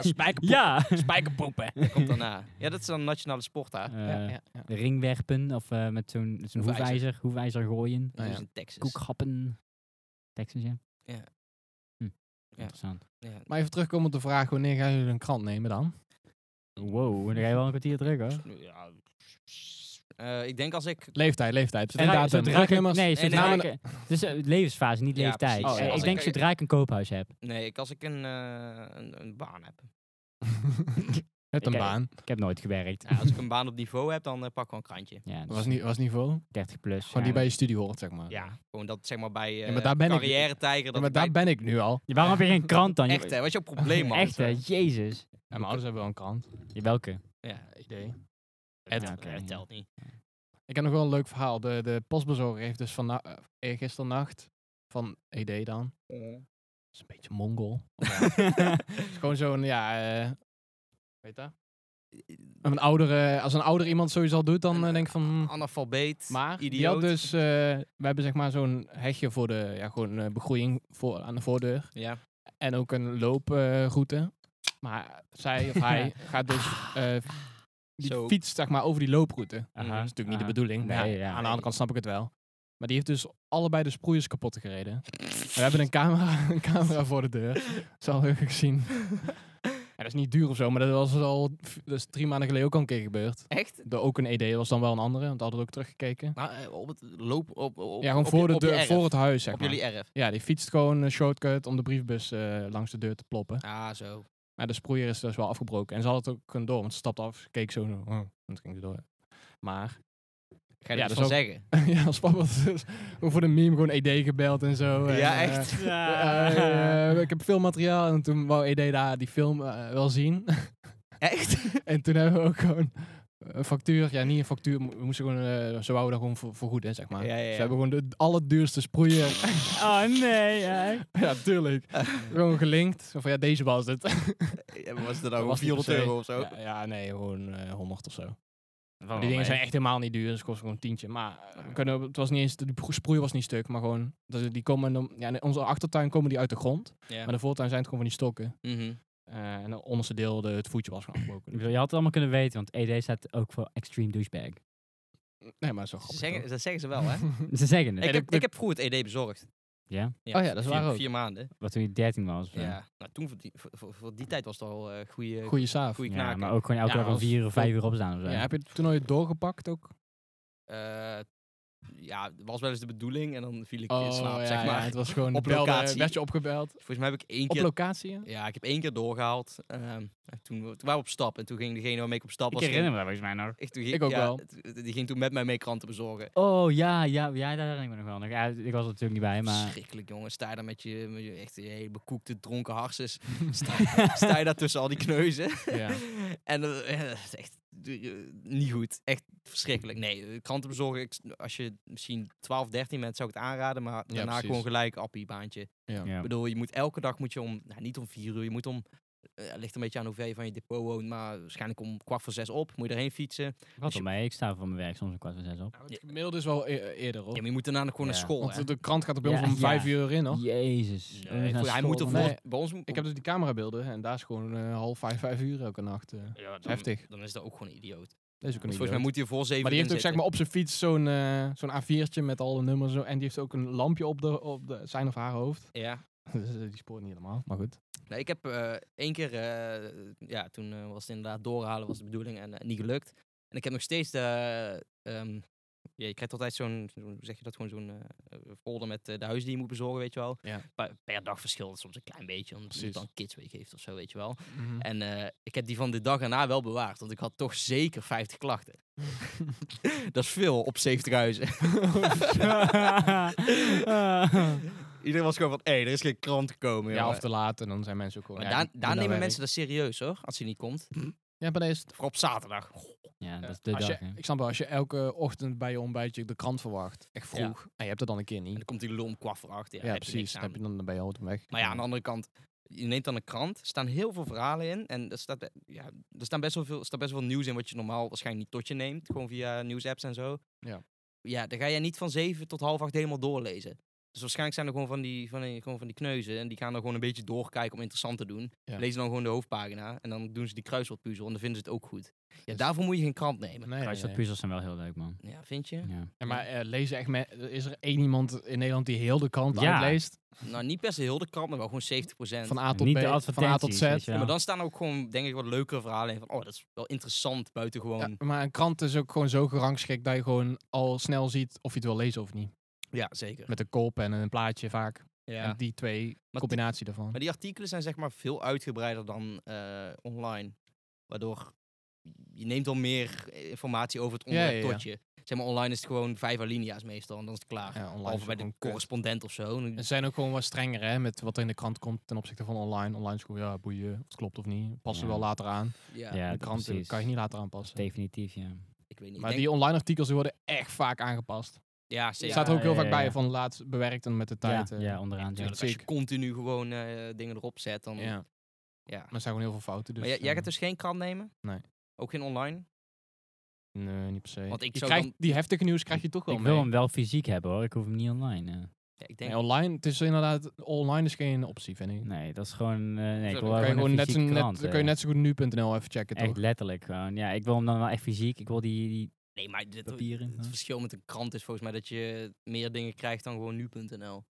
Speaker 2: Spijkerpoep.
Speaker 4: Ja!
Speaker 2: Spijkerpoepen.
Speaker 1: Dat komt daarna. Ja, dat is dan een nationale sportdaad.
Speaker 4: Eh, Ringwerpen of eh, met zo'n met zo'n
Speaker 1: Hoefijzer. Dus
Speaker 4: hoefijzer, hoefijzer gooien.
Speaker 1: Dat
Speaker 2: ja.
Speaker 1: is in Texas.
Speaker 4: Koekhappen. Texas, ja.
Speaker 1: Ja.
Speaker 4: Hm.
Speaker 1: Ja.
Speaker 4: Interessant.
Speaker 1: Ja.
Speaker 2: Maar even terugkomen op de vraag, wanneer gaan jullie een krant nemen dan?
Speaker 4: Wow, dan ga je wel een kwartier terug, hoor.
Speaker 1: Ja, eh, ik denk als ik
Speaker 2: Leeftijd, leeftijd. Zit
Speaker 4: En
Speaker 2: er
Speaker 4: dan-
Speaker 2: datum,
Speaker 4: zodra ik een-
Speaker 2: rugnummers?
Speaker 4: nee,
Speaker 1: Nee,
Speaker 4: zodra
Speaker 1: nee,
Speaker 4: ik, dus eh, levensfase, niet
Speaker 1: Ja,
Speaker 4: leeftijd.
Speaker 1: precies.
Speaker 4: Eh,
Speaker 2: Oh, ja.
Speaker 4: ik denk
Speaker 1: Ik-
Speaker 4: zodra ik een koophuis heb.
Speaker 1: Nee, ik- als ik een, eh, een, een baan heb.
Speaker 2: Met een
Speaker 4: Oké.
Speaker 2: baan.
Speaker 4: Ik heb nooit gewerkt.
Speaker 1: Ja, als ik een baan op niveau heb, dan eh, pak ik wel een krantje.
Speaker 4: Ja,
Speaker 2: Dat
Speaker 4: dus
Speaker 2: was niet, was niet veel.
Speaker 4: 30 plus.
Speaker 2: Gewoon die
Speaker 4: ja.
Speaker 2: bij je studie hoort, zeg maar.
Speaker 1: Ja, gewoon dat zeg maar bij eh
Speaker 2: Ja, maar daar ben ik-
Speaker 1: carrière tijger.
Speaker 2: Ja,
Speaker 1: Dat
Speaker 2: maar daar ben ik nu al.
Speaker 4: Ja, Waarom heb je geen krant dan? Je-
Speaker 1: Echt hè, wat is jouw probleem man?
Speaker 4: Echt, hè? Jezus.
Speaker 2: En mijn ouders hebben wel een krant.
Speaker 4: Ja, welke?
Speaker 1: Ja,
Speaker 2: Idee.
Speaker 1: het,
Speaker 4: Ja, oké,
Speaker 1: eh,
Speaker 4: ja.
Speaker 1: telt niet.
Speaker 2: Ik heb nog wel een leuk verhaal. De, de postbezorger heeft dus van gisternacht van ED dan. Dat is een beetje mongol. Het is gewoon zo'n, ja, eh, weet dat? Een oudere, als een ouder iemand zoiets al doet, dan
Speaker 1: Een,
Speaker 2: eh, denk ik van... hm,
Speaker 1: Analfabeet,
Speaker 2: Maar die
Speaker 1: idioot.
Speaker 2: had dus, eh, we hebben zeg maar zo'n hegje voor de, ja, gewoon eh, begroeiing voor, aan de voordeur.
Speaker 1: Ja,
Speaker 2: En ook een looproute. maar zij of hij gaat dus, eh, die
Speaker 1: Zo.
Speaker 2: fietst zeg maar over die looproute. Mm,
Speaker 4: Aha,
Speaker 2: Dat is natuurlijk niet de
Speaker 4: aha.
Speaker 2: bedoeling, maar
Speaker 4: Nee,
Speaker 2: ja,
Speaker 4: ja,
Speaker 2: aan de
Speaker 4: nee.
Speaker 2: andere kant snap ik het wel. Maar die heeft dus allebei de sproeiers kapot gereden. We hebben een camera, een camera voor de deur. Dat is al heel erg gezien. Ja, dat is niet duur of zo, maar dat was al v- dat is drie maanden geleden ook al een keer gebeurd.
Speaker 1: echt?
Speaker 2: De, ook een ED was dan wel een andere, want dat hadden we ook teruggekeken.
Speaker 1: Maar eh, op het loop op, op
Speaker 2: Ja, gewoon
Speaker 1: op
Speaker 2: voor,
Speaker 1: je-
Speaker 2: de
Speaker 1: op je
Speaker 2: deur,
Speaker 1: erf.
Speaker 2: voor het huis, zeg
Speaker 1: op
Speaker 2: maar.
Speaker 1: jullie erf.
Speaker 2: Ja, die fietst gewoon een shortcut om de briefbus eh, langs de deur te ploppen.
Speaker 1: Ah, zo.
Speaker 2: Maar de sproeier is dus wel afgebroken. En ze had het ook kunnen door, want ze stapte af, keek zo. zo, Oh, en toen ging ze door. Maar,
Speaker 1: Ga je
Speaker 2: Ja, dus
Speaker 1: er iets
Speaker 2: dat
Speaker 1: van
Speaker 2: is
Speaker 1: zeggen?
Speaker 2: ja, als papa dus voor de meme gewoon ED gebeld en zo. En,
Speaker 1: ja,
Speaker 2: eh,
Speaker 1: echt.
Speaker 2: eh, eh, ik heb veel materiaal en toen wou ED daar die film eh, wel zien.
Speaker 1: echt?
Speaker 2: en toen hebben we ook gewoon eh, een factuur, ja niet een factuur, mo- we moesten gewoon, eh, ze wouden daar gewoon voor, voor goed in zeg maar.
Speaker 1: Ja, ja, ja.
Speaker 2: Ze hebben gewoon de allerduurste sproeier
Speaker 4: Oh nee, ja.
Speaker 2: Ja, tuurlijk. gewoon gelinkt. Zo Van ja, deze was het.
Speaker 1: Ja, maar was het
Speaker 2: Dat
Speaker 1: nou
Speaker 2: was
Speaker 1: 400
Speaker 2: niet per se.
Speaker 1: euro of zo?
Speaker 2: Ja, ja, nee, gewoon eh 100 of zo.
Speaker 1: Oh,
Speaker 4: Waarom
Speaker 2: die dingen
Speaker 4: niet?
Speaker 2: zijn echt helemaal niet duur. Dus het kost gewoon een tientje. Maar eh, we kunnen, het was niet eens, de sproei was niet stuk, maar gewoon. Dus die komen dan, ja, in onze achtertuin komen die uit de grond.
Speaker 1: Ja.
Speaker 2: Maar de voortuin zijn het gewoon van die stokken.
Speaker 1: Mhm.
Speaker 2: Eh, en het onderste deel, de, het voetje was gewoon
Speaker 4: Ik
Speaker 2: afgebroken.
Speaker 4: bedoel, je had het allemaal kunnen weten, want ED staat ook voor Extreme Douchebag.
Speaker 2: Nee, maar zo
Speaker 1: Ze
Speaker 2: grappig.
Speaker 1: zeggen,
Speaker 2: toch?
Speaker 1: dat zeggen ze wel, hè?
Speaker 4: Ze zeggen het.
Speaker 1: ik, heb,
Speaker 2: dat-
Speaker 1: ik heb vroeger het ED bezorgd.
Speaker 4: Ja?
Speaker 2: Oh ja, dat is
Speaker 1: vier,
Speaker 2: waar ook.
Speaker 1: Vier maanden.
Speaker 4: Wat toen je 13 was. of zo.
Speaker 1: Ja. Nou, toen voor die, voor, voor- voor die tijd was het al eh goede
Speaker 2: Goeie saaf.
Speaker 1: goede
Speaker 4: Ja,
Speaker 1: knaken.
Speaker 4: maar ook gewoon elke
Speaker 2: Ja,
Speaker 4: dag om
Speaker 2: als-
Speaker 4: 4 of 5 uur opstaan of zo.
Speaker 2: Ja, heb je het toen ooit doorgepakt ook?
Speaker 1: Eh, ja, het was wel eens de bedoeling en dan viel ik in slaap,
Speaker 2: Oh, ja,
Speaker 1: zeg
Speaker 2: ja,
Speaker 1: maar.
Speaker 2: het was gewoon
Speaker 1: Op
Speaker 2: belde-
Speaker 1: locatie.
Speaker 2: Werd je opgebeld?
Speaker 1: Volgens mij heb ik één
Speaker 2: Op
Speaker 1: keer...
Speaker 2: locatie? ja?
Speaker 1: Ja, ik heb één keer doorgehaald. Ehm, en toen, we- toen waren we op stap en toen ging degene waarmee ik op stap
Speaker 4: ik
Speaker 1: was...
Speaker 4: herinner me dat volgens mij nog.
Speaker 1: ging- ik, toen ging-
Speaker 2: Ik ook
Speaker 1: ja,
Speaker 2: wel.
Speaker 1: het- Die ging toen met mij mee kranten bezorgen.
Speaker 4: Oh ja, ja, ja, daar herinner ik me nog wel. nog. Ja, ik was er natuurlijk niet bij, maar...
Speaker 1: Schrikkelijk, jongen. Sta je daar met je, met je echt je hele bekoekte, dronken harses. sta, sta je daar tussen al die kneuzen.
Speaker 2: Ja.
Speaker 1: En dat ja, dat is echt eh, niet goed. Echt verschrikkelijk. Nee, eh, krantenbezorger, ik s- als je misschien 12, 13 bent, zou ik het aanraden. Maar daarna
Speaker 2: precies.
Speaker 1: gewoon gelijk appiebaantje.
Speaker 2: Ja.
Speaker 4: Ja.
Speaker 1: Ik bedoel, je moet elke dag moet je om, nou, niet om vier uur, je moet om, eh, het ligt een beetje aan hoe ver je van je depot woont, maar waarschijnlijk om kwart voor zes op, moet je erheen fietsen.
Speaker 4: Wat dan mee, ik sta voor mijn werk soms een kwart voor zes op.
Speaker 2: Het gemiddelde is wel e- eerder hoor.
Speaker 1: Ja, maar je moet daarna nog gewoon
Speaker 4: Ja.
Speaker 1: naar school.
Speaker 2: Want
Speaker 1: hè.
Speaker 2: de- de krant gaat er bij ons
Speaker 4: Ja,
Speaker 2: om
Speaker 4: ja.
Speaker 2: vijf uur in nog.
Speaker 4: Jezus.
Speaker 1: Nee,
Speaker 4: Er is
Speaker 1: voor-
Speaker 4: naar
Speaker 1: hij
Speaker 4: school
Speaker 1: moet er
Speaker 4: dan-
Speaker 1: voor,
Speaker 2: Nee.
Speaker 1: bij ons... moet-
Speaker 2: Ik heb dus die camerabeelden en daar is gewoon eh, half vijf, vijf uur elke nacht. eh.
Speaker 1: Ja, dan,
Speaker 2: heftig.
Speaker 1: Dan is dat ook gewoon idioot.
Speaker 2: Deze kunnen
Speaker 1: Volgens mij moet hij er voor zeven
Speaker 2: Maar die heeft
Speaker 1: in
Speaker 2: ook zeg maar
Speaker 1: zitten.
Speaker 2: op zijn fiets zo'n eh, zo'n A4'tje met al de nummers. en Zo, en die heeft ook een lampje op, de, op de, zijn of haar hoofd.
Speaker 1: Ja.
Speaker 2: Dus eh, die spoort niet helemaal, maar goed.
Speaker 1: Nee, ik heb eh, één keer, eh, ja, toen eh, was het inderdaad doorhalen was de bedoeling en eh, niet gelukt. En ik heb nog steeds, de, ehm, ja, je krijgt altijd zo'n, zo'n- hoe zeg je dat, gewoon zo'n eh, folder met eh, de huizen die je moet bezorgen, weet je wel.
Speaker 2: Ja.
Speaker 1: Per, per dag verschilt het soms een klein beetje, omdat het
Speaker 2: Precies.
Speaker 1: dan Kidsweek heeft of zo, weet je wel.
Speaker 4: Mhm.
Speaker 3: Hm.
Speaker 1: En eh, ik heb die van de dag erna wel bewaard, want ik had toch zeker 50 klachten. dat is veel op 70 huizen.
Speaker 4: Ah.
Speaker 3: Iedereen was gewoon van, hé, er is geen krant gekomen.
Speaker 2: Ja,
Speaker 3: jongen.
Speaker 2: of te laat en dan zijn mensen ook gewoon...
Speaker 1: Maar
Speaker 2: ja,
Speaker 1: daar
Speaker 2: ik
Speaker 1: daar
Speaker 2: ben
Speaker 1: nemen
Speaker 2: weg.
Speaker 1: mensen dat serieus hoor, als hij niet komt.
Speaker 2: Ja, maar dat is...
Speaker 3: Voor op zaterdag.
Speaker 4: Ja, dat
Speaker 2: eh,
Speaker 4: is de
Speaker 2: als
Speaker 4: dag.
Speaker 2: je-
Speaker 4: hè.
Speaker 2: ik snap wel, als je elke ochtend bij je ontbijtje de krant verwacht, echt
Speaker 1: Ja.
Speaker 2: vroeg, en je hebt dat dan een keer
Speaker 1: En
Speaker 2: niet.
Speaker 1: dan komt die lul om kwart voor acht. Ja,
Speaker 2: Ja,
Speaker 1: heb je
Speaker 2: precies.
Speaker 1: niks
Speaker 2: Dan,
Speaker 1: aan.
Speaker 2: heb je dan, dan ben je altijd weg.
Speaker 1: Maar ja, aan de andere kant, je neemt dan een krant, er staan heel veel verhalen in. En er, staat, eh, ja, er staan best wel veel, er staat best wel nieuws in wat je normaal waarschijnlijk niet tot je neemt. Gewoon via nieuwsapps en zo.
Speaker 2: Ja.
Speaker 1: Ja, dan ga jij niet van zeven tot half acht helemaal doorlezen. Dus waarschijnlijk zijn er gewoon van die, van die, gewoon van die kneuzen. En die gaan dan gewoon een beetje doorkijken om interessant te doen.
Speaker 2: Ja.
Speaker 1: Lezen dan gewoon de hoofdpagina. En dan doen ze die kruiswoordpuzzel. En dan vinden ze het ook goed. Ja,
Speaker 2: Dus-
Speaker 1: daarvoor moet je geen krant nemen.
Speaker 2: Nee, nee, nee.
Speaker 4: Kruiswoordpuzzels zijn wel heel leuk, man.
Speaker 1: Ja, vind je?
Speaker 4: Ja.
Speaker 2: Ja, maar eh, lezen echt me- is er één iemand in Nederland die heel de krant
Speaker 4: Ja.
Speaker 2: uitleest?
Speaker 1: Nou, niet per se heel de krant, maar wel gewoon 70%.
Speaker 2: Van A tot
Speaker 4: Niet
Speaker 2: B,
Speaker 4: de
Speaker 2: van A tot
Speaker 4: advertenties,
Speaker 2: Z.
Speaker 4: weet je
Speaker 1: Ja,
Speaker 4: wel.
Speaker 1: maar dan staan er ook gewoon, denk ik, wat leukere verhalen in. Van, oh, dat is wel interessant, buitengewoon.
Speaker 2: Ja, maar een krant is ook gewoon zo gerangschikt dat je gewoon al snel ziet of je het wil lezen of niet.
Speaker 1: Ja, zeker.
Speaker 2: Met een kop en een plaatje vaak.
Speaker 1: Ja.
Speaker 2: En die twee, combinatie daarvan.
Speaker 1: Maar die artikelen zijn zeg maar veel uitgebreider dan eh, online. Waardoor je neemt al meer eh, informatie over het
Speaker 2: Ja, ja,
Speaker 1: onderwerp
Speaker 2: ja.
Speaker 1: tot je. Zeg maar, online is het gewoon vijf alinea's meestal en dan is het klaar.
Speaker 2: Ja, online
Speaker 1: Behalve
Speaker 2: is
Speaker 1: bij
Speaker 2: ook
Speaker 1: de
Speaker 2: gewoon kut.
Speaker 1: correspondent of zo.
Speaker 2: En Ze zijn ook gewoon wat strenger hè, met wat er in de krant komt ten opzichte van online. Online is gewoon, ja, boeien, of het klopt of niet. Passen we
Speaker 4: Ja.
Speaker 2: wel later aan.
Speaker 1: Ja,
Speaker 4: Ja,
Speaker 2: de krant eh,
Speaker 4: precies.
Speaker 2: kan je niet later aanpassen.
Speaker 4: Definitief, ja.
Speaker 1: ik weet niet.
Speaker 2: Maar
Speaker 1: Ik denk-
Speaker 2: die online artikels die worden echt vaak aangepast.
Speaker 1: ja, zeker.
Speaker 2: Er staat er ook heel
Speaker 4: ja,
Speaker 2: vaak
Speaker 4: ja,
Speaker 2: bij
Speaker 4: ja.
Speaker 2: van laatst bewerkt en met de
Speaker 4: Ja,
Speaker 2: tijd. eh.
Speaker 4: ja, onderaan. Ja.
Speaker 1: Tuurlijk, als je
Speaker 2: ziek.
Speaker 1: continu gewoon eh, dingen erop zet, dan...
Speaker 2: Ja.
Speaker 1: Ja.
Speaker 2: Maar er zijn gewoon heel veel fouten. Dus,
Speaker 1: maar jij, jij
Speaker 2: eh,
Speaker 1: gaat dus geen krant nemen?
Speaker 2: Nee.
Speaker 1: Ook geen online?
Speaker 2: Nee, niet per se.
Speaker 1: dus- Want ik
Speaker 2: je
Speaker 1: zou
Speaker 2: krijgt,
Speaker 1: dan-
Speaker 2: Die heftige nieuws krijg je toch wel
Speaker 4: Ik
Speaker 2: mee.
Speaker 4: wil hem wel fysiek hebben, hoor. Ik hoef hem niet online. eh.
Speaker 1: Ja, ik denk...
Speaker 2: Nee, online, het is inderdaad, online is geen optie, vind ik.
Speaker 4: Nee, dat is gewoon... eh, nee, ik
Speaker 1: dan
Speaker 4: wil
Speaker 2: Kan je
Speaker 4: wel
Speaker 2: gewoon
Speaker 4: gewoon
Speaker 2: net, zo,
Speaker 4: een fysieke
Speaker 2: net,
Speaker 4: krant,
Speaker 2: dan kun je
Speaker 4: eh.
Speaker 2: net zo goed nu.nl even checken, toch?
Speaker 4: Echt letterlijk gewoon. Ja, ik wil hem dan wel echt fysiek. Ik wil die, die
Speaker 1: Nee, maar dit,
Speaker 4: papieren.
Speaker 1: het verschil met een krant is volgens mij dat je meer dingen krijgt dan gewoon nu.nl.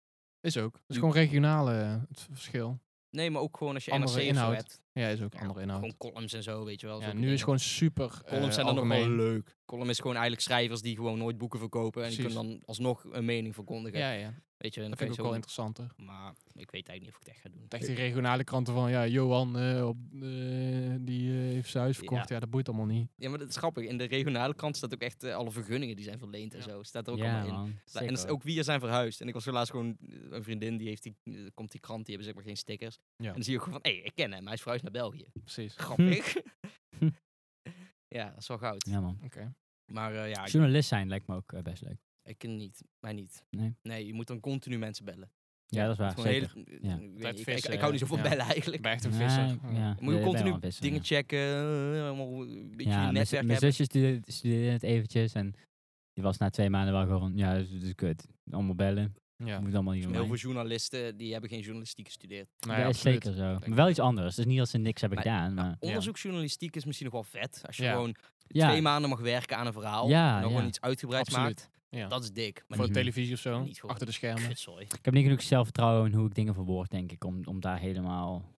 Speaker 2: Is ook. Het is gewoon regionale eh, het verschil.
Speaker 1: Nee, maar ook gewoon als je
Speaker 2: Andere
Speaker 1: NRC of zo
Speaker 2: inhoud.
Speaker 1: hebt.
Speaker 2: Ja, is ook
Speaker 1: Ja,
Speaker 2: andere inhoud.
Speaker 1: Gewoon columns en zo, weet je wel.
Speaker 2: Ja,
Speaker 1: zulke
Speaker 2: nu is
Speaker 1: dingen.
Speaker 2: gewoon super eh,
Speaker 1: Columns zijn dan nog wel
Speaker 2: algemeen.
Speaker 1: leuk. Column is gewoon eigenlijk schrijvers die gewoon nooit boeken verkopen. En die
Speaker 2: Precies.
Speaker 1: kunnen dan alsnog een mening verkondigen.
Speaker 2: Ja, ja.
Speaker 1: Weet je, en dan
Speaker 2: Dat
Speaker 1: kan
Speaker 2: vind
Speaker 1: je
Speaker 2: ik
Speaker 1: zo
Speaker 2: ook
Speaker 1: doen.
Speaker 2: wel interessanter.
Speaker 1: Maar ik weet eigenlijk niet of ik het echt ga doen.
Speaker 2: Echt die regionale kranten van, ja, Johan eh, op, eh, die eh, heeft zijn huis verkocht. Ja. dat boeit allemaal niet.
Speaker 1: Ja, maar dat is grappig. In de regionale krant staat ook echt eh, alle vergunningen die zijn verleend en
Speaker 2: Ja.
Speaker 1: zo. Staat er ook
Speaker 4: ja,
Speaker 1: allemaal in.
Speaker 4: man.
Speaker 1: La- en
Speaker 4: Sick,
Speaker 1: dat is
Speaker 4: hoor.
Speaker 1: ook wie er zijn verhuisd. En ik was zo laatst gewoon eh, een vriendin die heeft die, eh, komt die krant, die hebben zeg maar geen stickers.
Speaker 2: Ja.
Speaker 1: En dan zie je ook gewoon van, hé, ik ken hem, hij is verhuisd naar België.
Speaker 2: Precies.
Speaker 1: Grappig.
Speaker 4: Hm.
Speaker 1: ja, dat is wel goud.
Speaker 4: Ja, man.
Speaker 2: Oké.
Speaker 1: Maar eh, ja, ik,
Speaker 4: Journalist zijn lijkt me ook eh, best leuk.
Speaker 1: ik ken niet. Mij niet.
Speaker 4: Nee.
Speaker 1: je moet dan continu mensen bellen.
Speaker 4: Ja, dat is waar.
Speaker 1: Het is gewoon
Speaker 4: Zeker.
Speaker 1: hele-
Speaker 4: Ja.
Speaker 1: ik weet
Speaker 2: Tijd
Speaker 1: niet, ik,
Speaker 2: vissen,
Speaker 1: ik hou niet zo van
Speaker 2: ja.
Speaker 1: bellen eigenlijk.
Speaker 2: Ik ben echt een
Speaker 4: Ja,
Speaker 2: visser.
Speaker 4: ik- ja.
Speaker 2: Ja.
Speaker 1: Moet je
Speaker 4: Ja, ik ben wel
Speaker 1: continu
Speaker 4: een visser,
Speaker 1: dingen
Speaker 4: ja.
Speaker 1: checken, eh, allemaal een beetje
Speaker 4: Ja,
Speaker 1: je
Speaker 4: mijn, zus-
Speaker 1: netwerk
Speaker 4: mijn
Speaker 1: hebben.
Speaker 4: zusje studeerde, studeerde het eventjes en die was na twee maanden wel gewoon van, ja, dat is, dat is kut. Allemaal bellen.
Speaker 2: Ja.
Speaker 4: Moet allemaal niet
Speaker 1: Heel
Speaker 4: online.
Speaker 1: veel journalisten die hebben geen journalistiek gestudeerd.
Speaker 2: Nou ja,
Speaker 4: dat is
Speaker 2: absoluut.
Speaker 4: zeker zo.
Speaker 2: Denk
Speaker 4: Maar wel iets anders. Dus niet als ze niks hebben
Speaker 1: Maar-
Speaker 4: gedaan, maar...
Speaker 1: Nou, Onderzoeksjournalistiek is misschien nog wel vet. Als je
Speaker 2: Ja.
Speaker 1: gewoon
Speaker 4: Ja.
Speaker 1: twee maanden mag werken aan een verhaal
Speaker 4: Ja,
Speaker 1: en dan
Speaker 4: ja.
Speaker 1: gewoon iets uitgebreids
Speaker 2: Absoluut.
Speaker 1: maakt,
Speaker 2: Ja.
Speaker 1: dat is dik. Maar
Speaker 2: Voor de
Speaker 4: Mhm.
Speaker 2: televisie of zo,
Speaker 1: Niet gewoon-
Speaker 2: achter de schermen.
Speaker 1: sorry.
Speaker 4: Ik heb niet genoeg zelfvertrouwen in hoe ik dingen verwoord, denk ik, om, om daar helemaal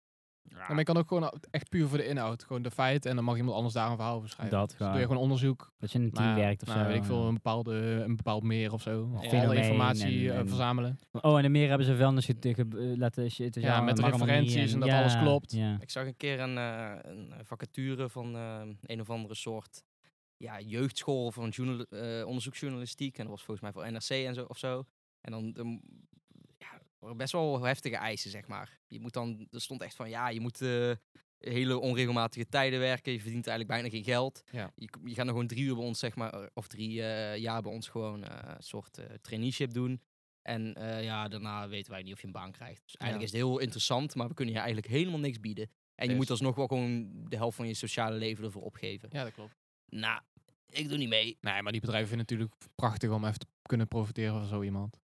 Speaker 2: Ja, maar je kan ook gewoon echt puur voor de inhoud. Gewoon de feit en dan mag iemand anders daar een verhaal over schrijven.
Speaker 4: dat
Speaker 2: Dus doe je
Speaker 4: gewoon,
Speaker 2: gewoon onderzoek.
Speaker 4: Ah. dat je in een team
Speaker 2: naar,
Speaker 4: werkt of
Speaker 2: nou,
Speaker 4: zo.
Speaker 2: weet ik veel,
Speaker 4: ja.
Speaker 2: een, bepaalde, een bepaald meer of zo. Of alle
Speaker 4: fenomeen
Speaker 2: informatie
Speaker 4: en-
Speaker 2: eh,
Speaker 4: en-
Speaker 2: verzamelen.
Speaker 4: Oh, en de meer hebben ze wel dus laten shitten.
Speaker 2: Ja, met referenties en dat alles klopt.
Speaker 4: Ja.
Speaker 1: Ik zag een keer een, eh, een vacature van eh, een of andere soort ja, jeugdschool van journal- eh, onderzoeksjournalistiek. En dat was volgens mij voor NRC en zo, of zo. En dan ehm, ja, waren best wel heftige eisen, zeg maar. Je moet dan, er stond echt van, ja, je moet eh, hele onregelmatige tijden werken. Je verdient eigenlijk bijna geen geld.
Speaker 2: Ja.
Speaker 1: Je, je gaat dan gewoon drie uur bij ons, zeg maar, of drie eh, jaar bij ons gewoon eh, een soort eh, traineeship doen. En eh, ja, daarna weten wij niet of je een baan krijgt. Dus eigenlijk is het heel interessant, maar we kunnen je eigenlijk helemaal niks bieden. En je
Speaker 2: Dus.
Speaker 1: moet alsnog wel gewoon de helft van je sociale leven ervoor opgeven.
Speaker 2: Ja, dat klopt.
Speaker 1: Nou, ik doe niet mee.
Speaker 2: Nee, maar die bedrijven vinden het natuurlijk prachtig om even te kunnen profiteren van zo iemand.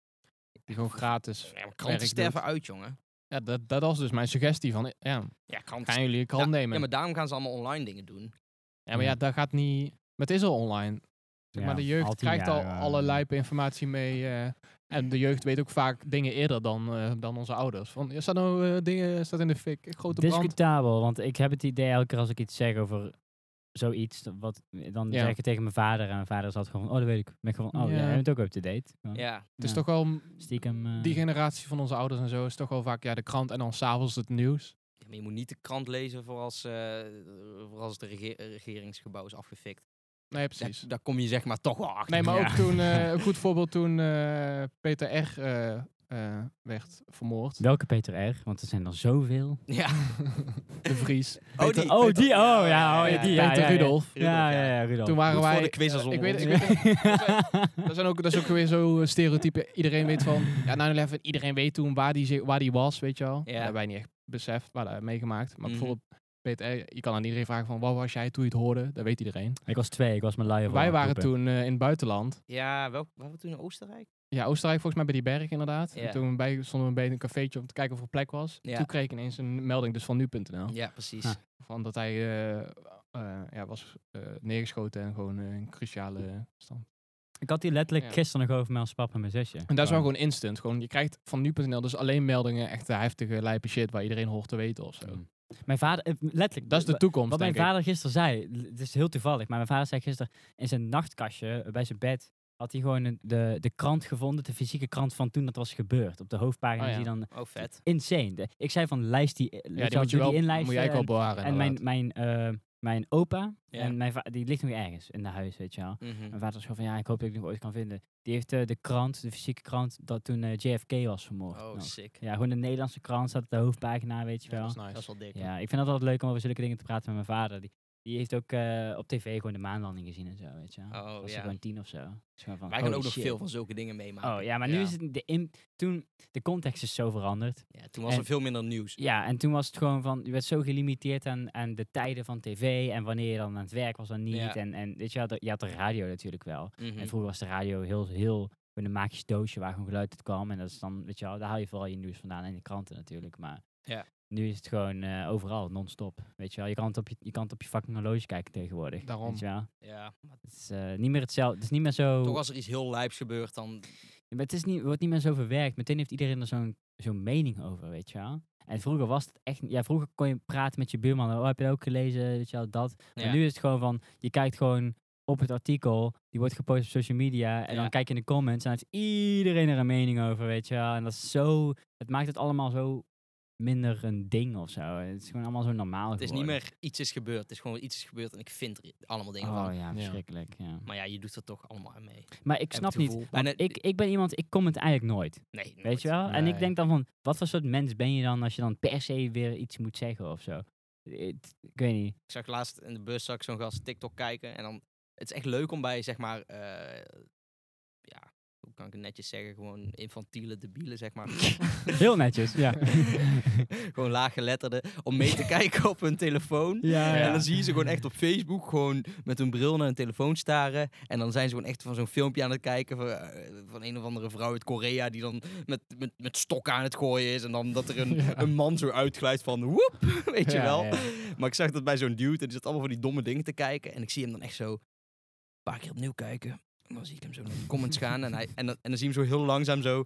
Speaker 2: Die gewoon gratis.
Speaker 1: Ja, maar
Speaker 2: werk
Speaker 1: kranten
Speaker 2: doet.
Speaker 1: sterven uit, jongen.
Speaker 2: Ja, dat, dat was dus mijn suggestie van, ja,
Speaker 1: Ja, kranten
Speaker 2: gaan jullie je krant
Speaker 1: Ja,
Speaker 2: nemen?
Speaker 1: Ja, maar daarom gaan ze allemaal online dingen doen.
Speaker 2: ja, dat gaat niet... Maar het is al online. Zeg maar de jeugd krijgt al
Speaker 4: eh,
Speaker 2: allerlei informatie mee. eh, en de jeugd weet ook vaak dingen eerder dan, eh, dan onze ouders. Van, er staan nou eh, dingen staat in de fik, grote brand.
Speaker 4: Discutabel, want ik heb het idee elke keer als ik iets zeg over zoiets, wat, dan
Speaker 2: Ja.
Speaker 4: zeg ik het tegen mijn vader en mijn vader zat gewoon, oh, dat weet ik. Dan ben ik gewoon, oh, ja.
Speaker 2: Ja.
Speaker 4: jij bent ook up-to-date. Ja.
Speaker 1: Ja.
Speaker 2: Het is
Speaker 4: Ja.
Speaker 2: toch wel, m-
Speaker 4: Stiekem. eh,
Speaker 1: Mhm.
Speaker 2: die generatie van onze ouders en zo, is toch wel vaak ja, de krant en dan s'avonds het nieuws.
Speaker 1: Ja, maar je moet niet de krant lezen voor als, eh, voor als het rege- regeringsgebouw is afgefikt.
Speaker 2: Nee,
Speaker 1: Daar,
Speaker 2: precies.
Speaker 1: daar kom je zeg maar toch wel achter.
Speaker 2: Nee, maar
Speaker 4: Ja.
Speaker 2: ook toen, eh, een goed voorbeeld toen eh, Peter R. eh, eh, eh, werd vermoord.
Speaker 4: Welke Peter R? Want er zijn er zoveel.
Speaker 1: Ja.
Speaker 2: De Vries.
Speaker 1: Oh,
Speaker 2: Peter-
Speaker 1: die.
Speaker 4: Oh, die. Oh, ja. Oh,
Speaker 1: ja,
Speaker 4: ja,
Speaker 1: ja,
Speaker 4: die.
Speaker 2: Peter
Speaker 4: ja, ja, ja.
Speaker 2: Rudolf.
Speaker 4: Ja, ja, ja, Rudolf.
Speaker 2: Toen waren
Speaker 1: Goed
Speaker 2: wij...
Speaker 1: voor de quiz als
Speaker 2: ik
Speaker 1: onder
Speaker 2: weet, ik
Speaker 1: ons.
Speaker 2: weet, dat, zijn ook, dat is ook weer zo eh, stereotype. Iedereen weet van... Ja, nou- 9-11, iedereen weet toen waar die, ze- waar die was, weet je wel.
Speaker 1: Ja.
Speaker 2: Dat hebben wij niet echt beseft, maar dat meegemaakt. Maar
Speaker 1: Mhm.
Speaker 2: bijvoorbeeld... Peter, R, je kan aan iedereen vragen van... Waar was jij toen je het hoorde? Dat weet iedereen.
Speaker 4: Ik was twee, ik was mijn luier.
Speaker 2: wij waren toen eh, in het buitenland.
Speaker 1: Ja, wel, waren we toen in Oostenrijk?
Speaker 2: Ja, Oostenrijk volgens mij bij die berg inderdaad.
Speaker 1: Ja.
Speaker 2: En toen bij, stonden we bij een cafeetje om te kijken of er plek was.
Speaker 1: Ja.
Speaker 2: Toen kreeg ik ineens een melding dus van nu.nl.
Speaker 1: Ja, precies.
Speaker 4: Ah.
Speaker 2: Van dat hij eh, eh, ja, was eh, neergeschoten en gewoon eh, een cruciale stand.
Speaker 4: Ik had die letterlijk
Speaker 2: Ja.
Speaker 4: gisteren nog over met ons papa en mijn zusje.
Speaker 2: En dat is wel gewoon instant. Gewoon, je krijgt van nu.nl dus alleen meldingen echt de heftige lijpe shit waar iedereen hoort te weten of zo.
Speaker 4: Mm. Mijn vader, eh, letterlijk.
Speaker 2: Dat is de
Speaker 4: wa-
Speaker 2: toekomst,
Speaker 4: Wat mijn
Speaker 2: denk ik.
Speaker 4: vader gisteren zei, l- het is heel toevallig, maar mijn vader zei gisteren in zijn nachtkastje eh, bij zijn bed had hij gewoon een- de, de krant gevonden, de fysieke krant van toen dat was gebeurd. Op de hoofdpagina
Speaker 2: Oh, ja.
Speaker 4: zie je dan
Speaker 1: Oh, vet.
Speaker 4: insane. De- ik zei van lijst die, eh,
Speaker 2: Ja,
Speaker 4: weet
Speaker 2: die moet je
Speaker 4: doe
Speaker 2: wel,
Speaker 4: inlijsten
Speaker 2: moet jij ook wel
Speaker 4: en-
Speaker 2: bewaren.
Speaker 4: En mijn, mijn, eh, mijn opa,
Speaker 1: Ja.
Speaker 4: en mijn va- die ligt nog ergens in de huis, weet je wel.
Speaker 1: Mhm.
Speaker 4: Mijn vader was gewoon van, ja, ik hoop dat ik die nog ooit kan vinden. Die heeft eh, de krant, de fysieke krant, dat toen eh, JFK was vermoord.
Speaker 1: Oh,
Speaker 4: nog.
Speaker 1: sick.
Speaker 4: ja, gewoon de Nederlandse krant staat op de hoofdpagina, weet je
Speaker 2: ja,
Speaker 4: wel.
Speaker 2: dat is
Speaker 1: Dat is
Speaker 2: nice.
Speaker 1: wel dik.
Speaker 4: Ja, ik vind het altijd leuk om over zulke dingen te praten met mijn vader. Die, die heeft ook eh, op tv gewoon de maanlanding gezien en zo, weet je wel. Toen
Speaker 1: Oh,
Speaker 4: was hij
Speaker 1: ja.
Speaker 4: gewoon tien of zo. Dus gewoon van,
Speaker 1: Wij gaan
Speaker 4: holy
Speaker 1: ook nog
Speaker 4: shit.
Speaker 1: veel van zulke dingen meemaken.
Speaker 4: Oh ja, maar nu is het de in, toen de context is zo veranderd.
Speaker 1: Ja, toen was er
Speaker 4: en-
Speaker 1: veel minder nieuws.
Speaker 4: Ja, en toen was het gewoon van, je werd zo gelimiteerd aan, aan de tijden van tv en wanneer je dan aan het werk was en niet.
Speaker 1: Ja.
Speaker 4: En, en weet je, wel, de- je had de radio natuurlijk wel.
Speaker 1: Mhm.
Speaker 4: En vroeger was de radio heel, heel met een magisch doosje waar gewoon geluid uit kwam. En dat is dan, weet je wel, daar haal je vooral je nieuws vandaan en de kranten natuurlijk. Maar
Speaker 1: Ja.
Speaker 4: nu is het gewoon eh, overal, non-stop. Weet je wel, je kan, het op je, je kan het op je fucking horloge kijken tegenwoordig.
Speaker 2: Daarom.
Speaker 4: Weet je wel.
Speaker 1: Ja, maar
Speaker 4: Het is eh, niet meer hetzelfde. Het is niet meer zo...
Speaker 1: toch als er iets heel lijps gebeurt, dan...
Speaker 4: Maar het is niet, wordt niet meer zo verwerkt. Meteen heeft iedereen er zo'n zo'n mening over, weet je wel. En vroeger was het echt... Ja, vroeger kon je praten met je buurman. Oh, heb je dat ook gelezen? Weet je wel, dat.
Speaker 1: Ja.
Speaker 4: Maar nu is het gewoon van... Je kijkt gewoon op het artikel. Die wordt gepost op social media. En
Speaker 1: Ja.
Speaker 4: dan kijk je in de comments. En dan heeft iedereen er een mening over, weet je wel. En dat is zo... Het maakt het allemaal zo minder een ding of zo. Het is gewoon allemaal zo normaal
Speaker 1: Het is niet
Speaker 4: geworden.
Speaker 1: meer iets is gebeurd. Het is gewoon iets is gebeurd en ik vind er allemaal dingen
Speaker 4: Oh
Speaker 1: van.
Speaker 4: ja,
Speaker 2: Ja.
Speaker 4: verschrikkelijk. Ja.
Speaker 1: Maar ja, je doet er toch allemaal aan mee.
Speaker 4: Maar ik
Speaker 1: het
Speaker 4: snap niet.
Speaker 1: gevoel.
Speaker 4: want
Speaker 1: En het-
Speaker 4: ik, ik ben iemand, ik comment eigenlijk nooit.
Speaker 1: Nee, nooit.
Speaker 4: Weet je wel? En
Speaker 2: Nee.
Speaker 4: ik denk dan van, wat voor soort mens ben je dan als je dan per se weer iets moet zeggen of zo? Het- ik weet niet.
Speaker 1: Ik zag laatst in de bus zag ik zo'n gast TikTok kijken. En dan, het is echt leuk om bij, zeg maar, eh, ja, hoe kan ik het netjes zeggen? Gewoon infantiele debielen, zeg maar.
Speaker 4: Heel netjes, ja.
Speaker 1: gewoon laaggeletterden. Om mee te kijken op hun telefoon.
Speaker 4: ja,
Speaker 1: En dan zie je ze gewoon echt op Facebook gewoon met hun bril naar hun telefoon staren. En dan zijn ze gewoon echt van zo'n filmpje aan het kijken van, eh, van een of andere vrouw uit Korea die dan met, met, met stokken aan het gooien is. En dan dat er een,
Speaker 2: Ja.
Speaker 1: een man zo uitglijdt van woep, weet je
Speaker 2: Ja,
Speaker 1: wel.
Speaker 2: ja.
Speaker 1: Maar ik zag dat bij zo'n dude en die zat allemaal van die domme dingen te kijken. En ik zie hem dan echt zo een paar keer opnieuw kijken. En dan zie ik hem zo naar de comments gaan. En, hij, en, dan, en dan zie je hem zo heel langzaam zo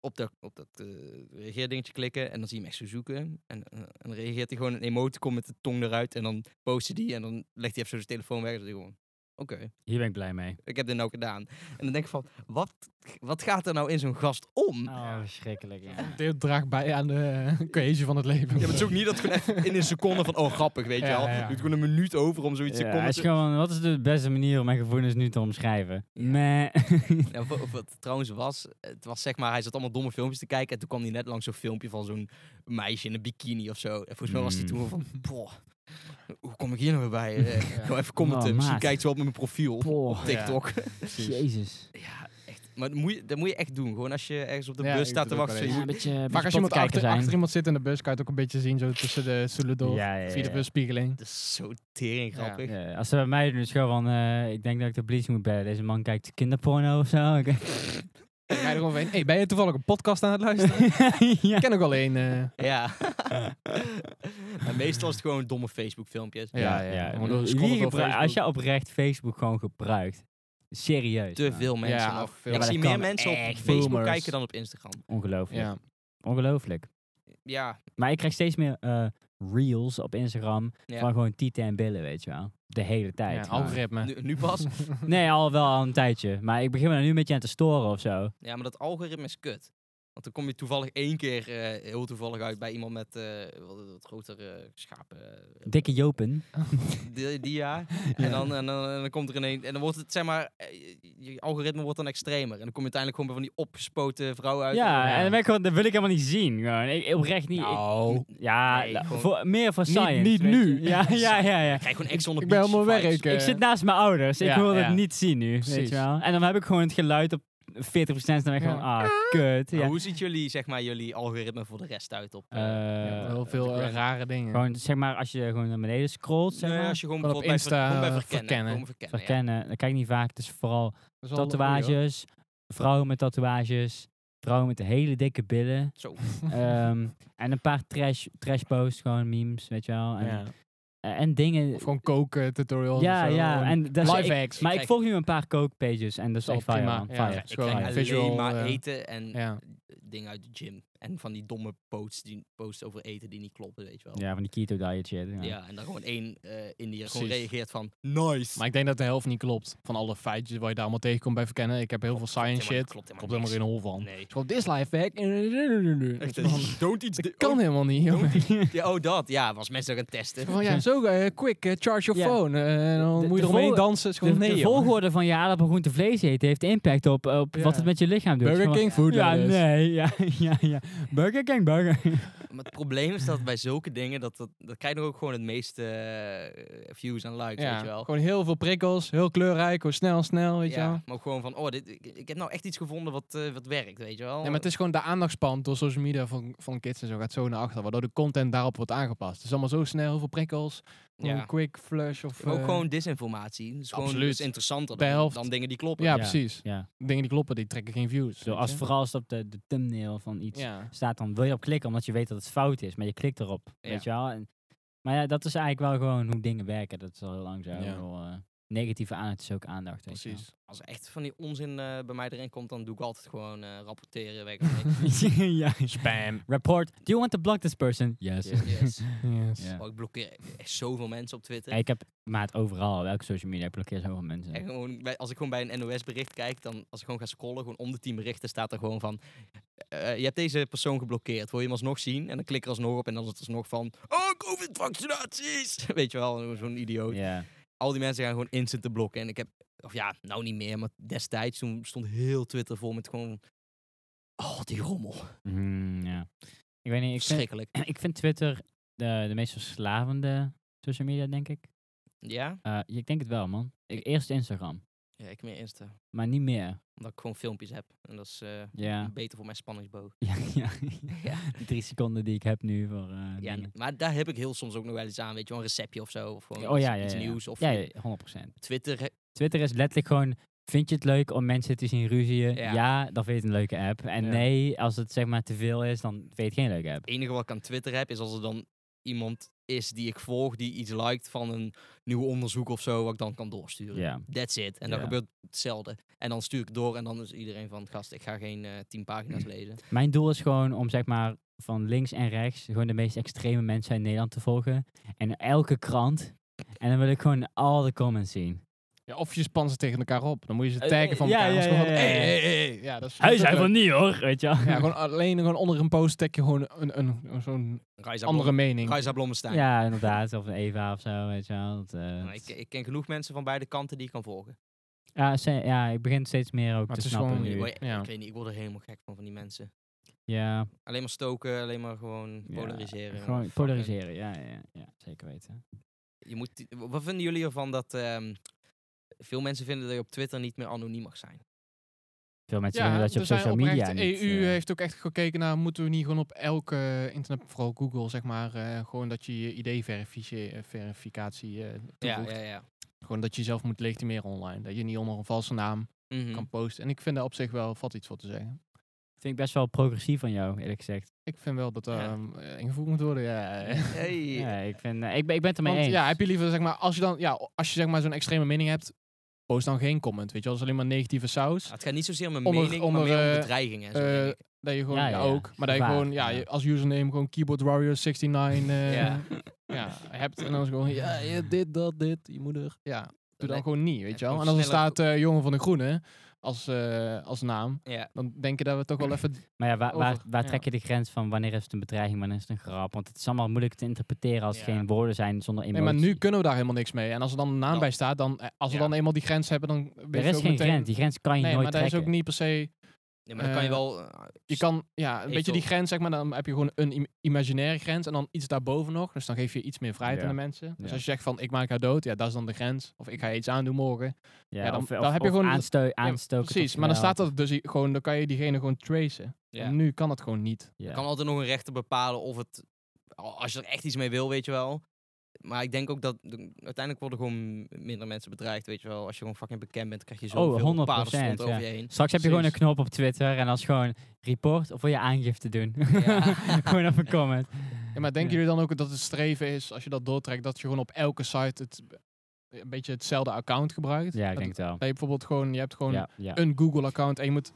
Speaker 1: op, de, op dat eh, reageerdingetje klikken. En dan zie je hem echt zo zoeken. En, eh, en dan reageert hij gewoon een emoticon met de tong eruit. En dan post hij die. En dan legt hij even zo zijn telefoon weg. En dan zeg ik gewoon, oké,
Speaker 4: Hier ben ik blij mee.
Speaker 1: ik heb dit nou gedaan. En dan denk ik van, wat, wat gaat er nou in zo'n gast om?
Speaker 4: Oh, verschrikkelijk, ja.
Speaker 2: Dit draagt bij aan de eh, cohesie van het leven.
Speaker 1: Ja, maar het is ook niet dat gewoon even in een seconde van, oh grappig, weet je
Speaker 2: Ja,
Speaker 1: wel.
Speaker 2: ja.
Speaker 1: Doet gewoon een minuut over om zoiets te
Speaker 4: Ja, het
Speaker 1: commenten.
Speaker 4: is gewoon, wat is de beste manier om mijn gevoelens nu te omschrijven?
Speaker 1: Ja.
Speaker 4: Nee.
Speaker 1: Ja, wa- wat het trouwens was, het was zeg maar, hij zat allemaal domme filmpjes te kijken. En toen kwam hij net langs zo'n filmpje van zo'n meisje in een bikini of zo. En volgens mij was hij
Speaker 4: Mm.
Speaker 1: toen van,
Speaker 2: Hmm.
Speaker 1: boh, hoe kom ik hier nou weer bij? Eh, ik wil even commenten,
Speaker 4: Oh,
Speaker 1: misschien
Speaker 4: maat.
Speaker 1: kijkt ze wel op mijn profiel op
Speaker 4: Poh,
Speaker 1: TikTok. Ja,
Speaker 4: jezus.
Speaker 1: echt. Maar dat moet, je, dat moet je echt doen. Gewoon als je ergens op de
Speaker 2: Ja, ik
Speaker 1: bus
Speaker 2: doe
Speaker 1: staat
Speaker 2: het
Speaker 1: te
Speaker 2: ook
Speaker 1: wachten.
Speaker 2: wel
Speaker 1: je
Speaker 4: Ja,
Speaker 1: moet-
Speaker 4: een beetje, een
Speaker 2: Vaak als iemand
Speaker 4: kijken
Speaker 2: achter,
Speaker 4: zijn.
Speaker 2: achter iemand zit in de bus, kan je het ook een beetje zien zo tussen de stoelen door.
Speaker 4: Ja, ja, ja,
Speaker 2: Via de
Speaker 4: ja.
Speaker 2: busspiegeling.
Speaker 1: Dat is zo tering
Speaker 2: Ja.
Speaker 1: grappig.
Speaker 4: Ja, als ze bij mij doen, is gewoon van, eh, ik denk dat ik de politie moet bellen. Deze man kijkt kinderporno of zo. Ik-
Speaker 2: Dan ga je er overheen. Hey, ben je toevallig een podcast aan het luisteren?
Speaker 4: ja.
Speaker 2: Ik ken ook al één. eh,
Speaker 1: Ja. Maar meestal is het gewoon domme Facebook filmpjes.
Speaker 2: Ja, ja. Gewoon door-
Speaker 4: Wie
Speaker 2: scrollen door
Speaker 4: gebruikt- als
Speaker 2: Facebook.
Speaker 4: je oprecht Facebook gewoon gebruikt, serieus.
Speaker 1: Te
Speaker 4: man.
Speaker 1: veel mensen
Speaker 2: Ja,
Speaker 1: nog.
Speaker 2: veel.
Speaker 1: Ik
Speaker 4: Maar
Speaker 1: zie
Speaker 4: dat
Speaker 1: meer
Speaker 4: kan
Speaker 1: mensen op
Speaker 4: echt.
Speaker 1: Facebook
Speaker 2: Boomers.
Speaker 1: kijken dan op Instagram.
Speaker 4: Ongelooflijk.
Speaker 2: ja.
Speaker 4: Ongelooflijk.
Speaker 1: Ja,
Speaker 4: Maar ik krijg steeds meer eh, reels op Instagram
Speaker 1: Ja.
Speaker 4: van gewoon tieten en billen, weet je wel. De hele tijd.
Speaker 2: ja,
Speaker 4: gewoon.
Speaker 2: algoritme.
Speaker 1: nu, nu pas.
Speaker 4: Nee, al wel al een tijdje. Maar ik begin me daar nu een beetje aan te storen of zo.
Speaker 1: Ja, maar dat algoritme is kut. Want dan kom je toevallig één keer eh, heel toevallig uit bij iemand met eh, wat, wat grotere schapen. eh,
Speaker 4: Dikke Jopen.
Speaker 1: die, die ja. En, dan, en, dan, en dan komt er ineens. En dan wordt het, zeg maar, eh, je- je algoritme wordt dan extremer. En dan kom je uiteindelijk gewoon bij van die opgespoten vrouw uit.
Speaker 4: Ja,
Speaker 1: En-
Speaker 4: en dan ben ik gewoon, dat wil ik helemaal niet zien. Gewoon. Ik, oprecht niet. ik-
Speaker 2: Nou,
Speaker 4: ja,
Speaker 1: Nee,
Speaker 4: la-
Speaker 1: gewoon-
Speaker 4: voor, meer voor
Speaker 2: Niet-
Speaker 4: science.
Speaker 2: niet
Speaker 4: weet
Speaker 2: nu.
Speaker 4: je. Ja, ja, ja. ja.
Speaker 1: Ik krijg gewoon ex on the
Speaker 2: ik ben
Speaker 1: beach
Speaker 2: helemaal
Speaker 1: vibes.
Speaker 2: werken.
Speaker 4: Ik zit naast mijn ouders. Ik
Speaker 2: Ja,
Speaker 4: wil
Speaker 2: ja.
Speaker 4: dat niet zien nu, weet
Speaker 2: Precies.
Speaker 4: je wel. En dan heb ik gewoon het geluid op 40% en dan ben ik
Speaker 2: Ja.
Speaker 4: gewoon, ah, kut.
Speaker 1: Maar
Speaker 4: Ja.
Speaker 1: Hoe ziet jullie, zeg maar, jullie algoritme voor de rest uit op? eh,
Speaker 4: Eh,
Speaker 2: heel veel eh, rare dingen.
Speaker 4: Gewoon, zeg maar, als je gewoon naar beneden scrolt, zeg
Speaker 1: nou ja,
Speaker 4: maar,
Speaker 1: als je gewoon
Speaker 2: Gewoon op
Speaker 1: bijvoorbeeld bij, ver-
Speaker 2: Insta,
Speaker 1: gewoon bij
Speaker 2: eh,
Speaker 1: verkennen.
Speaker 2: verkennen.
Speaker 1: Gewoon verkennen, ja.
Speaker 4: verkennen, dan kijk ik niet vaak. Dus vooral
Speaker 2: Dat is wel een goeie, hoor.
Speaker 4: tatoeages, vrouwen met tatoeages, vrouwen met hele dikke billen.
Speaker 1: Zo.
Speaker 4: ehm, en een paar trash, trash posts, gewoon memes, weet je wel. En, eh,
Speaker 2: Ja.
Speaker 4: en dingen...
Speaker 2: Of gewoon koken, tutorials
Speaker 4: ja,
Speaker 2: of zo.
Speaker 4: ja.
Speaker 2: Gewoon
Speaker 4: En dat is-
Speaker 2: live
Speaker 4: ik-
Speaker 2: hacks.
Speaker 4: Maar
Speaker 1: Kijk.
Speaker 4: ik volg nu een paar kookpages en dat is
Speaker 2: Dat is
Speaker 4: echt fire,
Speaker 2: optima,
Speaker 4: man.
Speaker 2: ja.
Speaker 4: Fire.
Speaker 2: Ja,
Speaker 1: Ik
Speaker 2: gewoon
Speaker 1: krijg alleen
Speaker 2: visual,
Speaker 1: maar
Speaker 2: eh,
Speaker 1: eten en
Speaker 2: ja.
Speaker 1: dingen uit de gym. En van die domme posts, die, posts over eten die niet kloppen, weet je wel.
Speaker 4: Ja, van die keto diet shit. Ja.
Speaker 1: Ja, en dan gewoon één eh Indiër gewoon
Speaker 2: Precies.
Speaker 1: reageert van, nice.
Speaker 2: Maar ik denk dat de helft niet klopt. Van alle feitjes waar je daar allemaal tegenkomt bij verkennen. Ik heb heel veel science
Speaker 1: helemaal-
Speaker 2: shit.
Speaker 1: klopt
Speaker 2: Klopt
Speaker 1: helemaal
Speaker 2: helemaal geen hol van.
Speaker 1: Nee.
Speaker 2: Het is Gewoon this life hack. Dat
Speaker 1: Echt,
Speaker 2: is van,
Speaker 1: eh, don't iets.
Speaker 2: Dat kan helemaal niet. joh.
Speaker 1: Ja, oh dat. Ja, was mensen ook aan het testen.
Speaker 2: Van ja, zo eh, quick, eh, charge your
Speaker 4: Ja.
Speaker 2: phone. eh, en dan
Speaker 4: De-
Speaker 2: moet je
Speaker 4: de
Speaker 2: eromheen
Speaker 4: vol-
Speaker 2: dansen. Is
Speaker 4: De,
Speaker 2: gewoon nee,
Speaker 4: de
Speaker 2: joh.
Speaker 4: volgorde van je aardappel, groente, vlees eten heeft impact op, op
Speaker 2: Ja.
Speaker 4: wat het met je lichaam doet.
Speaker 2: Burger
Speaker 4: Gewoon-
Speaker 2: King food.
Speaker 4: Ja,
Speaker 2: dat is.
Speaker 4: nee. Ja, ja, ja. Burger King, burger.
Speaker 1: Maar het probleem is dat bij zulke dingen, dat, dat, dat krijg je ook gewoon het meeste eh, views en likes,
Speaker 2: Ja,
Speaker 1: weet je wel.
Speaker 2: Gewoon heel veel prikkels, heel kleurrijk, gewoon snel, snel, weet je
Speaker 1: ja,
Speaker 2: wel.
Speaker 1: maar ook gewoon van, oh, dit, ik, ik heb nou echt iets gevonden wat, eh, wat werkt, weet je wel.
Speaker 2: Nee, maar het is gewoon de aandachtspan door social media van, van kids en zo gaat zo naar achter, waardoor de content daarop wordt aangepast. Het is allemaal zo snel, heel veel prikkels,
Speaker 1: Ja.
Speaker 2: een quick flush of...
Speaker 1: ook
Speaker 2: eh,
Speaker 1: gewoon disinformatie. Het is gewoon
Speaker 2: Absoluut.
Speaker 1: dus interessanter
Speaker 2: De
Speaker 1: dan,
Speaker 2: helft.
Speaker 1: dan dingen die kloppen.
Speaker 2: Ja,
Speaker 4: Ja.
Speaker 2: precies.
Speaker 4: Ja.
Speaker 2: Dingen die kloppen, die trekken geen views.
Speaker 4: Zo,
Speaker 2: weet
Speaker 4: als
Speaker 2: je.
Speaker 4: vooral als het op de, de thumbnail van iets
Speaker 2: Ja.
Speaker 4: staat, dan wil je op klikken omdat je weet dat het fout is. Maar je klikt erop,
Speaker 1: Ja.
Speaker 4: weet je wel. En, maar ja, dat is eigenlijk wel gewoon hoe dingen werken. Dat is al heel lang zo.
Speaker 2: Ja.
Speaker 4: Ik bedoel, eh, negatieve aandacht is ook aandacht, weet je wel.
Speaker 2: Precies.
Speaker 1: Als er echt van die onzin eh, bij mij erin komt, dan doe ik altijd gewoon eh, rapporteren. Weg ermee.
Speaker 4: ja.
Speaker 2: Spam.
Speaker 4: Report. Do you want to block this person? Yes.
Speaker 1: Yes, yes.
Speaker 2: Yes.
Speaker 4: Ja.
Speaker 1: Oh, ik blokkeer echt zoveel mensen op Twitter.
Speaker 4: Ja, ik heb maat overal, welke social media, ik blokkeer zoveel mensen.
Speaker 1: En gewoon bij- als ik gewoon bij een NOS-bericht kijk, dan als ik gewoon ga scrollen, gewoon om de tien berichten staat er gewoon van: eh, Je hebt deze persoon geblokkeerd, wil je hem alsnog zien? En dan klik ik er alsnog op en dan is het alsnog van: Oh, COVID-vaccinaties! Weet je wel, zo'n idioot.
Speaker 4: Ja.
Speaker 1: Al die mensen gaan gewoon instant te blokken. En ik heb, of ja, nou niet meer, maar destijds toen stond heel Twitter vol met gewoon: Oh, die rommel.
Speaker 4: Mhm, ja. Ik weet niet, ik vind,
Speaker 1: Verschrikkelijk.
Speaker 4: ik vind Twitter de, de meest verslavende social media, denk ik.
Speaker 1: Ja?
Speaker 4: Eh, ik denk het wel, man. Ik, eerst Instagram,
Speaker 1: Ja, ik meer Insta.
Speaker 4: maar niet meer.
Speaker 1: Omdat ik gewoon filmpjes heb. En dat is eh,
Speaker 4: Ja.
Speaker 1: beter voor mijn spanningsboog.
Speaker 4: Ja, ja.
Speaker 1: Ja.
Speaker 4: Die drie seconden die ik heb nu voor. eh,
Speaker 1: Ja,
Speaker 4: dingen.
Speaker 1: maar daar heb ik heel soms ook nog wel eens aan, weet je wel, een receptje of zo. Of gewoon
Speaker 4: oh
Speaker 1: iets-
Speaker 4: ja, ja,
Speaker 1: iets
Speaker 4: ja, ja.
Speaker 1: nieuws. Of
Speaker 4: ja, ja, 100%.
Speaker 1: Twitter, he-
Speaker 4: Twitter is letterlijk gewoon. Vind je het leuk om mensen te zien ruzieën?
Speaker 1: Ja.
Speaker 4: Ja, dan vind je het een leuke app. En
Speaker 2: Ja.
Speaker 4: nee, als het zeg maar te veel is, dan vind je het geen leuke app.
Speaker 1: het enige wat ik aan Twitter heb, is als er dan iemand is die ik volg, die iets liked van een nieuw onderzoek of zo, wat ik dan kan doorsturen.
Speaker 4: Ja.
Speaker 1: That's it. En dan
Speaker 4: Ja.
Speaker 1: gebeurt hetzelfde. En dan stuur ik door en dan is iedereen van, gast, ik ga geen eh, tien pagina's
Speaker 4: Mm.
Speaker 1: lezen.
Speaker 4: Mijn doel is gewoon om zeg maar van links en rechts gewoon de meest extreme mensen uit Nederland te volgen. En elke krant. En dan wil ik gewoon al de comments zien.
Speaker 2: Ja, of je spannen ze tegen elkaar op. Dan moet je ze
Speaker 4: Eh,
Speaker 2: taggen van
Speaker 4: ja,
Speaker 2: elkaar.
Speaker 4: ja,
Speaker 2: Dat is gewoon van,
Speaker 4: ja, ja,
Speaker 2: hey,
Speaker 4: ja.
Speaker 2: hey, hey. Ja, dat is
Speaker 4: Hij
Speaker 2: dat is
Speaker 4: zijn
Speaker 2: ook
Speaker 4: van
Speaker 2: leuk.
Speaker 4: niet hoor, weet je wel.
Speaker 2: Ja, gewoon alleen gewoon onder een post tag je gewoon een, een, een- zo'n
Speaker 1: Gijsa
Speaker 2: andere
Speaker 1: Blom-
Speaker 2: mening.
Speaker 1: Gijsa Blommestein.
Speaker 4: Ja, inderdaad. Of een Eva of zo, weet je wel. Dat, eh,
Speaker 1: Nou, ik, ik ken genoeg mensen van beide kanten die ik kan volgen.
Speaker 4: ja, se- ja, ik begin steeds meer ook
Speaker 2: Maar
Speaker 4: te
Speaker 2: het is
Speaker 4: snappen
Speaker 2: gewoon-
Speaker 1: Ik
Speaker 4: nu.
Speaker 1: word-
Speaker 2: ja.
Speaker 1: Ik weet niet, ik word er helemaal gek van, van die mensen.
Speaker 4: Ja,
Speaker 1: Alleen maar stoken, alleen maar gewoon
Speaker 4: Ja,
Speaker 1: polariseren.
Speaker 4: gewoon
Speaker 1: Fucking-
Speaker 4: polariseren. Ja, ja, ja, ja, zeker weten.
Speaker 1: Je moet, wat vinden jullie ervan dat ehm, veel mensen vinden dat je op Twitter niet meer anoniem mag zijn?
Speaker 4: Veel mensen
Speaker 2: Ja,
Speaker 4: vinden dat je op
Speaker 2: er zijn
Speaker 4: social
Speaker 2: oprecht-
Speaker 4: media
Speaker 2: De
Speaker 4: niet...
Speaker 2: EU
Speaker 4: eh,
Speaker 2: heeft ook echt gekeken naar, moeten we niet gewoon op elke internet, vooral Google, zeg maar, eh, gewoon dat je je ID-verificatie eh, toevoegt.
Speaker 1: ja.
Speaker 2: Gewoon dat je jezelf moet legitimeren online. Dat je niet onder een valse naam
Speaker 1: Mhm.
Speaker 2: kan posten. En ik vind daar op zich wel valt iets voor te zeggen.
Speaker 4: vind ik best wel progressief van jou, eerlijk gezegd.
Speaker 2: Ik vind wel dat dat
Speaker 1: Ja.
Speaker 2: ehm, eh, ingevoerd moet worden. Ja.
Speaker 1: Hey.
Speaker 4: Ja, ik, vind, eh, ik, ben, ik ben het ermee
Speaker 2: Want
Speaker 4: eens.
Speaker 2: ja, heb je liever, zeg maar, als je dan, ja, als je zeg maar zo'n extreme mening hebt, post dan geen comment. Weet je, wel. dat is alleen maar negatieve saus.
Speaker 1: Nou, het gaat niet zozeer om mijn
Speaker 2: Onder-
Speaker 1: mening,
Speaker 2: onder,
Speaker 1: maar meer om
Speaker 2: eh,
Speaker 1: bedreigingen. en zo,
Speaker 2: eh,
Speaker 1: denk ik.
Speaker 2: Dat je gewoon,
Speaker 4: Ja,
Speaker 2: ja,
Speaker 4: ja, ja.
Speaker 2: ook. Maar dat je
Speaker 4: Gevaar,
Speaker 2: gewoon, ja,
Speaker 4: ja.
Speaker 2: je- als username gewoon Keyboard Warrior 69 eh,
Speaker 1: Ja.
Speaker 2: ja. hebt. En dan is gewoon, ja, ja, dit, dat, dit, je moeder. Ja, doe
Speaker 1: lijkt-
Speaker 2: dan gewoon niet, weet
Speaker 1: lijkt
Speaker 2: je wel.
Speaker 1: me
Speaker 2: En als er
Speaker 1: sneller-
Speaker 2: staat eh, jongen van de groene, als, eh, als naam,
Speaker 1: Ja.
Speaker 2: dan denk je dat we toch wel even...
Speaker 4: Maar ja, waar, waar,
Speaker 2: Over,
Speaker 4: waar
Speaker 1: ja.
Speaker 4: trek je de grens van wanneer is het een bedreiging, wanneer is het een grap? Want het is allemaal moeilijk te interpreteren als het
Speaker 1: Ja.
Speaker 4: geen woorden zijn zonder
Speaker 2: Nee,
Speaker 4: emotie.
Speaker 2: maar nu kunnen we daar helemaal niks mee. En als er dan een naam
Speaker 1: Dat-
Speaker 2: bij staat, dan, eh, als we
Speaker 1: Ja.
Speaker 2: dan eenmaal die grens hebben, dan weet
Speaker 4: er
Speaker 2: je dus
Speaker 4: is
Speaker 2: ook
Speaker 4: geen
Speaker 2: meteen...
Speaker 4: grens. Die grens kan je
Speaker 2: nee,
Speaker 4: nooit
Speaker 2: maar dat is
Speaker 4: trekken.
Speaker 2: ook niet per se...
Speaker 1: Nee, maar dan kan je
Speaker 2: Eh,
Speaker 1: wel... eh,
Speaker 2: Je kan, ja, een
Speaker 1: Ik
Speaker 2: beetje die
Speaker 1: wil-
Speaker 2: grens, zeg maar, dan heb je gewoon een im- imaginaire grens en dan iets daarboven nog. Dus dan geef je iets meer vrijheid
Speaker 4: Ja.
Speaker 2: aan de mensen. Dus
Speaker 4: Ja.
Speaker 2: als je zegt van, ik maak haar dood, ja, dat is dan de grens. Of ik ga je iets aandoen morgen.
Speaker 4: Ja,
Speaker 2: Ja, dan-
Speaker 4: of,
Speaker 2: dan
Speaker 4: of-
Speaker 2: heb je
Speaker 4: of
Speaker 2: gewoon-
Speaker 4: aansto aanstoken. tot
Speaker 2: Precies, maar dan
Speaker 4: geweld.
Speaker 2: staat dat dus i- gewoon, dan kan je diegene gewoon tracen.
Speaker 1: Ja.
Speaker 2: En nu kan dat gewoon niet.
Speaker 4: Ja.
Speaker 1: kan altijd nog een rechter bepalen of het... al- Als je er echt iets mee wil, weet je wel. Maar ik denk ook dat... de- uiteindelijk worden gewoon minder mensen bedreigd, weet je wel. Als je gewoon fucking bekend bent, krijg je
Speaker 4: Oh,
Speaker 1: zoveel
Speaker 4: 100%,
Speaker 1: paarden stond over
Speaker 4: ja.
Speaker 1: je heen.
Speaker 4: Straks heb je gewoon een
Speaker 2: Precies.
Speaker 4: knop op Twitter en als gewoon report of wil je aangifte doen.
Speaker 1: Ja.
Speaker 4: gewoon op een comment.
Speaker 2: Ja, maar denken jullie dan ook dat het streven is, als je dat doortrekt, dat je gewoon op elke site het, een beetje hetzelfde account gebruikt?
Speaker 4: Ja, ik
Speaker 2: Dat-
Speaker 4: denk het wel.
Speaker 2: Dat je bijvoorbeeld gewoon, je hebt gewoon
Speaker 4: Ja, ja.
Speaker 2: een Google-account en je moet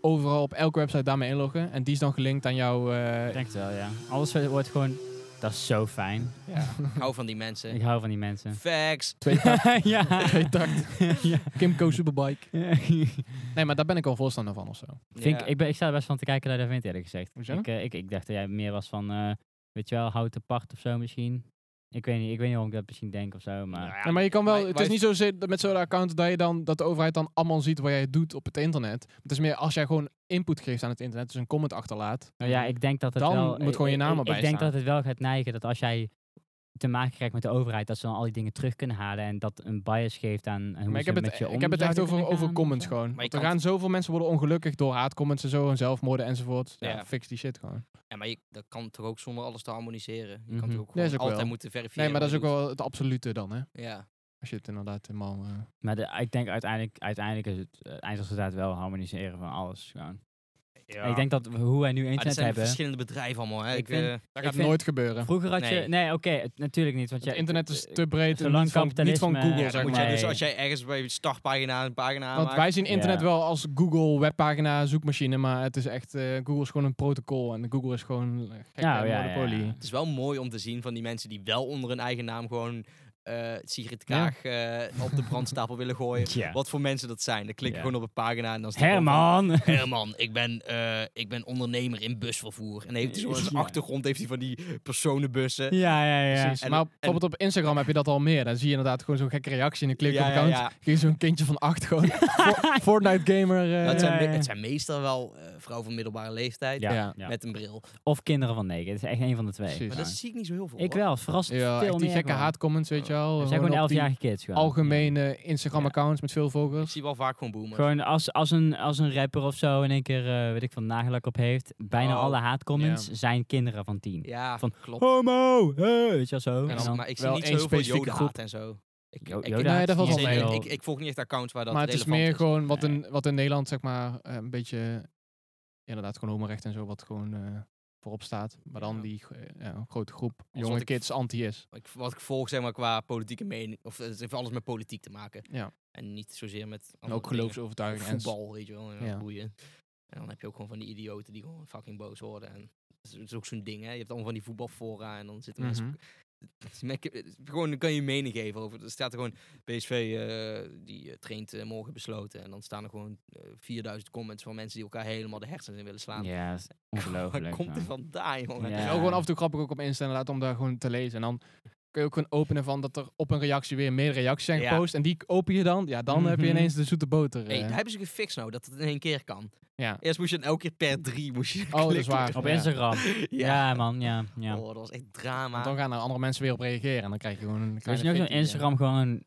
Speaker 2: overal op elke website daarmee inloggen. En die is dan gelinkt aan jouw... eh,
Speaker 4: Ik denk het wel, ja. Alles wordt gewoon... Dat is zo fijn.
Speaker 1: Ik hou van die mensen.
Speaker 4: Ik hou van die mensen.
Speaker 1: Facts.
Speaker 2: twee tak-
Speaker 4: ja.
Speaker 2: twee takt.
Speaker 4: ja.
Speaker 2: Kimco Superbike.
Speaker 4: Ja.
Speaker 2: Nee, maar daar ben ik wel voorstander van of zo.
Speaker 4: Vind
Speaker 1: Ja.
Speaker 4: ik, ik, ben, ik sta er best van te kijken naar dat vindt, eerlijk gezegd.
Speaker 2: Hoezo?
Speaker 4: Ik, eh, ik, ik dacht dat jij meer was van, eh, weet je wel, hout apart of zo misschien. Ik weet niet, ik weet niet waarom ik dat misschien denk of zo, maar...
Speaker 1: Nou ja,
Speaker 2: Nee, maar je kan wel,
Speaker 1: wij-
Speaker 2: het
Speaker 1: wij-
Speaker 2: is niet zozeer dat met zo'n account dat, je dan, dat de overheid dan allemaal ziet wat jij doet op het internet. Het is meer als jij gewoon input geeft aan het internet, dus een comment achterlaat.
Speaker 4: Nou ja, ik denk dat het
Speaker 2: Dan
Speaker 4: wel...
Speaker 2: moet
Speaker 4: ik-
Speaker 2: gewoon je
Speaker 4: ik-
Speaker 2: naam
Speaker 4: ik-
Speaker 2: erbij
Speaker 4: Ik denk
Speaker 2: staan.
Speaker 4: dat het wel gaat neigen dat als jij te maken krijgt met de overheid, dat ze dan al die dingen terug kunnen halen en dat een bias geeft aan aan hoe
Speaker 2: Maar ik
Speaker 4: ze
Speaker 2: heb
Speaker 4: met
Speaker 2: het,
Speaker 4: je om
Speaker 2: ik heb het echt
Speaker 4: zouden
Speaker 2: over,
Speaker 4: kunnen gaan
Speaker 2: over
Speaker 4: of
Speaker 2: comments
Speaker 4: zo.
Speaker 2: gewoon.
Speaker 1: Maar je
Speaker 2: Want er
Speaker 1: kan
Speaker 2: gaan zoveel mensen worden ongelukkig door haatcomments en zo en zelfmoorden enzovoort. Ja,
Speaker 1: Ja.
Speaker 2: fix die shit gewoon.
Speaker 1: Ja, maar je, dat kan toch ook zonder alles te harmoniseren. Je kan
Speaker 4: Mhm.
Speaker 1: toch ook
Speaker 2: Nee, is
Speaker 1: gewoon
Speaker 2: ook
Speaker 1: altijd
Speaker 2: wel.
Speaker 1: moeten verifiëren.
Speaker 2: Nee, maar dat is ook
Speaker 1: wat
Speaker 2: wel het absolute dan, hè.
Speaker 1: je doet. Ja.
Speaker 2: Als je het inderdaad helemaal... eh,
Speaker 4: Maar de- ik denk uiteindelijk, uiteindelijk is het eh, eindresultaat wel harmoniseren van alles gewoon. En Ik denk dat we- hoe wij nu
Speaker 1: Maar dat
Speaker 4: internet
Speaker 1: Ah, zijn
Speaker 4: hebben...
Speaker 1: verschillende bedrijven allemaal. Hè.
Speaker 4: Ik
Speaker 1: Ik,
Speaker 4: vind-
Speaker 1: eh,
Speaker 2: dat
Speaker 4: ik
Speaker 2: gaat
Speaker 4: vind-
Speaker 2: nooit gebeuren.
Speaker 4: Vroeger had je...
Speaker 1: Nee.
Speaker 4: Nee, oké, het- natuurlijk niet. Want eh,
Speaker 2: Het
Speaker 4: jij-
Speaker 2: internet is te breed en
Speaker 4: zolang
Speaker 2: niet van, niet van
Speaker 4: kapitalisme-
Speaker 2: Google,
Speaker 4: Ja,
Speaker 1: ja, dan
Speaker 2: zeg
Speaker 1: moet
Speaker 2: maar.
Speaker 1: jij dus
Speaker 4: Nee.
Speaker 1: als jij ergens bij je startpagina een pagina
Speaker 2: Want
Speaker 1: aanmaakt...
Speaker 2: wij zien internet
Speaker 4: Ja.
Speaker 2: wel als Google webpagina, zoekmachine, maar het is echt, eh, Google is gewoon een protocol en Google is gewoon eh, gek
Speaker 4: Nou,
Speaker 2: en
Speaker 4: ja,
Speaker 2: monopolie.
Speaker 4: ja, ja.
Speaker 1: Het is wel mooi om te zien van die mensen die wel onder hun eigen naam gewoon eh Sigrid Kaag eh, op de brandstapel willen gooien.
Speaker 4: Ja.
Speaker 1: Wat voor mensen dat zijn. Dan klik je
Speaker 4: Ja.
Speaker 1: gewoon op een pagina en dan staat er van,
Speaker 4: Herman!
Speaker 1: Herman, ik ben, eh, ik ben ondernemer in busvervoer. En dan heeft hij zo'n
Speaker 4: Ja.
Speaker 1: achtergrond heeft hij van die personenbussen.
Speaker 4: Ja, ja, ja.
Speaker 2: Precies.
Speaker 1: en-
Speaker 2: maar op- bijvoorbeeld op Instagram heb je dat al meer. Dan zie je inderdaad gewoon zo'n gekke reactie en dan klik je
Speaker 1: Ja,
Speaker 2: op
Speaker 1: ja,
Speaker 2: account.
Speaker 1: ja.
Speaker 2: Kijk, zo'n kindje van acht gewoon. Fo- Fortnite gamer. eh,
Speaker 1: Maar het, zijn,
Speaker 4: Ja,
Speaker 1: me-
Speaker 4: ja.
Speaker 1: het zijn meestal wel eh, vrouwen van middelbare leeftijd
Speaker 4: Ja,
Speaker 2: Ja.
Speaker 4: ja.
Speaker 1: met een bril.
Speaker 4: Of kinderen van negen. Het is echt een van de twee.
Speaker 2: Precies.
Speaker 1: Maar dat zie ik niet zo heel veel.
Speaker 4: Ik
Speaker 1: hoor.
Speaker 4: wel, verrast
Speaker 2: ja,
Speaker 4: veel
Speaker 2: echt die
Speaker 4: meer
Speaker 2: gekke
Speaker 4: gewoon.
Speaker 2: haatcomments, weet je wel.
Speaker 4: Er zijn gewoon
Speaker 2: op die
Speaker 4: 11-jarige kids gewoon.
Speaker 2: algemene Instagram-accounts met veel
Speaker 1: Ik
Speaker 2: volgers.
Speaker 1: zie wel vaak gewoon boomers.
Speaker 4: Gewoon als, als, een, als een rapper of zo in één keer, eh, weet ik van nagelak op heeft. Bijna
Speaker 1: Oh.
Speaker 4: alle haatcomments zijn kinderen van tien.
Speaker 1: Ja,
Speaker 4: Van,
Speaker 1: klopt.
Speaker 4: Homo! Hey, weet je wel zo.
Speaker 1: En
Speaker 4: En
Speaker 1: dan,
Speaker 4: dan-
Speaker 1: maar ik zie
Speaker 2: "Oh, wel
Speaker 1: niet zo
Speaker 2: één
Speaker 1: heel veel
Speaker 2: specifieke
Speaker 1: Yoda
Speaker 2: groep.
Speaker 1: en zo. Ik,
Speaker 4: Jo-
Speaker 1: ik-
Speaker 4: Yoda
Speaker 2: Nee, dat valt wel
Speaker 1: ik,
Speaker 2: mee.
Speaker 1: ik,
Speaker 4: wel.
Speaker 1: ik, ik volg niet echt accounts waar dat
Speaker 2: maar het is
Speaker 1: relevant
Speaker 2: meer
Speaker 1: is.
Speaker 2: gewoon wat,
Speaker 4: Nee.
Speaker 2: in, wat in Nederland, zeg maar, eh, een beetje... Inderdaad, gewoon homorecht en zo, wat gewoon eh, voorop staat. Maar dan
Speaker 1: Ja.
Speaker 2: die eh, ja, grote groep jonge
Speaker 1: wat ik-
Speaker 2: kids anti is.
Speaker 1: Ik- wat ik volg zeg maar qua politieke mening. Of eh, het heeft alles met politiek te maken.
Speaker 2: Ja.
Speaker 1: En niet zozeer met
Speaker 2: En
Speaker 1: andere
Speaker 2: ook
Speaker 1: dingen.
Speaker 2: geloofsovertuiging. en zo.
Speaker 1: voetbal, weet je wel. En
Speaker 2: Ja.
Speaker 1: ja. boeien. En dan heb je ook gewoon van die idioten die gewoon fucking boos worden. En dat is, dat is ook zo'n ding, hè. Je hebt allemaal van die voetbalfora en dan zitten mensen...
Speaker 2: Mhm.
Speaker 1: Maar ik heb- het is Gewoon, dan kan je je mening geven over. Er staat er gewoon PSV eh, die eh, traint eh, morgen besloten. En dan staan er gewoon eh, 4000 comments van mensen die elkaar helemaal de hersens in willen slaan.
Speaker 4: Ja, dat is
Speaker 1: Waar
Speaker 4: ongelooflijk.
Speaker 1: komt er
Speaker 4: man.
Speaker 1: vandaan, jongen?
Speaker 4: Ja.
Speaker 2: Het is wel gewoon af en toe grappig ook op Insta inderdaad om daar gewoon te lezen. En dan kun je ook gewoon openen van dat er op een reactie weer meer reacties zijn
Speaker 1: Ja.
Speaker 2: gepost. En die open je dan. Ja, dan heb je
Speaker 4: Mhm.
Speaker 2: ineens de zoete boter.
Speaker 1: Hey,
Speaker 2: eh.
Speaker 1: daar hebben ze gefixt nou, dat het in één keer kan.
Speaker 2: ja.
Speaker 1: Eerst moest je dan elke keer per drie moest je
Speaker 2: Oh, dat is
Speaker 1: klikken.
Speaker 2: waar.
Speaker 4: Op
Speaker 2: Ja.
Speaker 4: Instagram.
Speaker 1: Ja.
Speaker 4: Ja, man, ja. ja.
Speaker 1: Oh, dat was echt
Speaker 2: Want
Speaker 1: drama.
Speaker 2: dan gaan er andere mensen weer op reageren. En dan krijg je gewoon een
Speaker 4: Er is
Speaker 2: kleine
Speaker 4: nu ook zo'n
Speaker 2: fitty, eh.
Speaker 4: Instagram gewoon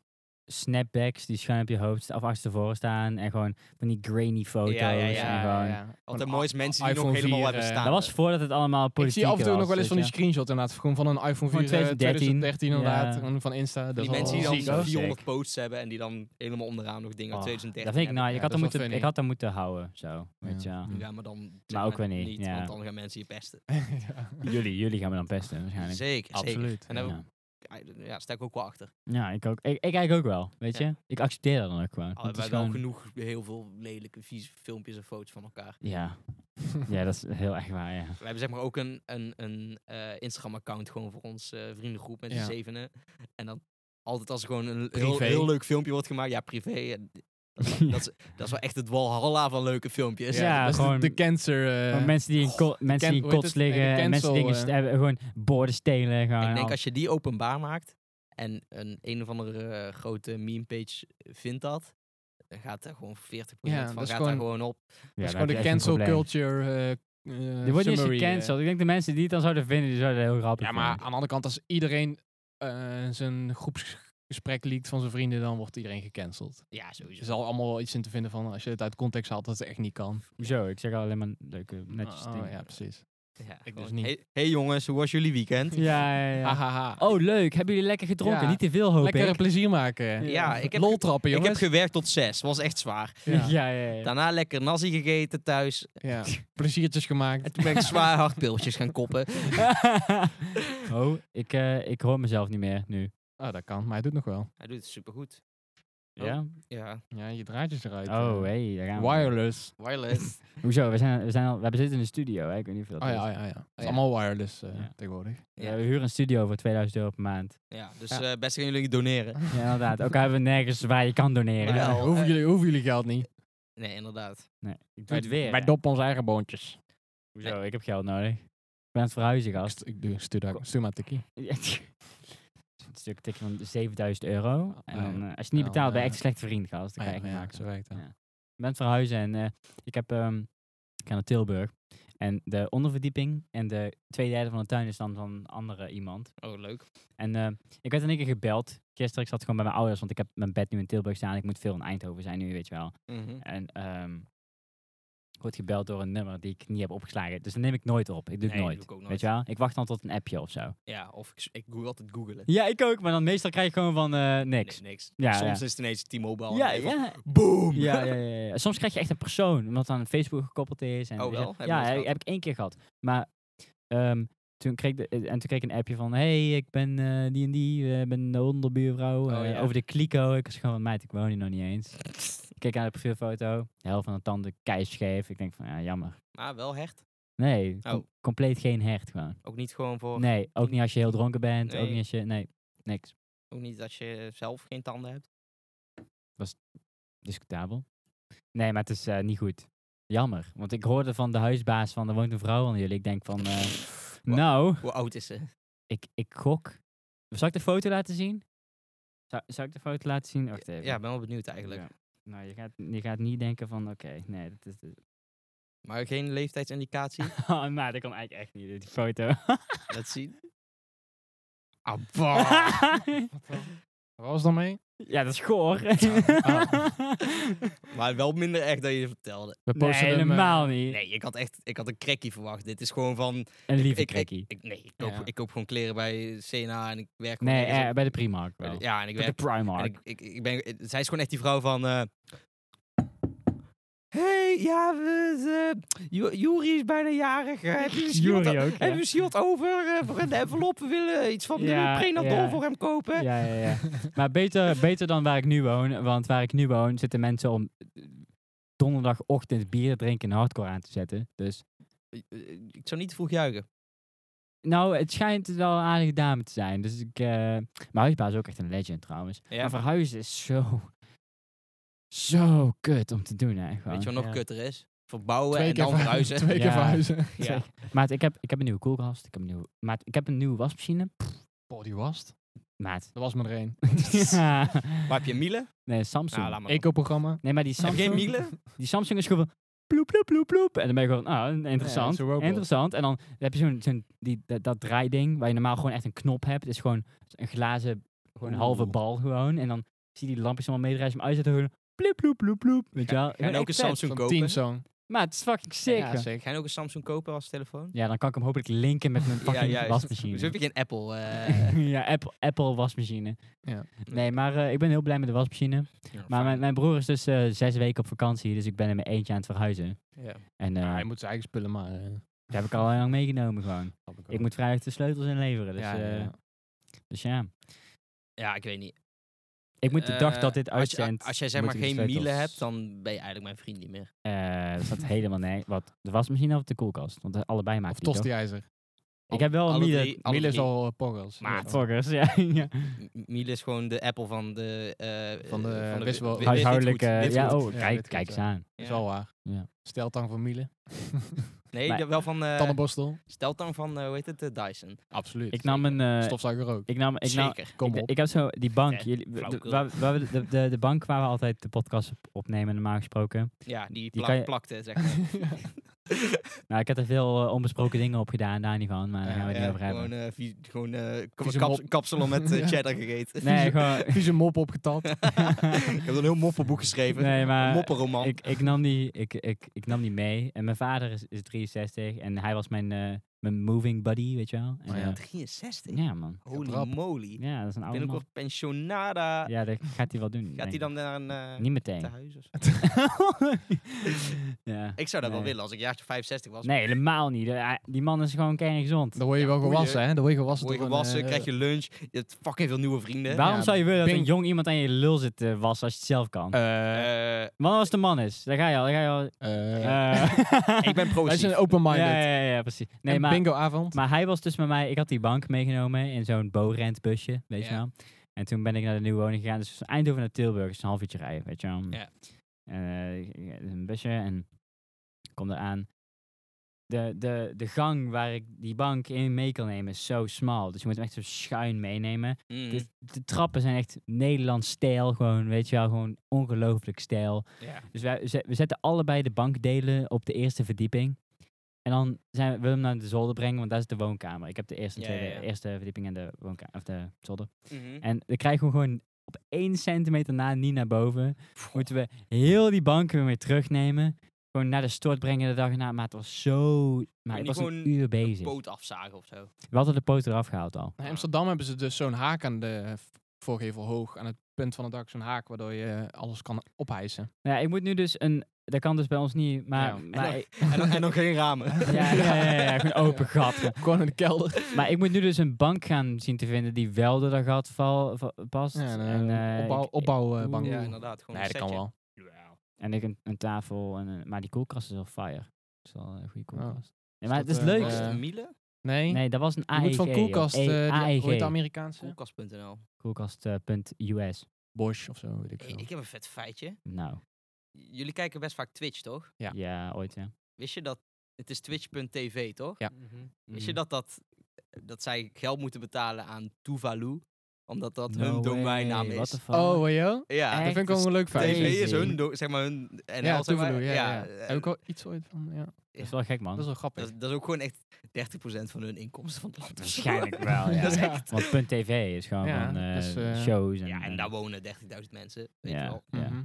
Speaker 4: snapbacks die schuin op je hoofd of achterstevoren staan. En gewoon van die grainy foto's.
Speaker 1: Ja, ja, ja,
Speaker 4: en
Speaker 2: Ja,
Speaker 4: gewoon-
Speaker 2: ja, ja.
Speaker 1: Altijd
Speaker 2: Gewoon
Speaker 1: mooi is mensen die nog
Speaker 2: iPhone
Speaker 1: helemaal
Speaker 2: 4,
Speaker 1: hebben
Speaker 2: eh,
Speaker 1: staan.
Speaker 4: Dat was voordat het allemaal
Speaker 2: Ik
Speaker 4: politiek
Speaker 2: zie af en toe
Speaker 4: was,
Speaker 2: nog wel eens van die
Speaker 4: weet je.
Speaker 2: screenshot inderdaad. Gewoon van een iPhone 4
Speaker 4: Van
Speaker 2: eh,
Speaker 4: 2013.
Speaker 2: 2013 inderdaad.
Speaker 4: Ja.
Speaker 2: gewoon Van Insta. Dat
Speaker 4: Oh,
Speaker 1: die
Speaker 2: is
Speaker 1: mensen die
Speaker 2: wel
Speaker 1: dan
Speaker 2: ziek, hoor.
Speaker 1: 400 posts hebben en die dan helemaal onderaan nog dingen uit
Speaker 4: Oh,
Speaker 1: 2013
Speaker 4: Dat vind ik
Speaker 1: hebben.
Speaker 4: nou, ik,
Speaker 2: Ja,
Speaker 4: had
Speaker 2: dat
Speaker 4: hem
Speaker 2: is
Speaker 4: moeten,
Speaker 2: wel funny.
Speaker 4: ik had hem moeten houden, zo. Weet je
Speaker 2: Ja.
Speaker 4: wel.
Speaker 2: nou-
Speaker 1: Ja, maar dan
Speaker 4: Maar ook weer niet, ja.
Speaker 1: want dan gaan mensen je pesten.
Speaker 2: Ja.
Speaker 4: Jullie, jullie gaan me dan pesten, waarschijnlijk.
Speaker 1: Zeker, zeker.
Speaker 2: Absoluut.
Speaker 1: En daar
Speaker 4: Ja.
Speaker 1: heb ik- ja, daar sta ik ook wel achter.
Speaker 4: Ja, ik ook. Ik, ik eigenlijk ook wel, weet
Speaker 1: Ja.
Speaker 4: je. Ik accepteer dat dan ook
Speaker 2: Oh,
Speaker 4: gewoon.
Speaker 1: Al
Speaker 4: Het
Speaker 1: hebben
Speaker 4: is
Speaker 1: wij wel
Speaker 4: gewoon-
Speaker 1: genoeg, heel veel lelijke vieze filmpjes en foto's van elkaar.
Speaker 4: Ja. ja, dat is heel erg waar, ja.
Speaker 1: We hebben zeg maar ook een, een, een eh, Instagram-account gewoon voor ons eh, vriendengroep met z'n
Speaker 2: Ja.
Speaker 1: zevenen. En dan altijd als er gewoon een heel,
Speaker 2: Privé.
Speaker 1: heel leuk filmpje wordt gemaakt, ja, privé. En dat, is, dat is wel echt het walhalla van leuke filmpjes.
Speaker 4: Ja,
Speaker 2: dat is de-
Speaker 4: gewoon-
Speaker 2: de cancer. eh,
Speaker 4: Gewoon mensen die in, ko- mensen die in
Speaker 2: hoe heet
Speaker 4: kots
Speaker 2: het? Nee, de
Speaker 4: liggen, en mensen die dingen
Speaker 2: cancel, eh.
Speaker 4: st- hebben, gewoon borden stelen.
Speaker 2: Ah,
Speaker 4: Gewoon,
Speaker 1: ik denk
Speaker 4: al-
Speaker 1: als je die openbaar maakt en een, een of andere eh, grote meme-page vindt dat, dan gaat er gewoon 40%
Speaker 2: Ja,
Speaker 1: van
Speaker 2: dat
Speaker 1: gaat
Speaker 2: is
Speaker 1: daar
Speaker 2: gewoon-
Speaker 1: gewoon op.
Speaker 4: Ja,
Speaker 2: dat is
Speaker 4: dan heb
Speaker 2: gewoon de
Speaker 4: je echt een
Speaker 2: cancel
Speaker 4: probleem.
Speaker 2: culture. eh, eh,
Speaker 4: Die wordt niet eens
Speaker 2: summary, eh.
Speaker 4: gecanceld. Ik denk de mensen die het dan zouden vinden, die zouden het heel grappig
Speaker 2: Ja, maar aan
Speaker 4: vinden.
Speaker 2: de andere kant, als iedereen eh, zijn groepsgesprek leakt van zijn vrienden, dan wordt iedereen gecanceld.
Speaker 1: Ja, sowieso.
Speaker 2: Er zal allemaal wel iets in te vinden van als je het uit context haalt, dat het echt niet kan.
Speaker 4: Hoezo? Ik zeg alleen maar leuke, netjes
Speaker 2: Oh,
Speaker 4: dingen.
Speaker 2: ja, precies.
Speaker 1: Ja,
Speaker 2: dus
Speaker 1: gewoon,
Speaker 2: niet.
Speaker 1: Hey, hey jongens, hoe was jullie weekend?
Speaker 4: Ja, ja, ja.
Speaker 2: Hahaha.
Speaker 4: Oh, leuk. Hebben jullie lekker gedronken?
Speaker 2: Ja.
Speaker 4: Niet te veel, hoop
Speaker 2: Lekker
Speaker 4: ik.
Speaker 2: plezier maken.
Speaker 1: Ja, ik heb,
Speaker 2: Lol trappen,
Speaker 1: ik heb
Speaker 2: jongens.
Speaker 1: gewerkt tot zes. Was echt zwaar.
Speaker 4: Ja,
Speaker 2: ja.
Speaker 4: ja, ja.
Speaker 1: Daarna lekker nasi gegeten thuis.
Speaker 2: ja. Pleziertjes gemaakt.
Speaker 1: En toen ben ik zwaar hardpiltjes gaan koppen.
Speaker 4: oh, ik, eh, ik hoor mezelf niet meer nu.
Speaker 2: Oh, dat kan, maar hij doet nog wel.
Speaker 1: Hij doet het supergoed. Oh.
Speaker 4: Ja?
Speaker 1: Ja.
Speaker 2: Ja, je draadjes eruit.
Speaker 4: Oh,
Speaker 2: eh.
Speaker 4: hey, daar gaan we.
Speaker 2: Wireless.
Speaker 1: Wireless.
Speaker 4: Hoezo? We, zijn, we, zijn al, we zitten in de studio, hè? Ik weet niet of je dat
Speaker 2: Oh ja,
Speaker 4: wist.
Speaker 2: ja, ja. Het is
Speaker 1: ja.
Speaker 2: allemaal wireless eh,
Speaker 4: Ja.
Speaker 2: tegenwoordig.
Speaker 4: Ja, we huren een studio voor 2000 euro per maand.
Speaker 1: ja, dus eh, best gaan jullie doneren.
Speaker 4: Ja, inderdaad. Ook al hebben we nergens waar je kan doneren.
Speaker 1: Maar ja.
Speaker 2: Ja,
Speaker 1: wel,
Speaker 2: hoeven,
Speaker 1: eh,
Speaker 2: jullie, hoeven jullie geld niet.
Speaker 1: Nee, inderdaad.
Speaker 4: Nee, ik doe het weer.
Speaker 2: Wij
Speaker 4: hè.
Speaker 2: doppen onze eigen boontjes.
Speaker 4: Hoezo? Ik heb geld nodig. Ik ben aan het verhuizen,
Speaker 2: Ik
Speaker 4: gast.
Speaker 2: stu- Ik doe stuur, daar- stuur maar een tikkie.
Speaker 4: een stuk tikje van 7000 euro. En
Speaker 2: Ah,
Speaker 4: dan,
Speaker 2: ja.
Speaker 4: eh, als je niet
Speaker 2: Nou,
Speaker 4: betaalt, ben je
Speaker 2: eh,
Speaker 4: echt een slechte vriend, gast. Dat kan
Speaker 2: Ah ja,
Speaker 4: je echt
Speaker 2: ja,
Speaker 4: niet maken.
Speaker 2: zo werkt dat.
Speaker 4: Ja. Ik ben aan het verhuizen en eh, ik, heb, ehm, ik ga naar Tilburg. En de onderverdieping en de twee derde van de tuin is dan van andere iemand.
Speaker 1: Oh, leuk.
Speaker 4: En eh, ik werd in één keer gebeld. Gisteren, ik zat gewoon bij mijn ouders, want ik heb mijn bed nu in Tilburg staan. Ik moet veel in Eindhoven zijn nu, weet je wel.
Speaker 1: Mhm.
Speaker 4: En ehm ik word gebeld door een nummer die ik niet heb opgeslagen. Dus dan neem ik nooit op. Ik doe het
Speaker 1: Nee,
Speaker 4: nooit.
Speaker 1: doe ik ook
Speaker 4: Weet
Speaker 1: nooit.
Speaker 4: je wel? Ik wacht dan tot een appje of zo.
Speaker 1: Ja, of ik, ik doe altijd googelen.
Speaker 4: Ja, ik ook. Maar dan meestal krijg ik gewoon van eh, niks.
Speaker 1: Nee, niks.
Speaker 4: Ja,
Speaker 1: Soms
Speaker 4: ja.
Speaker 1: is het ineens T-Mobile.
Speaker 4: Ja,
Speaker 1: en even
Speaker 4: ja,
Speaker 1: Boom!
Speaker 4: ja, ja, ja, ja. Soms krijg je echt een persoon, omdat het aan Facebook gekoppeld is. En
Speaker 1: Oh, wel? Heb je
Speaker 4: Ja,
Speaker 1: dat
Speaker 4: heb,
Speaker 1: gehad?
Speaker 4: heb ik één keer gehad. Maar ehm, toen kreeg ik de, en toen kreeg ik een appje van, hey, ik ben eh, die en die, eh, ik ben de onderbuurvrouw,
Speaker 1: Oh,
Speaker 4: eh,
Speaker 1: ja.
Speaker 4: over de kliko. Ik was gewoon van, meid, ik woon hier nog niet eens. Ik keek aan de profielfoto, de helft van de tanden keischeef. Ik denk van, ja, jammer.
Speaker 1: Maar wel hecht.
Speaker 4: Nee, com-
Speaker 1: Oh.
Speaker 4: compleet geen hert gewoon.
Speaker 1: Ook niet gewoon voor...
Speaker 4: Nee, ook niet als je heel dronken bent, ook
Speaker 1: Nee.
Speaker 4: niet als je, nee, niks.
Speaker 1: Ook niet dat je zelf geen tanden hebt.
Speaker 4: Discutabel. Nee, maar het is eh, niet goed. Jammer. Want ik hoorde van de huisbaas van, er woont een vrouw van jullie. Ik denk van, eh, nou,
Speaker 1: Hoe oud is ze?
Speaker 4: ik, ik gok. Zal ik de foto laten zien? Zou, zou ik de foto laten zien? Wacht even.
Speaker 1: Ja, ik ben wel benieuwd eigenlijk.
Speaker 4: Ja. Nou, je gaat, je gaat niet denken van, oké, nee, dat is... Dit.
Speaker 1: Maar geen leeftijdsindicatie?
Speaker 4: Oh, maar dat kan eigenlijk echt niet, die foto.
Speaker 1: Laat zien.
Speaker 2: Ah, bah.
Speaker 1: Oh.
Speaker 2: Waar was het dan mee?
Speaker 4: ja, dat is goor.
Speaker 1: Maar wel minder echt dan je vertelde.
Speaker 2: We
Speaker 4: nee,
Speaker 2: hem, eh,
Speaker 4: helemaal niet.
Speaker 1: Nee, ik had echt ik had een crackie verwacht. Dit is gewoon van...
Speaker 4: Een lieve
Speaker 1: ik, ik,
Speaker 4: krekkie.
Speaker 1: ik- nee, ik koop,
Speaker 2: Ja.
Speaker 1: ik koop gewoon kleren bij CNA en ik werk gewoon
Speaker 4: Nee,
Speaker 1: ergens
Speaker 4: eh,
Speaker 1: op-
Speaker 4: bij de Primark
Speaker 1: bij
Speaker 4: wel.
Speaker 1: de- Ja, en ik
Speaker 4: Bij de
Speaker 1: werk... En
Speaker 4: Primark.
Speaker 1: ik, ik, ik ben, eh, zij is gewoon echt die vrouw van... eh, hey, ja, we, eh, Ju- Juri is bijna jarig. eh, Heb je misschien wat-
Speaker 4: Jury ook, ja.
Speaker 1: Hebben we misschien wat over eh, voor een envelop? We willen iets van
Speaker 4: Ja,
Speaker 1: ja, Prenadol
Speaker 4: ja.
Speaker 1: voor hem kopen.
Speaker 4: Ja, ja, ja. maar beter, beter dan waar ik nu woon. Want waar ik nu woon zitten mensen om eh, donderdagochtend bier drinken en hardcore aan te zetten. Dus,
Speaker 1: Eh, eh, Ik zou niet te vroeg juichen.
Speaker 4: nou, het schijnt wel een aardige dame te zijn. Dus ik, eh, mijn huisbaas is ook echt een legend trouwens.
Speaker 1: Ja.
Speaker 4: Maar verhuizen is zo, zo kut om te doen hè, gewoon.
Speaker 1: Weet je wat nog
Speaker 2: Ja.
Speaker 1: kutter is? Verbouwen
Speaker 2: Twee
Speaker 1: en
Speaker 2: keer
Speaker 1: dan
Speaker 2: verhu-
Speaker 1: verhuizen.
Speaker 2: Twee keer
Speaker 4: Ja.
Speaker 2: verhuizen.
Speaker 1: Ja.
Speaker 4: Maat, ik heb, ik heb een nieuwe koelkast. Ik heb een nieuwe, maat, ik heb een nieuwe wasmachine.
Speaker 2: Boah, die was het.
Speaker 4: Maat.
Speaker 2: Dat was maar er één.
Speaker 4: Ja.
Speaker 1: Maar heb je Miele?
Speaker 4: Nee, Samsung.
Speaker 1: Nou, laat maar.
Speaker 2: Eco-programma.
Speaker 4: nee, maar die
Speaker 1: Heb
Speaker 4: Samsung.
Speaker 1: je geen Miele?
Speaker 4: Die Samsung is gewoon ploep, ploep, ploep, ploep. En dan ben je gewoon, ah, interessant,
Speaker 2: Ja, zo'n robot.
Speaker 4: interessant. En dan heb je zo'n, zo'n die, dat, dat draaiding waar je normaal gewoon echt een knop hebt. Het is gewoon een glazen, gewoon een halve
Speaker 2: Oeh.
Speaker 4: bal gewoon. En dan zie je die lampjes allemaal meedraaien. Als je hem uitzet, dan gewoon ploep, ploep, ploep, ploep. Weet je wel?
Speaker 1: Ga je nou
Speaker 4: Gewoon
Speaker 1: ook een
Speaker 4: echt vet.
Speaker 1: Samsung
Speaker 2: Zo'n
Speaker 1: kopen?
Speaker 2: teamsong.
Speaker 4: Maar het is fucking sick.
Speaker 2: Ja,
Speaker 4: Ja,
Speaker 2: zeker.
Speaker 1: Ga je nou ook een Samsung kopen als telefoon?
Speaker 4: dan kan ik hem hopelijk linken met mijn
Speaker 1: Ja,
Speaker 4: fucking
Speaker 1: juist. Dus
Speaker 4: wasmachine.
Speaker 1: heb je geen Apple. eh,
Speaker 4: ja, Apple, Apple wasmachine.
Speaker 2: Ja.
Speaker 4: Nee, maar eh, ik ben heel blij met de wasmachine. Maar mijn, mijn broer is dus eh, zes weken op vakantie, dus ik ben in mijn eentje aan het verhuizen.
Speaker 1: Ja.
Speaker 4: En eh,
Speaker 2: Ah, Ja, hij moet zijn eigen spullen maar... eh,
Speaker 4: dat heb ik al heel lang meegenomen gewoon.
Speaker 2: snap
Speaker 4: Ik
Speaker 2: ook.
Speaker 4: moet vrijdag de sleutels inleveren. Dus ja,
Speaker 2: Ja, ja, ja.
Speaker 4: dus ja.
Speaker 1: ja, ik weet niet.
Speaker 4: Ik moet de dag dat dit
Speaker 1: Eh, als je-
Speaker 4: uitzendt...
Speaker 1: Als, jij zeg maar
Speaker 4: moeten die
Speaker 1: geen Miele
Speaker 4: sleutels-
Speaker 1: hebt, dan ben je eigenlijk mijn vriend niet meer.
Speaker 4: Eh, dat staat helemaal nee. Wat? De wasmachine of de koelkast? Want eh, allebei
Speaker 2: Of
Speaker 4: maken die toch?
Speaker 2: tosti-ijzer.
Speaker 4: Ik heb wel
Speaker 1: alle
Speaker 4: Miele-
Speaker 1: drie- alle
Speaker 2: Miele is
Speaker 1: drie.
Speaker 2: al eh, Poggers.
Speaker 1: Maar
Speaker 2: Ja.
Speaker 4: Fokkers, ja. ja.
Speaker 1: M- Miele is gewoon de Apple van de... eh,
Speaker 2: Van de
Speaker 1: eh, wi- wi- wit-
Speaker 2: wissel-
Speaker 1: wit-
Speaker 4: Huishoudelijke...
Speaker 1: wit- wit-
Speaker 4: Ja,
Speaker 1: goed.
Speaker 4: oh,
Speaker 2: Ja,
Speaker 4: kijk,
Speaker 2: witgoed,
Speaker 4: kijk eens
Speaker 2: ja.
Speaker 4: aan.
Speaker 2: Dat is
Speaker 1: Ja. Eh,
Speaker 2: wel waar.
Speaker 4: Ja.
Speaker 2: Steltang van Miele.
Speaker 1: Nee,
Speaker 4: Maar-
Speaker 1: de- wel van... eh
Speaker 2: Tandenborstel.
Speaker 1: Steltang van, eh, hoe heet het, de Dyson.
Speaker 2: Absoluut.
Speaker 4: Ik nam een... eh,
Speaker 2: Stofzuiger ook.
Speaker 4: Ik nam... Ik nou- nam
Speaker 1: Zeker.
Speaker 2: Kom
Speaker 4: ik,
Speaker 2: op.
Speaker 4: ik heb zo die bank,
Speaker 1: Eh,
Speaker 4: jullie, de-
Speaker 1: flauwekul.
Speaker 4: waar, waar we de, de, de bank waar we altijd de podcast op, opnemen normaal gesproken.
Speaker 1: Ja, die
Speaker 4: Die
Speaker 1: pla-
Speaker 4: kan je- Oh,
Speaker 1: plakte, zeg maar.
Speaker 4: Nou, ik heb er veel eh, onbesproken dingen op gedaan, daar niet van, maar daar gaan we het
Speaker 1: Ja,
Speaker 4: niet over hebben.
Speaker 1: gewoon eh, vi- gewoon eh, kap-
Speaker 2: Vieze
Speaker 1: kaps-
Speaker 2: mop.
Speaker 1: kapsalon met eh,
Speaker 2: Ja.
Speaker 1: cheddar gegeten.
Speaker 4: Nee, gewoon...
Speaker 2: Vieze mop opgetapt.
Speaker 1: ik heb een heel moppenboek geschreven.
Speaker 4: Nee, maar
Speaker 1: een moppenroman.
Speaker 4: Ik, ik, nam die, ik, ik, ik nam die mee. En mijn vader is, is 63 en hij was mijn, eh, mijn moving buddy, weet je wel. En,
Speaker 2: Oh ja.
Speaker 4: eh,
Speaker 1: 63?
Speaker 4: ja, man.
Speaker 1: Holy
Speaker 2: Rap.
Speaker 1: moly.
Speaker 4: Ja, dat is een oude man.
Speaker 1: Binnenkort pensionada.
Speaker 4: Ja, dat gaat hij wel doen.
Speaker 1: Gaat
Speaker 4: denk
Speaker 1: hij
Speaker 4: ik.
Speaker 1: dan naar een eh,
Speaker 4: Niet meteen.
Speaker 1: tehuis of zo?
Speaker 4: ja.
Speaker 1: Ik zou dat wel
Speaker 4: Nee.
Speaker 1: willen als ik jaartje 65 was.
Speaker 4: Nee, helemaal niet. Eh, Die man is gewoon kerngezond.
Speaker 2: Dan word je wel
Speaker 1: boeien.
Speaker 2: gewassen, hè? Dan word je gewassen.
Speaker 1: Word je
Speaker 2: door een,
Speaker 1: gewassen,
Speaker 2: eh,
Speaker 1: krijg je lunch, je hebt fucking veel nieuwe vrienden.
Speaker 4: Waarom
Speaker 2: Ja,
Speaker 4: zou je willen dat een
Speaker 2: pink-
Speaker 4: jong iemand aan je lul zit te wassen als je het zelf kan?
Speaker 2: eh,
Speaker 1: Eh,
Speaker 4: Maar als het een man is, daar ga je al. Daar ga je al
Speaker 2: eh,
Speaker 4: Eh,
Speaker 1: ik ben
Speaker 2: Hij
Speaker 1: pro
Speaker 2: is een open-minded.
Speaker 4: ja, ja, ja, ja, precies. Nee,
Speaker 2: Een
Speaker 4: maar,
Speaker 2: bingo-avond.
Speaker 4: maar hij was dus met mij. Ik had die bank meegenomen in zo'n Borent-busje, weet je
Speaker 1: Ja.
Speaker 4: wel. En toen ben ik naar de nieuwe woning gegaan. Dus van Eindhoven naar Tilburg is een half uurtje rijden, weet je wel.
Speaker 1: Ja.
Speaker 4: En, eh, een busje en ik kom eraan. De, de, de gang waar ik die bank in mee kan nemen is zo smal. Dus je moet hem echt zo schuin meenemen.
Speaker 1: Mm,
Speaker 4: Dus de trappen zijn echt Nederlands stijl, gewoon, weet je wel, gewoon ongelooflijk stijl.
Speaker 1: ja.
Speaker 4: Dus wij, ze- we zetten allebei de bankdelen op de eerste verdieping. En dan zijn we, willen we hem naar de zolder brengen, want daar is de woonkamer. Ik heb de eerste, en
Speaker 1: Ja, ja,
Speaker 4: tweede,
Speaker 1: ja.
Speaker 4: eerste verdieping en de, woonkamer, of de zolder.
Speaker 1: Mhm.
Speaker 4: En dan krijgen we gewoon op één centimeter na niet naar boven. Moeten we heel die banken weer mee terugnemen. Gewoon naar de stort brengen de dag na. Maar het was zo... Maar
Speaker 1: je
Speaker 4: het
Speaker 1: niet
Speaker 4: was een
Speaker 1: gewoon
Speaker 4: uur bezig.
Speaker 1: Een poot afzagen of zo.
Speaker 4: We hadden de poot eraf gehaald al.
Speaker 2: In Amsterdam hebben ze dus zo'n haak aan de voorgevel hoog. Aan het punt van het dak zo'n haak waardoor je eh, alles kan ophijsen.
Speaker 4: Nou, ja, ik moet nu dus een... Dat kan dus bij ons niet, maar...
Speaker 2: Ja. En
Speaker 4: maar
Speaker 1: dan- En, dan- en nog geen ramen.
Speaker 4: ja, ja, ja, ja, ja, gewoon open gat.
Speaker 2: Gewoon in de kelder.
Speaker 4: Maar ik moet nu dus een bank gaan zien te vinden die wel door dat gat val, va- past.
Speaker 2: Ja, een,
Speaker 4: en,
Speaker 2: eh,
Speaker 4: eh,
Speaker 2: opbouw-
Speaker 4: ik-
Speaker 2: opbouwbank.
Speaker 4: Oeh.
Speaker 1: Ja, inderdaad. Gewoon
Speaker 2: Nee,
Speaker 1: een
Speaker 2: dat kan
Speaker 1: setje.
Speaker 2: wel.
Speaker 4: En ik een, een tafel. En een, maar die koelkast is al fire. Dat is wel een goede
Speaker 2: Oh.
Speaker 4: koelkast. Ja, maar het
Speaker 2: dat,
Speaker 4: is
Speaker 2: eh,
Speaker 4: leuk.
Speaker 1: Was het
Speaker 2: Eh,
Speaker 1: een Miele?
Speaker 2: Nee,
Speaker 4: nee, dat was een
Speaker 2: je
Speaker 4: AEG.
Speaker 2: moet van
Speaker 4: joh.
Speaker 2: koelkast,
Speaker 4: E- eh,
Speaker 2: eh die-
Speaker 4: AEG.
Speaker 2: hoe heet de Amerikaanse?
Speaker 1: Koelkast.nl.
Speaker 4: Koelkast.us.
Speaker 2: Bosch of zo, weet ik
Speaker 1: Hey,
Speaker 2: veel.
Speaker 1: ik heb een vet feitje.
Speaker 4: Nou,
Speaker 1: J- Jullie kijken best vaak Twitch, toch?
Speaker 4: ja,
Speaker 2: Ja.
Speaker 4: ooit ja.
Speaker 1: Wist je dat... Het is twitch.tv, toch?
Speaker 2: Ja.
Speaker 1: Wist je
Speaker 4: Mhm.
Speaker 1: dat, dat, dat zij geld moeten betalen aan Tuvalu? Omdat dat
Speaker 4: No
Speaker 1: hun
Speaker 4: way,
Speaker 1: domeinnaam
Speaker 4: what
Speaker 1: is.
Speaker 4: the fuck?
Speaker 2: Oh, weet je?
Speaker 1: Ja,
Speaker 4: Ah. Echt?
Speaker 2: Dat vind ik wel een leuk
Speaker 1: TV
Speaker 2: feitje.
Speaker 4: Crazy.
Speaker 1: is hun, do- zeg maar hun NL,
Speaker 2: Ja,
Speaker 1: zeg maar.
Speaker 2: Tuvalu, ja, ja.
Speaker 1: eh,
Speaker 2: Heb ik al iets ooit van, ja.
Speaker 4: Dat is wel gek, man.
Speaker 2: Dat is wel grappig.
Speaker 1: dat, dat is ook gewoon echt 30% van hun inkomsten van het land. of zo.
Speaker 4: Waarschijnlijk wel, ja.
Speaker 1: dat is
Speaker 2: Ja.
Speaker 1: echt...
Speaker 4: Want punt .tv is gewoon
Speaker 2: Ja,
Speaker 4: van eh,
Speaker 2: dat is, eh,
Speaker 4: shows. En,
Speaker 1: Ja, en
Speaker 4: eh,
Speaker 1: daar wonen 30.000 mensen, weet
Speaker 4: Ja.
Speaker 1: je wel.
Speaker 4: Ja.
Speaker 2: Mhm.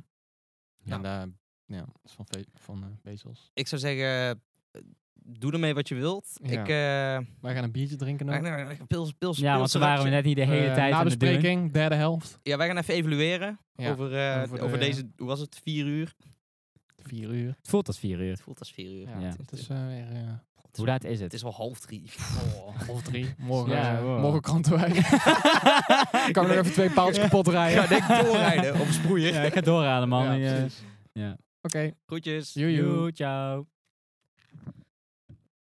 Speaker 4: Ja.
Speaker 2: En daar, ja, dat is van, Ve- van eh, Bezos.
Speaker 1: Ik zou zeggen, eh, doe ermee wat je wilt.
Speaker 2: Ja.
Speaker 1: Ik... eh
Speaker 2: Wij gaan een biertje drinken nog.
Speaker 1: wij- nou, lekker pils, pils,
Speaker 4: ja, want ze waren we net niet de hele
Speaker 2: Eh,
Speaker 4: tijd aan het doen.
Speaker 2: Nabespreking, derde helft.
Speaker 1: Ja, wij gaan even evalueren
Speaker 2: Ja,
Speaker 1: over, eh,
Speaker 2: over
Speaker 1: over,
Speaker 2: de-
Speaker 1: deze... Hoe was het? Vier uur?
Speaker 2: Vier uur.
Speaker 4: Het voelt als vier uur.
Speaker 1: Het voelt als vier uur.
Speaker 2: Ja,
Speaker 4: Ja.
Speaker 2: Het is eh, weer eh,
Speaker 4: Hoe laat is het?
Speaker 1: Het is wel half drie. Oh.
Speaker 2: half drie. Morgen,
Speaker 4: Ja,
Speaker 2: eh,
Speaker 4: wow.
Speaker 2: morgen krantenwijk. Ik kan nog even twee paaltjes kapot rijden.
Speaker 1: Ga denk doorrijden op sproeien.
Speaker 4: Ja, ik ga doorraden, man.
Speaker 2: Ja,
Speaker 4: Ja,
Speaker 2: precies.
Speaker 4: ja.
Speaker 2: Oké,
Speaker 1: Groetjes.
Speaker 2: joejoe.
Speaker 4: Joe, ciao.